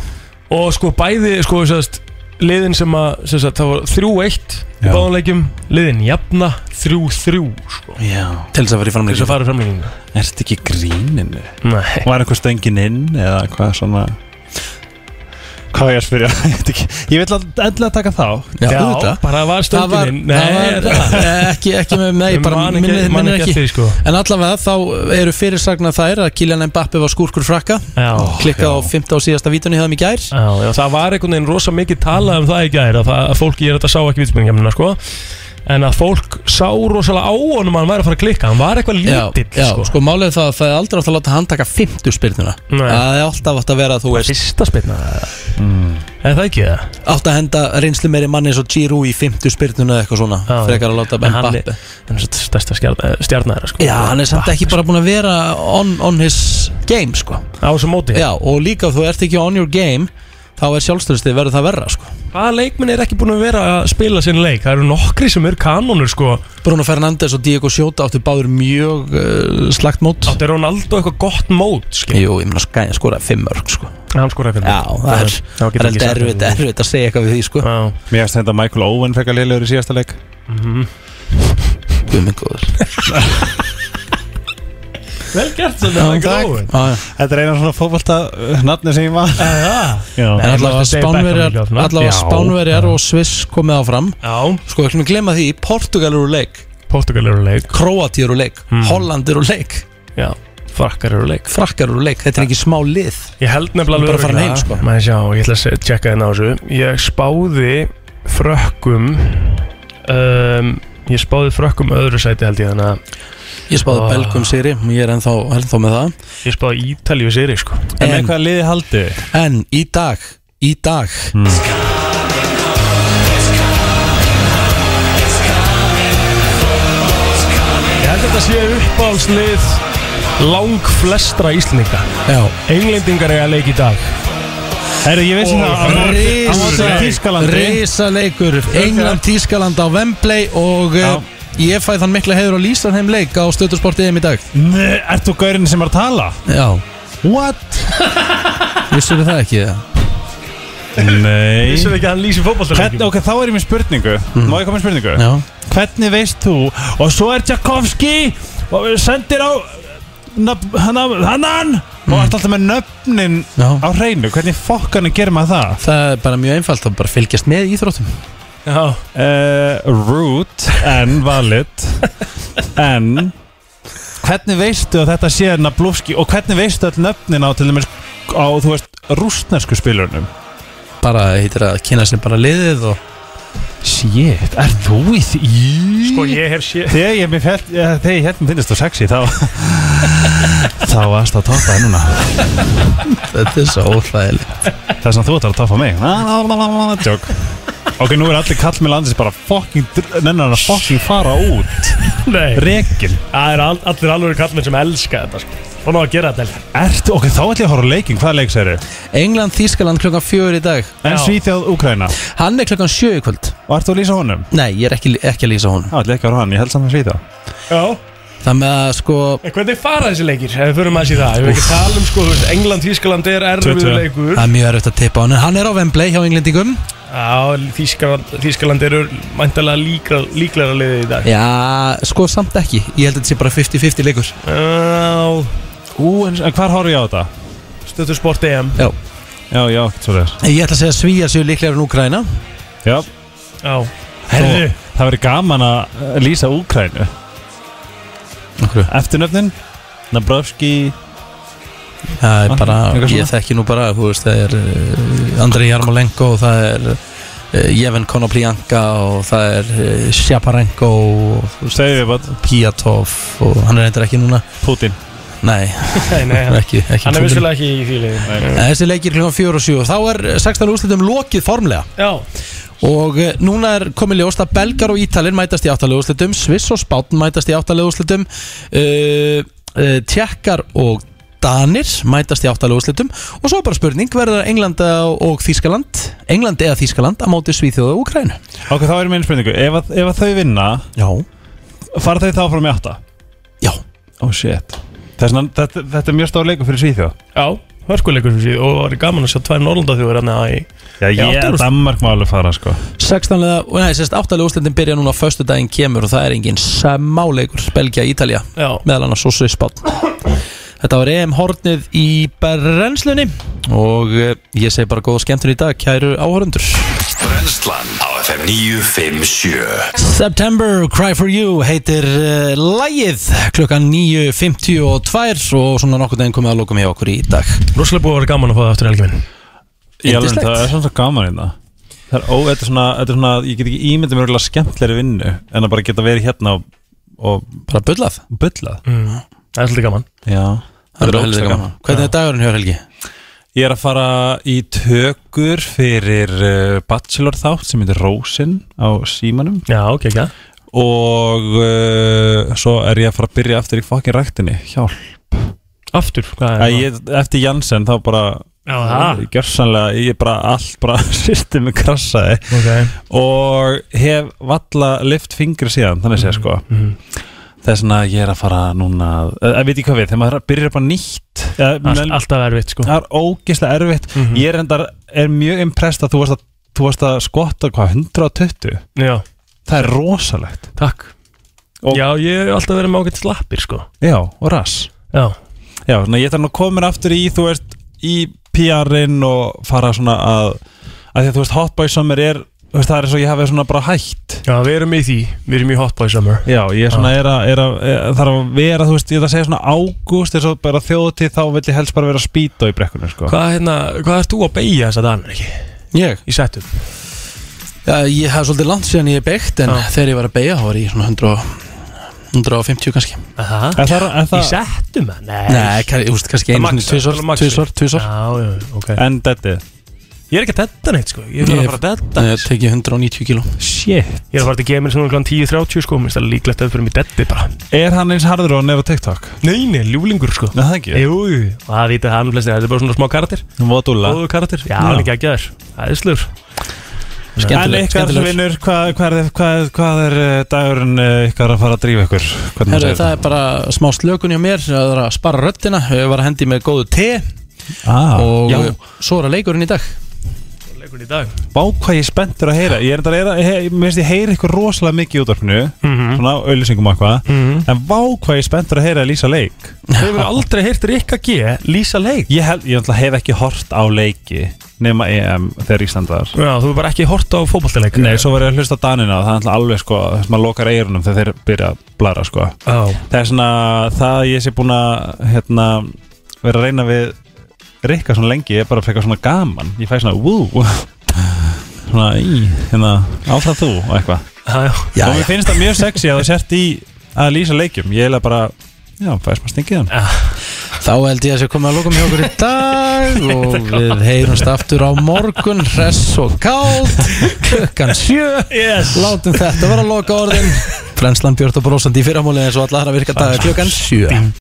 S4: Og sko bæði, sko, sérst Liðin sem að, sérst, það var 3-1 Í
S1: Já.
S4: báðanleikjum, liðin jafna 3-3, sko
S1: Já Til þess að fara í
S4: Til þess
S1: framleikingu
S4: að fara í framleikingu
S9: Er þetta ekki í gríninu?
S4: Nei
S9: Var einhver stöngin inn eða hvað svona Hvað á ég að spyrja? [laughs] Ég veit ekki. Ég vil alltaf taka þá
S1: Já, auðvitað.
S4: bara var
S1: Það var,
S4: stöngin
S1: það
S4: [laughs]
S1: var Eh, ekki, ekki með nei,
S4: Ég
S1: bara
S4: man ekki-
S1: minnir
S4: man
S1: minni
S4: ekki
S1: ekki,
S4: eftir því, sko.
S1: En allavega þá eru fyrirsagnar þær að Kylian Mbappe var skúrkur frakka
S4: Já,
S1: klikkað á 15 og síðasta vítunni hefðum í gær
S4: Já, já, það var einhvern veginn rosa mikið talað um það í gæri að, það- að fólki, ég er þetta sá ekki vitsmenningjarnina sko en að fólk sá rosalega á honum að hann væri að fara að klikka, hann var eitthvað
S1: Já,
S4: lítill
S1: já,
S4: sko.
S1: sko málið er það að það er aldrei átt að láta hann taka 50 spyrnuna
S4: Nei.
S1: Það er alltaf átt að vera að þú veist
S4: Fyrsta spyrna mm. Er það ekki það?
S1: Átt að henda reynslu meiri manni eins og Giroud í 50 spyrnuna eða eitthvað svona
S4: Já,
S1: Frekar að láta
S4: en hann
S1: Mbappe
S4: er- hann er satt stærsta stjarnæðara sko.
S1: Já, hann er samt ekki bara búin að vera on, on his game sko
S4: Á þessu móti
S1: Já, og líka ef þú ert ekki on your game þá er sjálfstyrstið verður það verra sko
S4: Hvaða leikminn er ekki búin að vera að spila sinn leik? Það eru nokkri sem eru kanonur sko
S1: Bruno Fernandes og Diego Sjóta áttu báður mjög uh, slagt mót
S4: Áttu Ronaldo eitthvað gott mót skil.
S1: Jú, ég meina skæði að skora fimm örg sko.
S4: Hann skoraði fyrir
S1: Já, það er, það er
S4: ekki
S1: heldur
S4: sagt
S1: erfitt,
S4: það.
S1: erfitt að segja eitthvað við því sko.
S9: Mér finnst þetta Michael Owen frekar liðlegur í síðasta leik
S4: Mhm.
S1: Guð minn [laughs] góður
S4: Vel gert sem
S9: Já,
S4: það er
S9: takk.
S4: gróin
S1: Já, já.
S9: Þetta er eina svona fótbolta uh, nafni sem ég var Já.
S1: En allavega Spánverjar allavega Spánverjar og Sviss komið áfram
S4: Já
S1: Sko, ekki með glemma því, Portugal eru úr leik
S4: Portugal eru úr leik
S1: Kroati eru úr leik, Holland eru úr leik
S4: Já, frakkar eru úr leik
S1: Frakkar eru úr leik, þetta er ekki smá lið
S4: Ég held nefnilega
S1: Bara farin heim, sko.
S4: Maður sjá, ég ætla að se- tjekka þérna á þessu Ég spáði frökkum um, Ég spáði frökkum öðru sæti held ég þannig að
S1: Ég
S4: Ah.
S1: spáði Belgum sigri, ég er ennþá, ennþá með það
S4: Ég spáði Ítalíu sigri sko
S1: En með
S9: hvaða liði haldi?
S1: En í dag,
S4: Hmm.
S1: í dag mm.
S4: þetta sé uppáhaldslið lang flestra Íslendinga
S1: Já
S4: Englendingar eiga leik í dag Herru, ég vissi það á móti- á móti Þýskalandi.
S1: Risa leikur England Tískaland á Wembley og eh, ég fæ þann mikla hefur að lýsa þeim leik á stöðursportiðum í dag
S9: Nei, ert þú gaurinn sem er að tala?
S1: Já
S4: [laughs]
S9: What?
S1: Vissur það ekki það?
S9: Nei
S4: Vissum við ekki að hann lýsi fótballtaleikjum?
S9: Hvern, Ok, þá er ég með spurningu Má ég koma með spurningu?
S1: Já.
S9: Hvernig veist þú Og svo er Tchaikovsky Og við sendir á nöfn- hana- Hannan Og ert alltaf með nöfnin á hreinu Hvernig fokkarni gerir maður það?
S1: Það er bara mjög einfalt að bara fylgjast með íþróttum
S4: Já
S9: Root En valid En Hvernig veistu að þetta sé Nablowski Og hvernig veistu all nöfnin á til dæmis Á, þú veist, rústnesku spilurnum
S1: Bara heitir að kynna sér bara liðið og
S9: Shit, er þú í því?
S4: Sko ég hef sé [laughs]
S9: Þegar ég, mér fjall, ja, þegar ég hérna finnist þú sexy þá Þá varst að toppa þér núna
S1: Þetta er svo óhlæðilegt
S9: Það er sem þú ætlar að toppa mig Jók Ok, nú er allir kall með landsins bara fucking Nennar hann að fucking fara út
S4: Nei
S9: Rekin
S4: Það er all, allir alveg kallmenn sem elska þetta sko. Og ná að gera þetta helga.
S9: Ertu, ok, þá ætlum ég að horfa á leikin, hvaða leik segir þið?
S1: England Þískaland klukkan fjögur í dag
S9: En Svíþjóð Úkraina
S1: Hann er klukkan sjö í kvöld
S9: Og ert þú að lýsa honum?
S1: Nei, ég er ekki, ekki að lýsa honum
S9: Það ætlum ekki að horfa á hann, ég held samt að Svíþjóð
S4: Já
S1: Það með að sko
S4: En hvernig fara þessi leikir? Ef við förum aðeins í það Ef við ekki tala um sko þú veist, England, Þískaland er erfiður leikur
S1: Það er mjög erfitt að tippa á hann en Hann er á Wembley hjá englendingum
S4: Já, Þískaland, Þískaland eru mæntalega líkra, líklara liðið í dag
S1: Já, sko samt ekki Ég held að þetta sé bara 50-50 leikur
S4: Já
S9: Ú, en, en hvar horf ég á þetta?
S4: Stötu sport EM
S1: Já
S9: Já, já, svo þess
S1: Ég ætla að segja að svíjar séu líklegar en Úkraina
S9: Já
S4: Já
S9: Herðu Það verður gaman að eh, lýsa Úkrænu
S1: Okkur
S9: Eftirnöfnin Nabrovski
S1: Það er
S9: Ah,
S1: bara,
S9: eitthvað svona?
S1: ég þekki nú bara þú veist, Það er uh, Andrei Jarmolenko og Það er uh, Jevin Konoplyanka og það er uh, Sjaparenko og þú
S9: veist,
S1: Piatov og hann er eitthvað ekki núna
S9: Putin
S1: Nei,
S4: Nei, nei,
S1: ekki, ekki
S4: Hann
S1: Putin.
S4: er vissulega ekki í því liði
S1: Nei, Þessi leikir klukkan 4 og 7 Þá er 16 úrslitum lokið formlega
S4: Já
S1: Og eh, núna er komið ljóst að Belgar og Ítalin mætast í áttalega úrslitum Sviss og Spátn mætast í áttalega úrslitum uh, uh, Tjekkar og Danir mætast í áttalega úrslitum Og svo er bara spurning verður Englanda og Þískaland England eða Þískaland að móti Svíþjóða og Ukrænu
S9: Ok, þá er mér einu spurningu Ef, að- ef að þau vinna
S1: Já
S9: Fara þau þá frá mig átta?
S1: Já
S9: Oh shit Þess, nan, þetta, þetta er mjög stór leikur fyrir Svíþjóð
S4: Já, hörkuleikur fyrir síðan og það var gaman að sjá tvær Norlanda þjóður hann í
S9: Já, ég, Danmark má alveg fara sko
S1: 16. og nei, sérst áttalega úrslitin byrja núna á föstu daginn kemur og það er engin samáleikur Belgia Ítalja
S4: Já.
S1: meðal annars og Svisspátn Þetta var EM hornið í brennslunni og eh, ég segi bara góða skemmtun í dag kæru áhörundur
S2: Brennslan á FM 957
S1: September Cry For You heitir uh, lægið klukkan 9.52 og svona nokkur daginn komið að lokum hjá okkur í dag
S4: Róslega búið að vera gaman að fá það aftur helgi minn
S9: Ég alveg, það er svona svo gaman hérna Það er ó, þetta er svona, þetta er svona Ég get ekki ímyndið mér örgulega skemmtlegri vinnu En að bara geta verið hérna og, og
S1: Bara bullað
S9: Bullað
S4: mm. Það er svolítið gaman
S9: Já
S1: Það er bara
S9: ógeðslega
S1: helvita gaman Hvernig er dagurinn hjá Helgi?
S9: Ég er að fara í tökur fyrir uh, Bachelor þátt sem heitir Rósin á símanum
S4: Já, ok, ekki
S9: Og uh, svo er ég að fara að byrja aftur í fokkin ræktinni Hjálp
S4: Aftur?
S9: Æ,
S4: Hvað
S9: ég, eftir Janssen þá bara
S4: Já, það.
S9: Gjörsanlega, ég bara allt bara [laughs] systemi krassaði
S4: Ok.
S9: Og hef valla lift fingri síðan, þannig sé sko
S4: mhm.
S9: Þess vegna ég er að fara núna að, að, að veit ég hvað við, þegar maður byrjar bara nýtt
S4: Allt- Alltaf erfitt sko
S9: Það er ógeðslega erfitt Ég er, endar, er mjög impressed að þú varst að, þú varst að skotta hvað, 120?
S4: Já
S9: Það er rosalegt
S4: Takk Já, ég hef alltaf verið með ágætt slappir sko
S9: Já, og rass
S4: Já
S9: Já, svona ég þarf nú að koma mér aftur í, þú veist, í PR-in og fara svona að að því að þú veist, Hot Boy Summer er þú veist, það er eins og ég hafi svona bara hætt Ah.
S4: Já, við erum í því, við erum í Hot Boy Summer
S9: Já, ég er svona, er að, er að, er að þarf að vera, þú veist, ég ætla að segja svona ágúst eins og bara þjóðutíð, þá vill ég helst bara vera spýta í brekkunum, sko
S4: Hvað, hérna, hvað ert þú að beigja þess að danur ekki?
S1: Ég?
S4: Í settum
S1: Já, ég hef svolítið langt síðan ég er beikt en þegar ég var að beigja þá var ég svona 100 og- 150 kannski
S4: Aha.
S9: En það er- en það-
S4: Í settum það? Nei
S1: Nei, kann- þú veist, kannski
S4: Það
S1: einu sinni
S4: maxar,
S1: tvisvar,
S4: það maxar.
S1: tvisar, tvisar
S4: Já, já, ok
S9: En deadið
S4: Ég er ekki að detta neitt sko Ég er bara að detta
S1: Ég tek ég 190 kíló
S4: Shit Ég er að fara til gemil svona kl. 10.30 sko Mér finnst það líklegt að við fyrir mig detti bara
S9: Er hann eins harður og hann er á TikTok?
S4: Nei, nei, ljúlingur sko
S9: Nei, það ekki
S4: Jú, jú. og það vita hann flestir Þetta er bara svona smá karakter
S9: Votúla
S4: Góðu karakter Já, hann er ekki að gera Það er slur
S9: En ykkar vinnur, hvað, hvað, er- hvað, hvað er eh, dagurinn eh, ykkar að fara að drífa ykkur? Hvernig
S1: Herru,
S9: segir
S1: það er bara smá slökun hjá mér sem það er að spara röddina, ég var að hendi með góðu te
S9: ah,
S1: og
S9: já.
S1: svo er að leikurinn í dag
S4: Leikurinn í dag
S9: Vá hvað ég er spenntur að heyra Ég er þetta að heyra, he, mér finnst ég heyri ykkur rosalega mikið í útvarpinu
S4: Mhm.
S9: Svona auðlýsingum og eitthvað En vá hvað ég er spenntur að heyra að lýsa leik
S4: Hefur aldrei heyrt Rikka G lýsa leik
S9: Ég, hef, ég náttúrulega hef ekki hort á leiki Nema EM þegar Ísland var
S4: Já, þú hefur bara ekki hort á fótballtileik
S9: Nei, svo var ég að hlusta á Danina og Það er náttúrulega alveg sko, þess að maður lokar eyrunum þegar þeir byrja að blara sko
S4: Já.
S9: Það er svona, það að ég sé búin að hérna, vera að reyna við Rikka svona lengi, ég er bara frekar svona gaman Ég fæ svona, wú [laughs] Svona, í, hérna, áfram þú og eitthvað
S4: Já,
S1: já.
S9: Og mér finnst það mjög sexy að þú sért í að lýsa leikjum Ég er eiginlega bara, já, fæst maður stingið hann
S1: Þá held ég að sé komið að lokum hjá okkur í [laughs] dag og við heyrumst aftur á morgun hress og kátt klukkan sjö
S4: yes.
S1: látum þetta vera að loka orðin Frenslan Björn og Brósandi í fyrramúli eins og allar að virka dag klukkan sjö